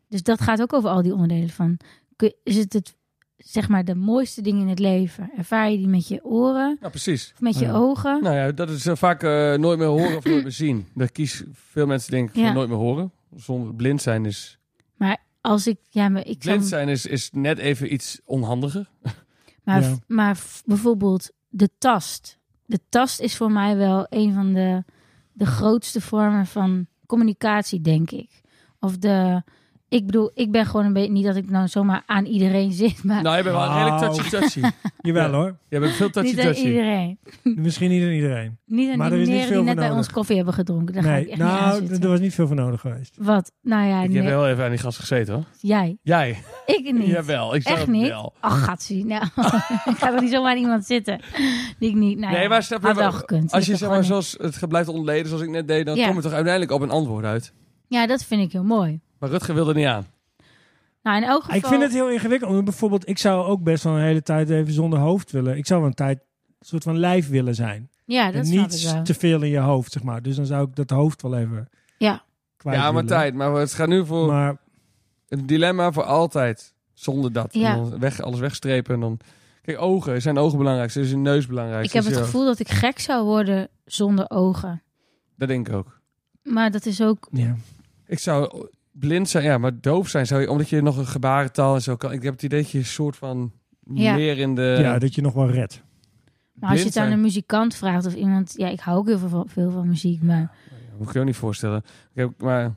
[SPEAKER 3] dus dat gaat ook over al die onderdelen van. kun- Is het het zeg maar de mooiste dingen in het leven? Ervaar je die met je oren
[SPEAKER 2] Nou, precies.
[SPEAKER 3] of met je
[SPEAKER 1] Oh Ja.
[SPEAKER 3] ogen?
[SPEAKER 2] Nou ja, dat is eh, vaak eh, nooit meer horen of nooit meer zien. Dat kies veel mensen denk ik voor
[SPEAKER 3] Ja.
[SPEAKER 2] nooit meer horen. Zonder blind zijn is...
[SPEAKER 3] Als ik ja, maar ik zou
[SPEAKER 2] Blind zijn is, is net even iets onhandiger.
[SPEAKER 3] Maar,
[SPEAKER 1] Ja.
[SPEAKER 3] v- maar v- bijvoorbeeld de tast. De tast is voor mij wel een van de, de grootste vormen van communicatie, denk ik. Of de. Ik bedoel, ik ben gewoon een beetje. Niet dat ik nou zomaar aan iedereen zit, maar
[SPEAKER 2] Nou, je bent wel
[SPEAKER 1] Nou.
[SPEAKER 2] redelijk touchy-touchy.
[SPEAKER 1] jawel
[SPEAKER 2] Ja.
[SPEAKER 1] hoor.
[SPEAKER 2] je bent veel
[SPEAKER 3] niet aan
[SPEAKER 2] touchy-touchy.
[SPEAKER 3] iedereen.
[SPEAKER 1] Misschien niet aan iedereen.
[SPEAKER 3] Niet aan
[SPEAKER 1] Maar er
[SPEAKER 3] die
[SPEAKER 1] is niet
[SPEAKER 3] neren die
[SPEAKER 1] veel
[SPEAKER 3] net
[SPEAKER 1] voor
[SPEAKER 3] bij ons
[SPEAKER 1] nodig.
[SPEAKER 3] koffie hebben gedronken. Daar ga ik
[SPEAKER 1] nee,
[SPEAKER 3] echt niet aan
[SPEAKER 1] nou, d-
[SPEAKER 3] zitten.
[SPEAKER 1] er was niet veel voor nodig geweest.
[SPEAKER 3] Wat? Nou ja,
[SPEAKER 2] Ik heb
[SPEAKER 3] nee.
[SPEAKER 2] heel even aan die gast gezeten, hoor.
[SPEAKER 3] jij.
[SPEAKER 2] Jij?
[SPEAKER 3] Ik niet.
[SPEAKER 2] Jawel, ik zag
[SPEAKER 3] Echt
[SPEAKER 2] het
[SPEAKER 3] niet?
[SPEAKER 2] wel.
[SPEAKER 3] Ach, gatsie. Nou, ik ga toch niet zomaar aan iemand zitten die ik niet... Nou,
[SPEAKER 2] Nee,
[SPEAKER 3] ja,
[SPEAKER 2] maar snap je
[SPEAKER 3] had
[SPEAKER 2] wel-
[SPEAKER 3] wel
[SPEAKER 2] Als
[SPEAKER 3] gekund. Ik
[SPEAKER 2] je
[SPEAKER 3] heb
[SPEAKER 2] zeg maar
[SPEAKER 3] gewoon
[SPEAKER 2] zoals het ge- blijft ontleden, zoals ik net deed, dan
[SPEAKER 3] Ja.
[SPEAKER 2] kom je toch uiteindelijk op een antwoord uit.
[SPEAKER 3] een- Ja, dat vind ik heel mooi.
[SPEAKER 2] Maar Rutger wilde niet aan.
[SPEAKER 3] Nou, in elk geval...
[SPEAKER 1] Ah, Ik vind het heel ingewikkeld. want bijvoorbeeld, ik zou ook best wel een hele tijd even zonder hoofd willen. Ik zou wel een tijd een soort van lijf willen zijn.
[SPEAKER 3] Ja,
[SPEAKER 1] En
[SPEAKER 3] dat snap ik
[SPEAKER 1] niet
[SPEAKER 3] wel.
[SPEAKER 1] te veel in je hoofd, zeg maar. Dus dan zou ik dat hoofd wel even
[SPEAKER 3] Ja.
[SPEAKER 1] kwijt
[SPEAKER 2] ja, maar
[SPEAKER 1] willen.
[SPEAKER 2] tijd. Maar het gaat nu voor
[SPEAKER 1] Maar
[SPEAKER 2] een dilemma voor altijd. Zonder dat. En
[SPEAKER 3] Ja.
[SPEAKER 2] dan weg, alles wegstrepen. En dan... Kijk, ogen. Zijn ogen belangrijk? Is een neus Dus belangrijk?
[SPEAKER 3] Ik heb
[SPEAKER 2] Is
[SPEAKER 3] het
[SPEAKER 2] je-
[SPEAKER 3] gevoel dat ik gek zou worden zonder ogen.
[SPEAKER 2] Dat denk ik ook.
[SPEAKER 3] Maar dat is ook...
[SPEAKER 1] ja.
[SPEAKER 2] Ik zou blind zijn, ja, maar doof zijn zou je, omdat je nog een gebarentaal en zo kan. Ik heb het idee dat je een soort van
[SPEAKER 3] Ja.
[SPEAKER 2] meer in de.
[SPEAKER 1] ja, dat je nog wel redt.
[SPEAKER 3] Maar als je
[SPEAKER 2] blind
[SPEAKER 3] het aan
[SPEAKER 2] zijn.
[SPEAKER 3] een muzikant vraagt of iemand... Ja, ik hou ook heel veel van, veel van muziek, maar...
[SPEAKER 2] Dat moet ik je ook niet voorstellen. Ik heb, maar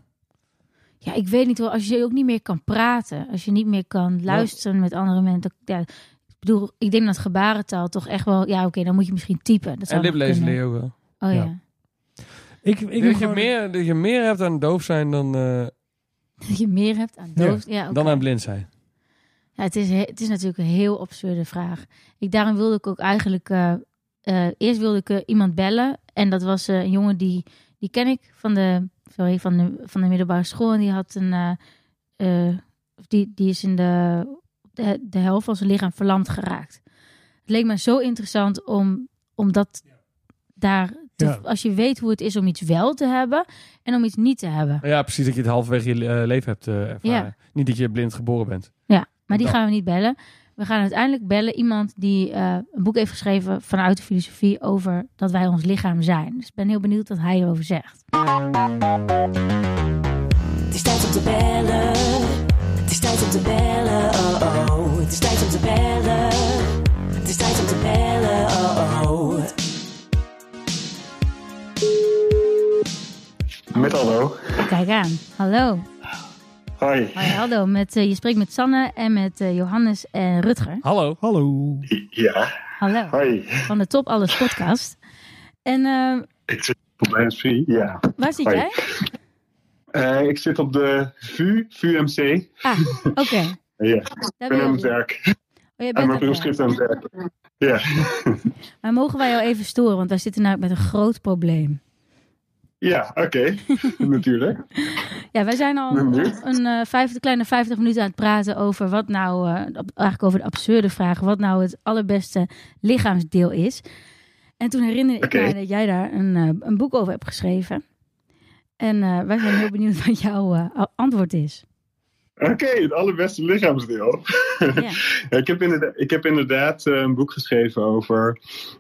[SPEAKER 3] Ja, ik weet niet hoor. Als je ook niet meer kan praten. Als je niet meer kan luisteren met andere mensen. dat- Ja, ik bedoel, ik denk dat gebarentaal toch echt wel... Ja, oké, dan moet je misschien typen. Dat
[SPEAKER 2] en
[SPEAKER 3] zou nog
[SPEAKER 2] liplezen leer
[SPEAKER 3] kunnen.
[SPEAKER 2] je ook wel.
[SPEAKER 3] Oh ja.
[SPEAKER 1] Ik, ik heb
[SPEAKER 2] Ik dat, je
[SPEAKER 1] gewoon-
[SPEAKER 2] meer, dat je meer hebt aan doof zijn dan, eh,
[SPEAKER 3] Dat je meer hebt aan
[SPEAKER 1] Ja.
[SPEAKER 3] doof. Ja, oké.
[SPEAKER 2] dan aan blind zijn.
[SPEAKER 3] Ja, het, is, he- het is natuurlijk een heel absurde vraag. Ik, daarom wilde ik ook eigenlijk... eh, eh, eerst wilde ik eh, iemand bellen. En dat was eh, een jongen die, Die ken ik van de, sorry, van de, van de middelbare school. En die had een. eh, eh, of die, die is in de, de, de helft van zijn lichaam verlamd geraakt. Het leek me zo interessant om, om dat daar. te-
[SPEAKER 1] Ja.
[SPEAKER 3] Als je weet hoe het is om iets wel te hebben en om iets niet te hebben.
[SPEAKER 2] Ja, precies. Dat je het halverwege je eh, leven hebt eh, ervaren. Niet dat je blind geboren bent.
[SPEAKER 3] Ja, maar die
[SPEAKER 2] Dan-
[SPEAKER 3] gaan we niet bellen. We gaan uiteindelijk bellen iemand die eh, een boek heeft geschreven vanuit de filosofie over dat wij ons lichaam zijn. Dus ik ben heel benieuwd wat hij erover zegt.
[SPEAKER 4] Het is tijd om te bellen. Het is tijd om te bellen. Oh oh. Het is tijd om te bellen. Het is tijd om te bellen. Oh oh.
[SPEAKER 6] Met Aldo.
[SPEAKER 3] Kijk aan. Hallo.
[SPEAKER 6] Hoi.
[SPEAKER 3] Hoi Aldo. Met, eh, je spreekt met Sanne en met eh, Johannes en Rutger.
[SPEAKER 2] Hallo.
[SPEAKER 1] Hallo.
[SPEAKER 6] Ja,
[SPEAKER 3] Hallo.
[SPEAKER 6] hoi.
[SPEAKER 3] Van de Top Alles podcast. En eh,
[SPEAKER 6] Ik zit op mijn VU. Ja.
[SPEAKER 3] waar zit
[SPEAKER 6] Hoi.
[SPEAKER 3] jij?
[SPEAKER 6] Eh, ik zit op de VU, VUMC.
[SPEAKER 3] Ah, oké.
[SPEAKER 6] Ja, ik
[SPEAKER 3] Daar ben
[SPEAKER 6] ben
[SPEAKER 3] je.
[SPEAKER 6] aan
[SPEAKER 3] ook
[SPEAKER 6] het
[SPEAKER 3] weer.
[SPEAKER 6] werk.
[SPEAKER 3] Oh, jij bent
[SPEAKER 6] En mijn
[SPEAKER 3] ook weer.
[SPEAKER 6] proefschrift aan het werk. Ja.
[SPEAKER 3] Maar mogen wij jou even storen? Want wij zitten namelijk met een groot probleem.
[SPEAKER 6] Ja, oké. Natuurlijk.
[SPEAKER 3] Ja, wij zijn al
[SPEAKER 6] Ben
[SPEAKER 3] een,
[SPEAKER 6] benieuwd.
[SPEAKER 3] eh, vijf, kleine 50 minuten aan het praten over wat nou, eh, de- eigenlijk over de absurde vraag, wat nou het allerbeste lichaamsdeel is. En toen herinner ik
[SPEAKER 6] Oké.
[SPEAKER 3] mij dat jij daar een, eh, een boek over hebt geschreven. En eh, wij zijn heel benieuwd wat jouw eh, antwoord is.
[SPEAKER 6] Oké, het allerbeste lichaamsdeel. ik, heb inderdaad, ik heb inderdaad eh, een boek geschreven over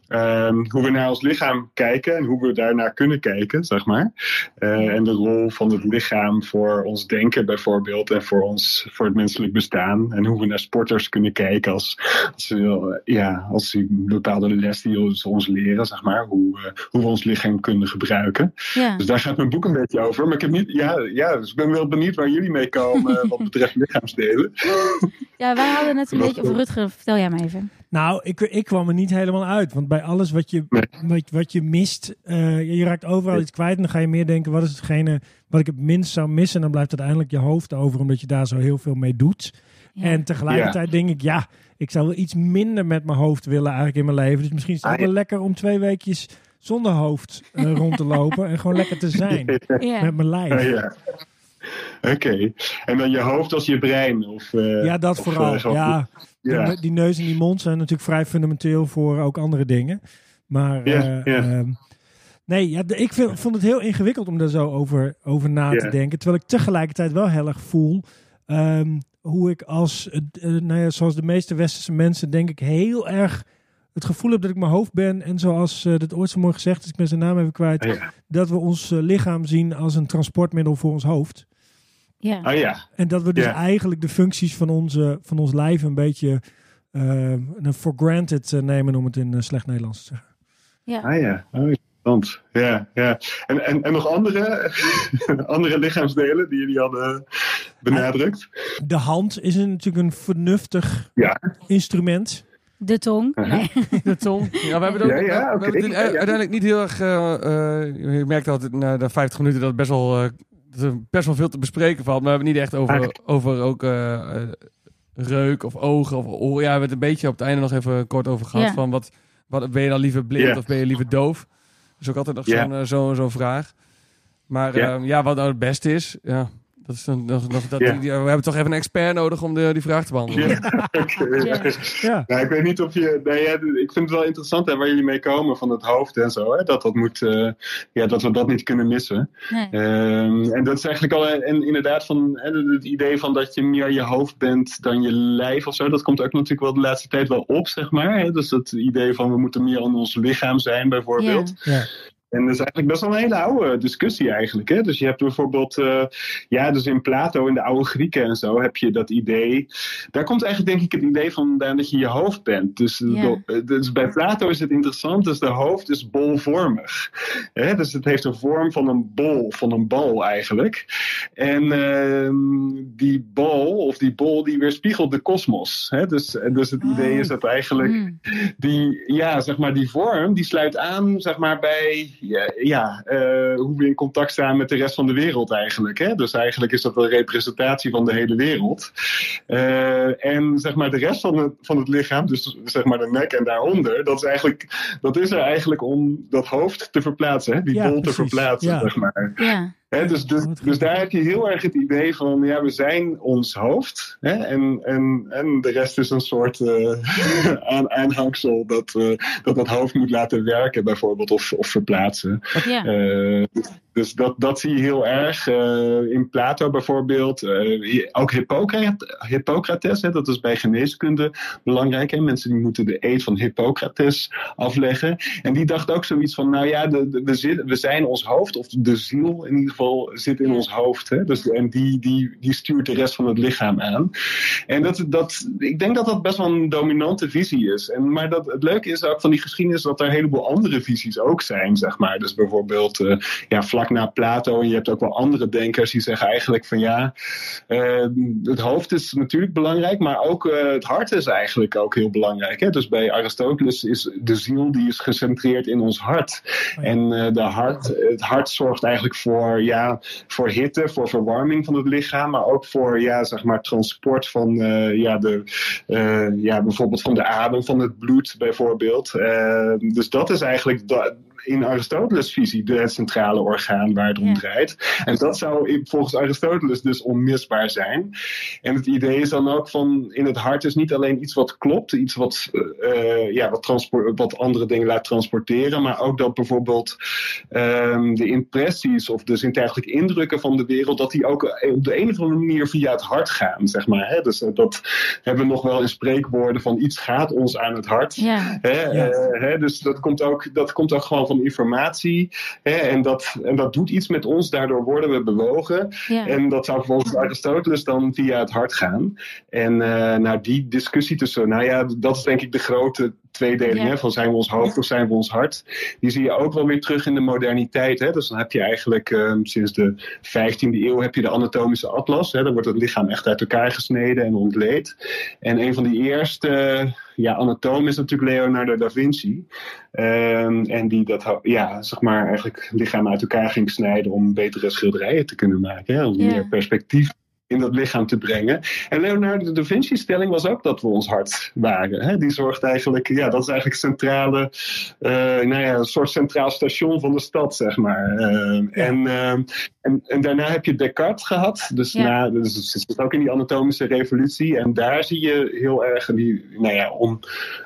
[SPEAKER 6] ehm, hoe we naar ons lichaam kijken en hoe we daarnaar kunnen kijken, zeg maar. Eh, en de rol van het lichaam voor ons denken bijvoorbeeld en voor, ons, voor het menselijk bestaan. En hoe we naar sporters kunnen kijken als, als, we wel, eh, ja, als die bepaalde les die ons, ons leren, zeg maar. Hoe, eh, hoe we ons lichaam kunnen gebruiken.
[SPEAKER 3] Ja,
[SPEAKER 6] Dus daar gaat mijn boek een beetje over. Maar ik, heb niet, ja, ja, dus ik ben wel benieuwd waar jullie mee komen eh, wat betreft lichaamsdelen.
[SPEAKER 3] ja wij hadden net een beetje over Rutger. Vertel jij maar even.
[SPEAKER 1] Nou, ik, ik kwam er niet helemaal uit. Want bij alles wat je, wat, wat je mist, eh, je raakt overal iets kwijt. En dan ga je meer denken, wat is hetgene wat ik het minst zou missen? En dan blijft uiteindelijk je hoofd over, omdat je daar zo heel veel mee doet.
[SPEAKER 3] Ja.
[SPEAKER 1] En tegelijkertijd denk ik, ja, ik zou wel iets minder met mijn hoofd willen eigenlijk in mijn leven. Dus misschien is het
[SPEAKER 6] Ah,
[SPEAKER 1] ook wel lekker om twee weekjes zonder hoofd eh, rond te lopen. En gewoon lekker te zijn
[SPEAKER 3] Ja.
[SPEAKER 1] met mijn
[SPEAKER 6] Ah,
[SPEAKER 1] lijf.
[SPEAKER 6] ja. Oké. En dan je hoofd als je brein? Of, eh,
[SPEAKER 1] Ja, dat
[SPEAKER 6] of,
[SPEAKER 1] vooral.
[SPEAKER 6] eh, zo-
[SPEAKER 1] Ja, die,
[SPEAKER 6] ja.
[SPEAKER 1] ne- die neus en die mond zijn natuurlijk vrij fundamenteel voor ook andere dingen. Maar
[SPEAKER 6] Ja,
[SPEAKER 1] eh,
[SPEAKER 6] ja.
[SPEAKER 1] ehm, nee, ja, de- ik vind- vond het heel ingewikkeld om daar zo over, over na
[SPEAKER 6] Ja.
[SPEAKER 1] te denken. Terwijl ik tegelijkertijd wel heel erg voel ehm, hoe ik als, eh, d- eh, nou ja, zoals de meeste westerse mensen, denk ik heel erg het gevoel heb dat ik mijn hoofd ben. En zoals eh, dat ooit zo mooi gezegd is, ik ben zijn naam even kwijt,
[SPEAKER 6] Ja.
[SPEAKER 1] dat we ons eh, lichaam zien als een transportmiddel voor ons hoofd.
[SPEAKER 3] Ja.
[SPEAKER 6] Oh ja.
[SPEAKER 1] En dat we dus
[SPEAKER 6] Ja.
[SPEAKER 1] eigenlijk de functies van, onze, van ons lijf een beetje eh, for granted eh, nemen, om het in eh, slecht Nederlands te zeggen.
[SPEAKER 3] Ja.
[SPEAKER 6] Ah ja. Oh, interessant. Ja, ja. En, en, en nog andere, andere lichaamsdelen die jullie hadden benadrukt?
[SPEAKER 1] De hand is een, natuurlijk een vernuftig
[SPEAKER 6] Ja.
[SPEAKER 1] instrument.
[SPEAKER 3] De tong. Nee.
[SPEAKER 6] Uh-huh.
[SPEAKER 2] De tong. Ja, we hebben, het ook-
[SPEAKER 6] Ja, ja,
[SPEAKER 2] we hebben
[SPEAKER 6] oké.
[SPEAKER 2] het in- u- uiteindelijk niet heel erg... eh, eh, je merkt dat het na de 50 minuten dat het best wel, eh, dat er best wel veel te bespreken valt. Maar we hebben het niet echt over, over ook eh, eh, reuk of ogen of oren. Ja, we hebben het een beetje op het einde nog even kort over gehad.
[SPEAKER 3] Ja.
[SPEAKER 2] Van wat, wat, ben je dan liever blind
[SPEAKER 6] Ja.
[SPEAKER 2] of ben je liever doof? Dat is ook altijd nog
[SPEAKER 6] Ja.
[SPEAKER 2] zo'n eh, zo'n zo'n vraag. Maar
[SPEAKER 6] Ja.
[SPEAKER 2] eh, ja, wat nou het beste is... Ja, dat is dan nog, nog, dat,
[SPEAKER 6] Ja.
[SPEAKER 2] die- die- we hebben toch even een expert nodig om de, die vraag te behandelen.
[SPEAKER 6] Ja, oké, ja.
[SPEAKER 1] Ja.
[SPEAKER 6] Nou, ik weet niet of je. Nou ja, ik vind het wel interessant hè, waar jullie mee komen van het hoofd en zo. Hè, dat, dat, moet, eh, ja, dat we dat niet kunnen missen.
[SPEAKER 3] Nee.
[SPEAKER 6] Ehm, en dat is eigenlijk al eh, en inderdaad van eh, het idee van dat je meer je hoofd bent dan je lijf of zo. Dat komt ook natuurlijk wel de laatste tijd wel op, zeg maar. Hè? Dus dat idee van we moeten meer aan ons lichaam zijn, bijvoorbeeld.
[SPEAKER 1] Ja.
[SPEAKER 6] En dat is eigenlijk best wel een hele oude discussie eigenlijk. Hè? Dus je hebt bijvoorbeeld, eh, ja, dus in Plato, in de oude Grieken en zo, heb je dat idee. Daar komt eigenlijk denk ik het idee vandaan dat je je hoofd bent. Dus, eh,
[SPEAKER 3] Ja.
[SPEAKER 6] do- dus bij Plato is het interessant, dus de hoofd is bolvormig. Hè? Dus het heeft een vorm van een bol, van een bal eigenlijk. En ehm, die bal, of die bol, die weerspiegelt de kosmos. Hè? Dus, dus het idee is dat eigenlijk
[SPEAKER 3] Mm.
[SPEAKER 6] die, ja, zeg maar, die vorm die sluit aan zeg maar, bij ja, ja, eh, hoe we in contact staan met de rest van de wereld eigenlijk. Hè? Dus eigenlijk is dat een representatie van de hele wereld. Eh, en zeg maar de rest van het, van het lichaam, dus zeg maar de nek en daaronder, dat is, eigenlijk, dat is er eigenlijk om dat hoofd te verplaatsen, hè? die
[SPEAKER 1] Ja,
[SPEAKER 6] bol te
[SPEAKER 1] precies.
[SPEAKER 6] verplaatsen,
[SPEAKER 1] Ja.
[SPEAKER 6] zeg maar.
[SPEAKER 3] Ja,
[SPEAKER 6] Hè, dus, dus,
[SPEAKER 1] Ja, wat goed.
[SPEAKER 6] dus daar heb je heel erg het idee van, ja, we zijn ons hoofd. Hè, en, en, en de rest is een soort eh, aan, aanhangsel dat, eh, dat dat hoofd moet laten werken, bijvoorbeeld, of, of verplaatsen.
[SPEAKER 3] ja.
[SPEAKER 6] Eh, dus dat, dat zie je heel erg eh, in Plato bijvoorbeeld. Eh, je- ook Hippocrates, Hippocrates hè, dat is bij geneeskunde belangrijk. Hè? Mensen die moeten de eed van Hippocrates afleggen. En die dacht ook zoiets van, nou ja, de, de- we, zitten- we zijn ons hoofd, of de ziel in ieder geval, zit in ons hoofd. Hè? Dus, en die, die, die stuurt de rest van het lichaam aan. En dat, dat, ik denk dat dat best wel een dominante visie is. En, maar dat, het leuke is ook van die geschiedenis dat er een heleboel andere visies ook zijn, zeg maar. Dus bijvoorbeeld eh, ja, vlak na Plato, en je hebt ook wel andere denkers die zeggen eigenlijk van ja, eh, het hoofd is natuurlijk belangrijk, maar ook eh, het hart is eigenlijk ook heel belangrijk. Hè? Dus bij Aristoteles is de ziel die is gecentreerd in ons hart. En eh, de hart, het hart zorgt eigenlijk voor, ja, voor hitte, voor verwarming van het lichaam, maar ook voor ja, zeg maar, transport van eh, ja, de, eh, ja, bijvoorbeeld van de adem, van het bloed bijvoorbeeld. Eh, dus dat is eigenlijk da- in Aristoteles' visie de, het centrale orgaan waar het om
[SPEAKER 3] Ja.
[SPEAKER 6] draait. En dat zou in- volgens Aristoteles dus onmisbaar zijn. En het idee is dan ook van in het hart is niet alleen iets wat klopt, iets wat, eh, eh, ja, wat, transpor- wat andere dingen laat transporteren, maar ook dat bijvoorbeeld ehm, de impressies of de zintuigelijke indrukken van de wereld, dat die ook eh, op de een of andere manier via het hart gaan, zeg maar. Hè? Dus eh, dat hebben we nog wel in spreekwoorden van iets gaat ons aan het hart.
[SPEAKER 3] ja.
[SPEAKER 6] Hè,
[SPEAKER 1] Ja.
[SPEAKER 6] eh, hè, dus dat komt, ook, dat komt ook gewoon van informatie. Hè, en, dat, en dat doet iets met ons, daardoor worden we bewogen.
[SPEAKER 3] ja.
[SPEAKER 6] En dat zou volgens Aristoteles dan via het hart gaan. En eh, nou, die discussie tussen, nou ja, dat is denk ik de grote tweedeling
[SPEAKER 3] Ja.
[SPEAKER 6] hè, van zijn we ons hoofd of zijn we ons hart. Die zie je ook wel weer terug in de moderniteit. Hè? Dus dan heb je eigenlijk eh, sinds de 15e eeuw heb je de anatomische atlas. Hè? Dan wordt het lichaam echt uit elkaar gesneden en ontleed. En een van die eerste eh, ja, anatomen is natuurlijk Leonardo da Vinci. Ehm, en die dat ho- ja, zeg maar eigenlijk lichaam uit elkaar ging snijden om betere schilderijen te kunnen maken. Hè? Om
[SPEAKER 3] Ja.
[SPEAKER 6] meer perspectief in dat lichaam te brengen. En Leonardo da Vinci's stelling was ook dat we ons hart waren. Hè? Die zorgt eigenlijk, ja, dat is eigenlijk centrale, eh, nou ja, een soort centraal station van de stad, zeg maar. Ehm, en, ehm, en, en daarna heb je Descartes gehad, dus
[SPEAKER 3] Ja.
[SPEAKER 6] na, dus het zit ook in die anatomische revolutie. En daar zie je heel erg, die, nou ja, om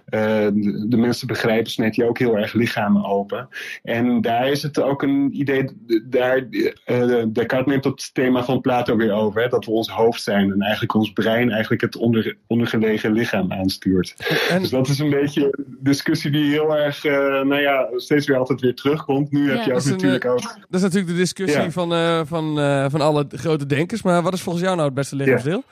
[SPEAKER 6] eh, de, de mensen begrijpen, snijd je ook heel erg lichamen open. En daar is het ook een idee, d- daar, eh, Descartes neemt dat thema van Plato weer over, hè, dat we ons hoofd zijn en eigenlijk ons brein eigenlijk het onder, ondergelegen lichaam aanstuurt.
[SPEAKER 2] En-
[SPEAKER 6] dus dat is een beetje een discussie die heel erg, eh, nou ja, steeds weer altijd weer terugkomt. Nu
[SPEAKER 3] Ja.
[SPEAKER 6] heb je
[SPEAKER 2] Dat
[SPEAKER 6] ook
[SPEAKER 2] is een,
[SPEAKER 6] natuurlijk
[SPEAKER 2] eh,
[SPEAKER 6] ook...
[SPEAKER 2] Dat is natuurlijk de discussie
[SPEAKER 6] Ja.
[SPEAKER 2] van, eh, van, eh, van alle grote denkers. Maar wat is volgens jou nou het beste lichaamsdeel?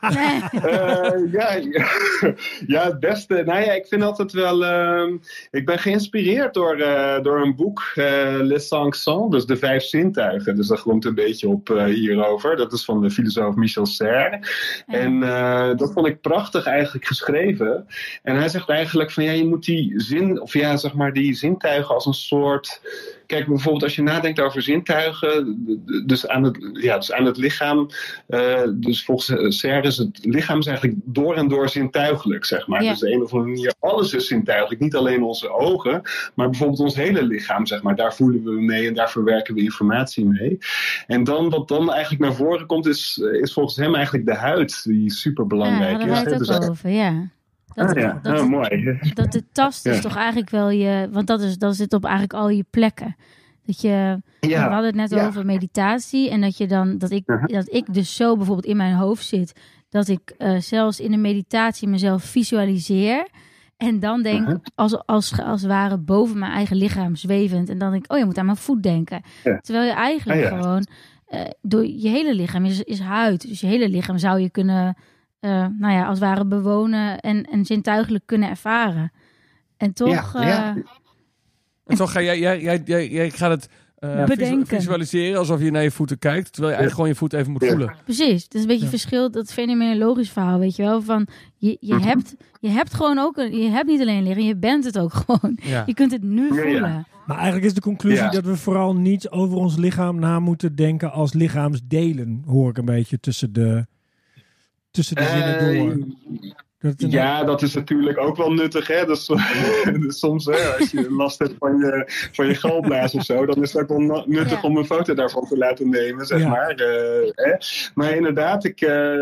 [SPEAKER 3] Nee.
[SPEAKER 6] Eh, ja, ja. ja, het beste. Nou ja, ik vind altijd wel. ehm, ik ben geïnspireerd door, eh, door een boek, eh Les Cinq Sens, dus de vijf zintuigen. Dus dat gromt een beetje op eh, hierover. Dat is van de filosoof Michel Serre. En eh, dat vond ik prachtig eigenlijk geschreven. En hij zegt eigenlijk van ja, je moet die zin, of ja, zeg maar, die zintuigen als een soort. Kijk, bijvoorbeeld als je nadenkt over zintuigen, d- d- dus aan het, ja, dus aan het lichaam. eh, dus volgens eh, Serre is het lichaam is eigenlijk door en door zintuigelijk, zeg maar.
[SPEAKER 3] Ja.
[SPEAKER 6] Dus de een of andere manier, alles is zintuigelijk. Niet alleen onze ogen, maar bijvoorbeeld ons hele lichaam, zeg maar. Daar voelen we mee en daar verwerken we informatie mee. En dan, wat dan eigenlijk naar voren komt, is, is volgens hem eigenlijk de huid, die
[SPEAKER 3] Ja,
[SPEAKER 6] superbelangrijk
[SPEAKER 3] daar
[SPEAKER 6] is.
[SPEAKER 3] hadden
[SPEAKER 6] hè.
[SPEAKER 3] wij het
[SPEAKER 6] Dus
[SPEAKER 3] ook
[SPEAKER 6] eigenlijk-
[SPEAKER 3] over, ja. Dat,
[SPEAKER 6] Ah, ja.
[SPEAKER 3] dat,
[SPEAKER 6] Ah, mooi.
[SPEAKER 3] dat de tast is
[SPEAKER 6] Ja.
[SPEAKER 3] toch eigenlijk wel je... Want dat, is, dat zit op eigenlijk al je plekken. Dat je...
[SPEAKER 6] Ja.
[SPEAKER 3] We hadden het net
[SPEAKER 6] Ja.
[SPEAKER 3] over meditatie. En dat, je dan, dat, ik,
[SPEAKER 6] Mhm.
[SPEAKER 3] dat ik dus zo bijvoorbeeld in mijn hoofd zit. Dat ik eh, zelfs in de meditatie mezelf visualiseer. En dan denk
[SPEAKER 6] Mhm.
[SPEAKER 3] als, als, als het ware boven mijn eigen lichaam zwevend. En dan denk ik, oh je moet aan mijn voet denken.
[SPEAKER 6] Ja.
[SPEAKER 3] Terwijl je eigenlijk
[SPEAKER 6] Ah, ja.
[SPEAKER 3] gewoon eh, door je hele lichaam is, is huid. Dus je hele lichaam zou je kunnen, eh, nou ja, als het ware bewonen en, en zintuigelijk kunnen ervaren. En toch,
[SPEAKER 6] Ja, ja.
[SPEAKER 3] eh,
[SPEAKER 2] En toch ga jij, jij, jij, jij, jij gaat het eh,
[SPEAKER 3] Ja.
[SPEAKER 2] visu-
[SPEAKER 3] Bedenken.
[SPEAKER 2] visualiseren alsof je naar je voeten kijkt, terwijl je eigenlijk gewoon je voeten even moet
[SPEAKER 6] Ja.
[SPEAKER 2] voelen.
[SPEAKER 3] Precies, dat is een beetje
[SPEAKER 1] Ja.
[SPEAKER 3] verschil, dat fenomenologisch verhaal, weet je wel. Van je, je,
[SPEAKER 6] Mhm.
[SPEAKER 3] hebt, je hebt gewoon ook, een, je hebt niet alleen liggen, je bent het ook gewoon.
[SPEAKER 2] Ja.
[SPEAKER 3] Je kunt het nu
[SPEAKER 6] Ja, ja.
[SPEAKER 3] voelen.
[SPEAKER 1] Maar eigenlijk is de conclusie
[SPEAKER 6] Ja.
[SPEAKER 1] dat we vooral niet over ons lichaam na moeten denken als lichaamsdelen, hoor ik een beetje tussen de, tussen de zinnen door. Dat het een-
[SPEAKER 6] Eh, Ja, dat is natuurlijk ook wel nuttig. Hè? Dus, dus soms, hè, als je last hebt van je, van je galblaas of zo, dan is het ook wel na- nuttig
[SPEAKER 3] Ja.
[SPEAKER 6] om een foto daarvan te laten nemen, zeg
[SPEAKER 1] Ja.
[SPEAKER 6] maar. eh, hè? Maar inderdaad, ik, eh,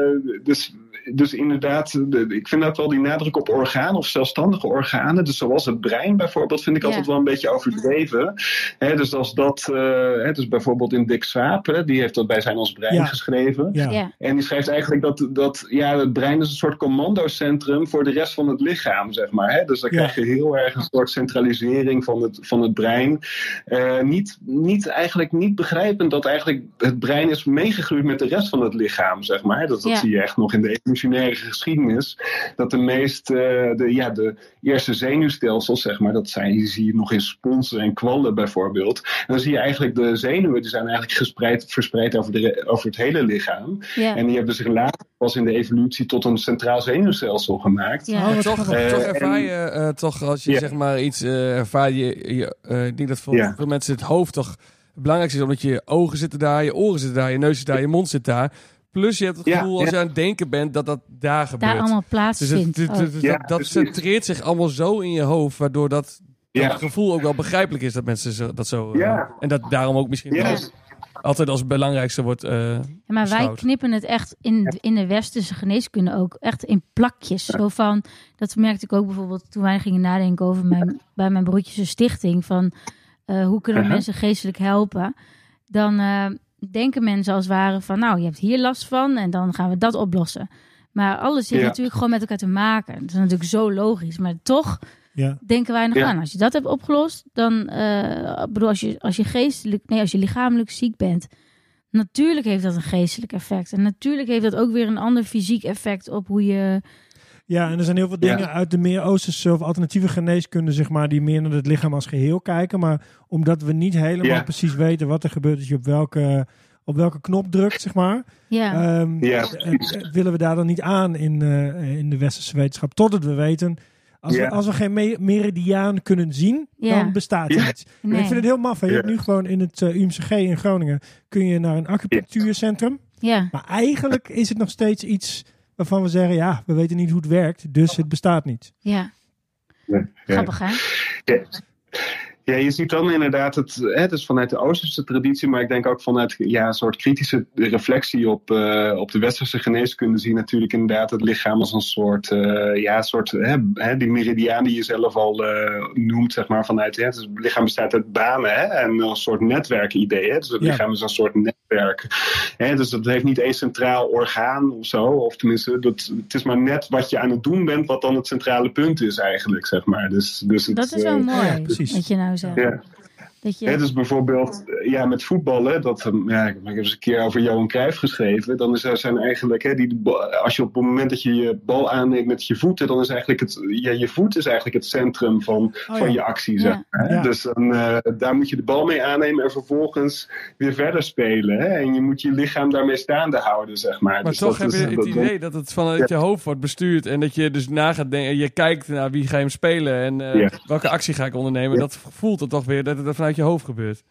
[SPEAKER 6] dus, dus inderdaad, de- ik vind dat wel die nadruk op organen of zelfstandige organen, dus zoals het brein bijvoorbeeld, vind ik
[SPEAKER 3] Ja.
[SPEAKER 6] altijd wel een beetje overdreven. Hè? Dus als dat, eh, hè, dus bijvoorbeeld in Dick Swaap, hè, die heeft dat bij zijn als brein
[SPEAKER 1] Ja.
[SPEAKER 6] geschreven.
[SPEAKER 1] ja.
[SPEAKER 3] Ja.
[SPEAKER 6] En die schrijft eigenlijk dat, dat ja, het brein is een soort commandocentrum voor de rest van het lichaam, zeg maar. Hè? Dus dan
[SPEAKER 1] Ja.
[SPEAKER 6] krijg je heel erg een soort centralisering van het, van het brein. Eh, niet, niet, eigenlijk niet begrijpend dat eigenlijk het brein is meegegroeid met de rest van het lichaam, zeg maar. Dat, dat
[SPEAKER 3] Ja.
[SPEAKER 6] zie je echt nog in de evolutionaire geschiedenis. Dat de meest, eh, de, ja, de eerste zenuwstelsels, zeg maar, dat zijn, die zie je nog in sponsen en kwallen bijvoorbeeld. En dan zie je eigenlijk de zenuwen, die zijn eigenlijk gespreid, verspreid over, de, re- over het hele lichaam.
[SPEAKER 3] Ja.
[SPEAKER 6] En die hebben zich later pas in de evolutie tot een centraal zenuwstelsel gemaakt.
[SPEAKER 3] Ja.
[SPEAKER 1] Oh,
[SPEAKER 2] Maar
[SPEAKER 1] wat
[SPEAKER 2] toch,
[SPEAKER 1] grappig.
[SPEAKER 2] toch
[SPEAKER 6] Eh,
[SPEAKER 2] ervaar je, eh, toch als je
[SPEAKER 6] Ja.
[SPEAKER 2] zeg maar iets eh, ervaar je, je eh, ik denk dat voor
[SPEAKER 6] Ja.
[SPEAKER 2] veel mensen het hoofd toch het belangrijkste is, omdat je ogen zitten daar, je oren zitten daar, je neus zit daar, je mond zit daar. Plus je hebt het
[SPEAKER 6] Ja,
[SPEAKER 2] gevoel als
[SPEAKER 6] ja.
[SPEAKER 2] je aan het denken bent dat dat daar gebeurt.
[SPEAKER 3] daar allemaal
[SPEAKER 2] dus het-
[SPEAKER 3] plaatsvindt.
[SPEAKER 2] het-
[SPEAKER 3] Oh.
[SPEAKER 2] het-
[SPEAKER 6] Ja,
[SPEAKER 2] dat, dat
[SPEAKER 6] precies.
[SPEAKER 2] centreert zich allemaal zo in je hoofd, waardoor dat, dat
[SPEAKER 6] Ja.
[SPEAKER 2] gevoel ook wel begrijpelijk is dat mensen zo, dat zo eh,
[SPEAKER 6] Ja.
[SPEAKER 2] en dat daarom ook misschien
[SPEAKER 6] Ja.
[SPEAKER 2] als- altijd als het belangrijkste wordt. eh,
[SPEAKER 3] Ja, maar wij
[SPEAKER 2] beschouwd.
[SPEAKER 3] knippen het echt in, in de westerse geneeskunde ook echt in plakjes. Zo van, dat merkte ik ook bijvoorbeeld toen wij gingen nadenken over mijn, bij mijn broertjes een stichting. Van eh, hoe kunnen we
[SPEAKER 6] Aha.
[SPEAKER 3] mensen geestelijk helpen? Dan eh, denken mensen als het ware van, nou je hebt hier last van en dan gaan we dat oplossen. Maar alles heeft
[SPEAKER 6] Ja.
[SPEAKER 3] natuurlijk gewoon met elkaar te maken. Dat is natuurlijk zo logisch. Maar toch
[SPEAKER 1] Ja.
[SPEAKER 3] denken wij nog
[SPEAKER 6] Ja.
[SPEAKER 3] aan. Als je dat hebt opgelost, dan eh, ik bedoel, als je, als je geestelijk, nee, als je lichamelijk ziek bent, natuurlijk heeft dat een geestelijk effect. En natuurlijk heeft dat ook weer een ander fysiek effect op hoe je.
[SPEAKER 1] Ja, en er zijn heel veel
[SPEAKER 6] Ja.
[SPEAKER 1] dingen uit de meer Oosterse of alternatieve geneeskunde, zeg maar, die meer naar het lichaam als geheel kijken. Maar omdat we niet helemaal
[SPEAKER 6] Ja.
[SPEAKER 1] precies weten wat er gebeurt als je op welke, op welke knop drukt, zeg maar,
[SPEAKER 3] Ja,
[SPEAKER 1] ehm,
[SPEAKER 6] Ja.
[SPEAKER 1] eh, eh, willen we daar dan niet aan in, eh, in de westerse wetenschap. Totdat we weten, als,
[SPEAKER 6] Ja.
[SPEAKER 1] we, als we geen me- meridiaan kunnen zien,
[SPEAKER 3] Ja.
[SPEAKER 1] dan bestaat er
[SPEAKER 6] Ja.
[SPEAKER 1] iets.
[SPEAKER 3] nee.
[SPEAKER 1] Ik vind het heel maf. hè. Je
[SPEAKER 6] Ja.
[SPEAKER 1] hebt nu gewoon in het eh, UMCG in Groningen kun je naar een acupunctuurcentrum.
[SPEAKER 3] ja.
[SPEAKER 1] Maar eigenlijk is het nog steeds iets waarvan we zeggen, ja, we weten niet hoe het werkt, dus het bestaat niet.
[SPEAKER 3] ja,
[SPEAKER 6] Ja.
[SPEAKER 3] grappig hè?
[SPEAKER 6] Ja, je ziet dan inderdaad het, hè, dus vanuit de Oosterse traditie, maar ik denk ook vanuit ja, een soort kritische reflectie op, eh, op de Westerse geneeskunde, zie je natuurlijk inderdaad het lichaam als een soort, eh, ja, soort hè, hè, die meridiaan die je zelf al eh, noemt, zeg maar, vanuit hè, dus het lichaam bestaat uit banen hè, en een soort netwerkidee. Hè, dus het
[SPEAKER 1] Ja.
[SPEAKER 6] lichaam is een soort netwerk. Hè, dus dat heeft niet één centraal orgaan of zo, of tenminste, dat, het is maar net wat je aan het doen bent, wat dan het centrale punt is eigenlijk, zeg maar. Dus, dus het,
[SPEAKER 3] Dat is wel
[SPEAKER 6] eh,
[SPEAKER 3] mooi.
[SPEAKER 1] ja, precies.
[SPEAKER 3] Dat je nou zegt.
[SPEAKER 6] ja.
[SPEAKER 3] Dat
[SPEAKER 6] Hè,
[SPEAKER 3] je,
[SPEAKER 6] dus bijvoorbeeld eh, ja, met voetballen, dat, eh, ja, ik heb eens een keer over Johan Cruijff geschreven. Dan is, er- zijn eigenlijk, hè, die, bal- als je op het moment dat je je bal aanneemt met je voeten, dan is eigenlijk het, ja, je voet is eigenlijk het centrum van,
[SPEAKER 1] Oh,
[SPEAKER 6] van
[SPEAKER 1] ja.
[SPEAKER 6] je actie.
[SPEAKER 3] Ja.
[SPEAKER 6] Zeg maar, hè.
[SPEAKER 1] Ja.
[SPEAKER 6] Dus dan, eh, daar moet je de bal mee aannemen en vervolgens weer verder spelen. Hè? En je moet je lichaam daarmee staande houden, zeg maar.
[SPEAKER 2] Maar
[SPEAKER 6] Dus
[SPEAKER 2] toch
[SPEAKER 6] dat
[SPEAKER 2] heb
[SPEAKER 6] is-
[SPEAKER 2] je het
[SPEAKER 6] dat-
[SPEAKER 2] idee dat het vanuit je hoofd wordt bestuurd. En dat je dus na gaat denken. Je kijkt naar wie ga je hem spelen. En eh,
[SPEAKER 6] Ja.
[SPEAKER 2] welke actie ga ik ondernemen.
[SPEAKER 6] Ja.
[SPEAKER 2] Dat voelt het toch weer dat het vanuit je hoofd gebeurt.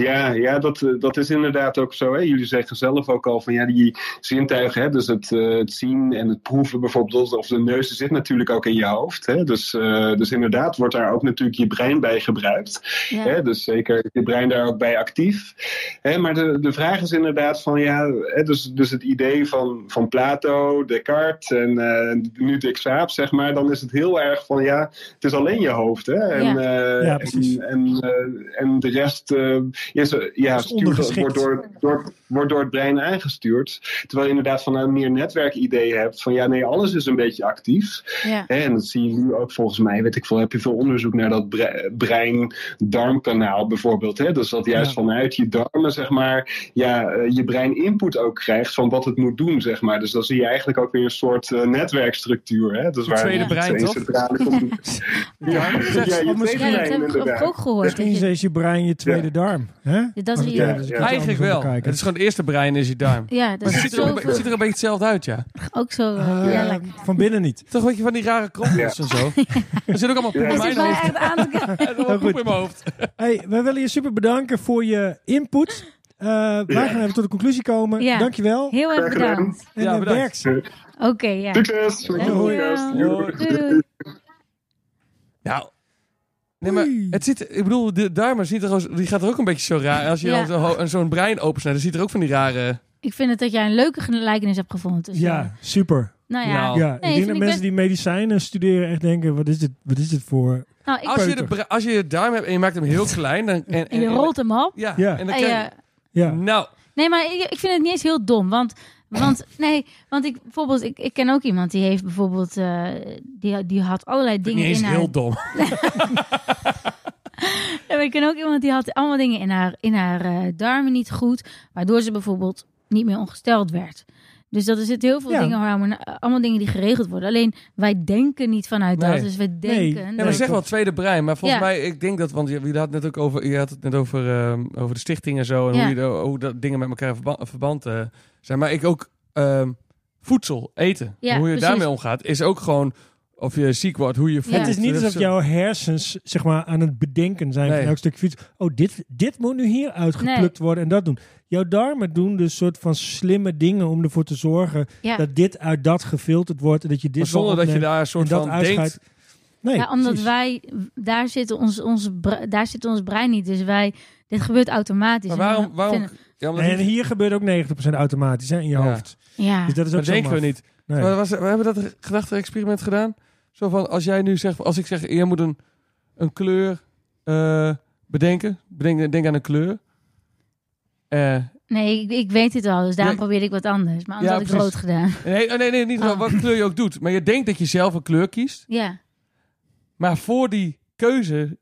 [SPEAKER 6] Ja, ja dat, eh, dat is inderdaad ook zo. Hè? Jullie zeggen zelf ook al van ja, die zintuigen, hè, dus het, eh, het zien en het proeven bijvoorbeeld, of de neus die zit natuurlijk ook in je hoofd. Hè? Dus, eh, dus inderdaad wordt daar ook natuurlijk je brein bij gebruikt.
[SPEAKER 3] ja.
[SPEAKER 6] Hè? Dus zeker is je brein daar ook bij actief. Hè? Maar de, de vraag is inderdaad van ja, hè, dus, dus het idee van, van Plato, Descartes en eh, nu Dick Schaap, zeg maar, dan is het heel erg van ja, het is alleen je hoofd. Hè? En, eh,
[SPEAKER 1] Ja, precies.
[SPEAKER 6] En, en, eh, en de rest eh, is, eh, ja,
[SPEAKER 1] Is
[SPEAKER 6] stuurt-
[SPEAKER 1] ondergeschikt.
[SPEAKER 6] wordt, door, door, wordt door het brein aangestuurd. Terwijl je inderdaad van een meer netwerkidee hebt van ja, nee, alles is een beetje actief.
[SPEAKER 3] ja.
[SPEAKER 6] Hè, En dat zie je nu ook volgens mij, weet ik veel, heb je veel onderzoek naar dat bre- brein-darmkanaal bijvoorbeeld. Hè? Dus dat juist
[SPEAKER 1] Ja.
[SPEAKER 6] vanuit je darmen, zeg maar, ja, eh, je brein input ook krijgt van wat het moet doen, zeg maar. Dus dan zie je eigenlijk ook weer een soort eh, netwerkstructuur. Hè? Dus
[SPEAKER 2] Je tweede
[SPEAKER 6] het
[SPEAKER 2] brein,
[SPEAKER 6] één
[SPEAKER 2] toch?
[SPEAKER 6] centrale commu-
[SPEAKER 2] Ja,
[SPEAKER 6] Ja, je
[SPEAKER 2] precies.
[SPEAKER 6] tweede
[SPEAKER 1] Of misschien-
[SPEAKER 3] Ja, dat
[SPEAKER 6] brein,
[SPEAKER 3] heb ik geloof ik
[SPEAKER 6] inderdaad.
[SPEAKER 3] ook gehoord. dat
[SPEAKER 1] Misschien
[SPEAKER 3] je-
[SPEAKER 1] is je brein je tweede
[SPEAKER 6] Ja.
[SPEAKER 1] darm. Hè?
[SPEAKER 3] Dat
[SPEAKER 1] Als
[SPEAKER 3] is
[SPEAKER 1] we
[SPEAKER 3] hier-
[SPEAKER 1] ergens een keertje
[SPEAKER 2] Eigenlijk
[SPEAKER 1] andersom
[SPEAKER 2] wel.
[SPEAKER 1] bekijken.
[SPEAKER 2] Het is gewoon het eerste brein is je duim.
[SPEAKER 3] Ja, dat
[SPEAKER 2] Maar het
[SPEAKER 3] is
[SPEAKER 2] ziet, er ook, een be- het
[SPEAKER 3] zo
[SPEAKER 2] ziet er een beetje hetzelfde uit, ja.
[SPEAKER 3] ook zo. eh,
[SPEAKER 1] Ah,
[SPEAKER 3] ja, lekker.
[SPEAKER 1] Van binnen niet.
[SPEAKER 2] Toch een beetje van die rare krompels en zo. Er zit ook allemaal poep
[SPEAKER 6] Ja.
[SPEAKER 2] in
[SPEAKER 3] Hij
[SPEAKER 2] mijn
[SPEAKER 3] zit mij
[SPEAKER 2] hoofd.
[SPEAKER 3] echt aan te kijken.
[SPEAKER 2] Er zit allemaal
[SPEAKER 1] Heel
[SPEAKER 2] poep
[SPEAKER 1] goed.
[SPEAKER 2] in mijn hoofd.
[SPEAKER 1] Hey, wij willen je super bedanken voor je input. Eh, Wij gaan even tot de conclusie komen.
[SPEAKER 3] Ja.
[SPEAKER 1] Dankjewel.
[SPEAKER 3] Heel erg
[SPEAKER 6] gedaan.
[SPEAKER 3] bedankt.
[SPEAKER 1] En
[SPEAKER 2] Ja,
[SPEAKER 1] eh,
[SPEAKER 2] bedankt.
[SPEAKER 1] werks.
[SPEAKER 3] Oké, ja.
[SPEAKER 6] Succes! met je
[SPEAKER 1] Dankjewel.
[SPEAKER 6] podcast.
[SPEAKER 2] Hoi.
[SPEAKER 3] Doei, doei.
[SPEAKER 2] Nou. Nee, maar
[SPEAKER 1] Oei.
[SPEAKER 2] het zit, ik bedoel, de duim ziet er, ook- die gaat er ook een beetje zo raar. Als je
[SPEAKER 3] Ja.
[SPEAKER 2] dan zo'n ho- zo'n brein opensnijdt, dan ziet er ook van die rare...
[SPEAKER 3] Ik vind het dat jij een leuke gelijkenis hebt gevonden. tussen-
[SPEAKER 1] Ja, super.
[SPEAKER 3] Nou ja.
[SPEAKER 2] Nou.
[SPEAKER 1] Ja,
[SPEAKER 3] Nee,
[SPEAKER 1] ik denk
[SPEAKER 3] vind
[SPEAKER 1] dat
[SPEAKER 3] ik
[SPEAKER 1] mensen
[SPEAKER 3] best-
[SPEAKER 1] die medicijnen studeren echt denken, wat is dit, wat is dit voor...
[SPEAKER 3] Nou, ik,
[SPEAKER 2] Als je, de,
[SPEAKER 1] Peuter.
[SPEAKER 2] bre- als je je duim hebt en je maakt hem heel klein... Dan, en,
[SPEAKER 3] en je Oh, rolt hem op.
[SPEAKER 2] Ja,
[SPEAKER 1] Ja.
[SPEAKER 2] en dan
[SPEAKER 3] En
[SPEAKER 2] krijg
[SPEAKER 3] je-
[SPEAKER 2] je...
[SPEAKER 1] Ja,
[SPEAKER 2] Nou,
[SPEAKER 3] Nee, maar ik, ik vind het niet eens heel dom. Want, want nee, want ik bijvoorbeeld, ik, ik ken ook iemand die heeft bijvoorbeeld, eh, die, die had allerlei
[SPEAKER 2] niet
[SPEAKER 3] dingen
[SPEAKER 2] eens
[SPEAKER 3] in haar.
[SPEAKER 2] heel dom.
[SPEAKER 3] Ja, maar ik ken ook iemand die had allemaal dingen in haar, in haar eh, darmen niet goed, waardoor ze bijvoorbeeld niet meer ongesteld werd. Dus dat is het heel veel
[SPEAKER 1] Ja.
[SPEAKER 3] dingen, hormonen, eh, allemaal dingen die geregeld worden. Alleen wij denken niet vanuit
[SPEAKER 2] Nee.
[SPEAKER 3] dat. Dus we denken.
[SPEAKER 2] Ja,
[SPEAKER 1] Nee,
[SPEAKER 2] maar
[SPEAKER 3] dat-
[SPEAKER 2] zeg wel tweede brein. Maar volgens
[SPEAKER 3] Ja.
[SPEAKER 2] mij, ik denk dat, want je, je had het net ook over, je had het net over, ehm, over de stichting en zo. En
[SPEAKER 3] Ja.
[SPEAKER 2] hoe, je, de- hoe dat dingen met elkaar in verba- verband eh, zijn. Maar ik ook ehm, voedsel, eten.
[SPEAKER 3] Ja,
[SPEAKER 2] hoe je
[SPEAKER 3] precies.
[SPEAKER 2] daarmee omgaat, is ook gewoon of je ziek wordt, hoe je voelt.
[SPEAKER 1] Het is niet alsof jouw hersens zeg maar, aan het bedenken zijn
[SPEAKER 2] Dus, eh, Nee.
[SPEAKER 1] van elk stuk fiets. Oh, dit, dit moet nu hier uitgeplukt worden en dat doen. Jouw darmen doen dus soort van slimme dingen om ervoor te zorgen
[SPEAKER 3] Ja.
[SPEAKER 1] dat dit uit dat gefilterd wordt en dat je dit
[SPEAKER 2] Maar zonder
[SPEAKER 1] wel
[SPEAKER 2] dat je
[SPEAKER 1] opneemt
[SPEAKER 2] daar een soort
[SPEAKER 1] en dat
[SPEAKER 2] van
[SPEAKER 1] uitscheidt.
[SPEAKER 2] denkt.
[SPEAKER 1] Nee,
[SPEAKER 3] ja, omdat
[SPEAKER 1] precies.
[SPEAKER 3] wij, daar zit, ons, ons, bre- daar zit ons brein niet. Dus wij, dit gebeurt automatisch.
[SPEAKER 2] Maar
[SPEAKER 3] En
[SPEAKER 2] waarom,
[SPEAKER 3] we
[SPEAKER 2] waarom,
[SPEAKER 3] vinden-
[SPEAKER 2] ja, omdat
[SPEAKER 1] En
[SPEAKER 2] het-
[SPEAKER 1] hier gebeurt ook 90% automatisch hè, in je
[SPEAKER 2] Ja.
[SPEAKER 1] hoofd.
[SPEAKER 3] ja.
[SPEAKER 1] Dus dat is ook
[SPEAKER 2] dat
[SPEAKER 1] zo
[SPEAKER 2] denken we
[SPEAKER 1] maf.
[SPEAKER 2] niet.
[SPEAKER 1] Nee.
[SPEAKER 2] Maar was, we hebben dat gedachte-experiment gedaan. Zo van, als jij nu zegt, als ik zeg, je moet een, een kleur eh, bedenken. Bedenk, denk aan een kleur. Eh,
[SPEAKER 3] Nee, ik, ik weet het al. Dus daarom
[SPEAKER 2] Nee.
[SPEAKER 3] probeer ik wat anders. Maar anders
[SPEAKER 2] Ja,
[SPEAKER 3] had ik
[SPEAKER 2] precies.
[SPEAKER 3] rood gedaan.
[SPEAKER 2] nee, oh, nee, nee, niet
[SPEAKER 3] Ah.
[SPEAKER 2] wat kleur je ook doet. Maar je denkt dat je zelf een kleur kiest.
[SPEAKER 3] Ja,
[SPEAKER 2] Maar voor die keuze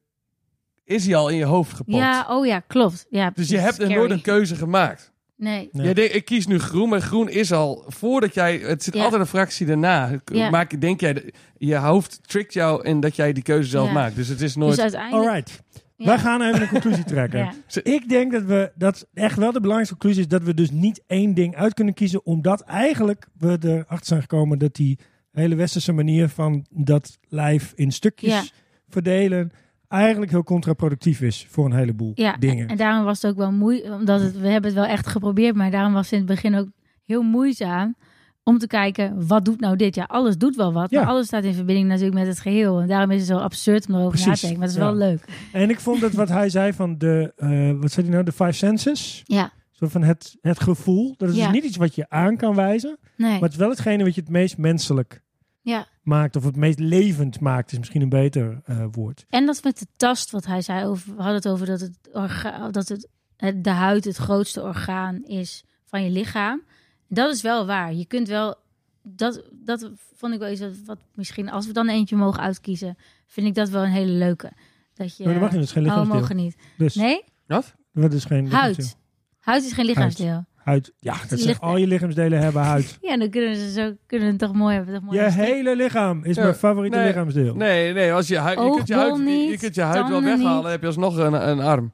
[SPEAKER 2] is die al in je hoofd gepakt.
[SPEAKER 3] ja oh ja, klopt. Ja,
[SPEAKER 2] dus
[SPEAKER 3] precies.
[SPEAKER 2] je hebt er
[SPEAKER 3] Scary.
[SPEAKER 2] nooit een keuze gemaakt.
[SPEAKER 3] Nee, Dus
[SPEAKER 1] Ja.
[SPEAKER 2] Jij denkt, ik kies nu groen, maar groen is al voordat jij. Het zit
[SPEAKER 3] Ja.
[SPEAKER 2] altijd een fractie daarna.
[SPEAKER 3] Ja.
[SPEAKER 2] Maak, denk jij, je hoofd trickt jou in dat jij die keuze zelf
[SPEAKER 3] Ja.
[SPEAKER 2] maakt. Dus het is nooit.
[SPEAKER 3] dus uiteindelijk...
[SPEAKER 1] Alright,
[SPEAKER 3] ja.
[SPEAKER 1] wij gaan even een conclusie trekken.
[SPEAKER 3] Ja.
[SPEAKER 1] Ik denk dat we dat echt wel de belangrijkste conclusie is dat we dus niet één ding uit kunnen kiezen, omdat eigenlijk we erachter zijn gekomen dat die hele westerse manier van dat lijf in stukjes
[SPEAKER 3] Ja.
[SPEAKER 1] verdelen eigenlijk heel contraproductief is voor een heleboel
[SPEAKER 3] Ja,
[SPEAKER 1] dingen.
[SPEAKER 3] En daarom was het ook wel moeilijk, omdat het, we hebben het wel echt geprobeerd, maar daarom was het in het begin ook heel moeizaam om te kijken, wat doet nou dit? Ja, alles doet wel wat,
[SPEAKER 1] Ja.
[SPEAKER 3] maar alles staat in verbinding natuurlijk met het geheel. En daarom is het zo absurd om erover na
[SPEAKER 1] Precies,
[SPEAKER 3] te denken, maar het is
[SPEAKER 1] ja.
[SPEAKER 3] wel leuk.
[SPEAKER 1] En ik vond dat wat hij zei van de, eh, wat zei hij nou, de five senses,
[SPEAKER 3] Ja,
[SPEAKER 1] zo van het, het gevoel, dat is
[SPEAKER 3] Ja.
[SPEAKER 1] dus niet iets wat je aan kan wijzen,
[SPEAKER 3] nee,
[SPEAKER 1] maar het is wel hetgene wat je het meest menselijk
[SPEAKER 3] ja.
[SPEAKER 1] maakt, of het meest levend maakt, is misschien een beter eh, woord.
[SPEAKER 3] En dat met de tast, wat hij zei, over, we hadden het over dat, het orga, dat het, het- de huid het grootste orgaan is van je lichaam. Dat is wel waar. Je kunt wel, dat, dat vond ik wel iets wat, wat misschien, als we dan eentje mogen uitkiezen, vind ik dat wel een hele leuke. Dat je,
[SPEAKER 1] Maar dat mag niet, dat is geen
[SPEAKER 3] Oh, we
[SPEAKER 1] lichaamsdeel.
[SPEAKER 3] mogen niet.
[SPEAKER 1] Dus
[SPEAKER 3] Nee?
[SPEAKER 2] Wat?
[SPEAKER 1] dat is geen lichaamsdeel.
[SPEAKER 3] Huid. Huid is geen lichaamsdeel.
[SPEAKER 1] Huid. Ja, dat
[SPEAKER 3] ligt-
[SPEAKER 1] zijn al je lichaamsdelen hebben huid.
[SPEAKER 3] Ja, dan kunnen ze zo kunnen we het toch mooi hebben. Toch mooi
[SPEAKER 1] Je
[SPEAKER 3] hebben.
[SPEAKER 1] hele lichaam is
[SPEAKER 2] Ja,
[SPEAKER 1] mijn favoriete
[SPEAKER 2] nee,
[SPEAKER 1] lichaamsdeel.
[SPEAKER 2] Nee, nee, als je, huid, je, kunt je,
[SPEAKER 3] Oogbol
[SPEAKER 2] huid, je, je
[SPEAKER 3] niet,
[SPEAKER 2] kunt je huid wel
[SPEAKER 3] tanden
[SPEAKER 2] weghalen,
[SPEAKER 3] niet.
[SPEAKER 2] dan heb je alsnog een, een arm.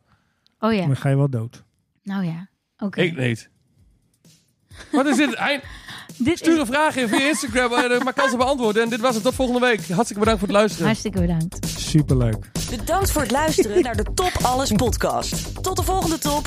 [SPEAKER 3] Oh ja,
[SPEAKER 1] Dan ga je wel dood.
[SPEAKER 3] nou ja. Oké.
[SPEAKER 2] Ik niet. Wat is dit? Eind-
[SPEAKER 3] Dit
[SPEAKER 2] Stuur
[SPEAKER 3] is
[SPEAKER 2] een vraag in via Instagram, eh, maar kan ze beantwoorden. En dit was het tot volgende week. Hartstikke bedankt voor het luisteren.
[SPEAKER 3] hartstikke bedankt.
[SPEAKER 1] Superleuk.
[SPEAKER 4] Bedankt voor het luisteren naar de Top Alles podcast. Tot de volgende top.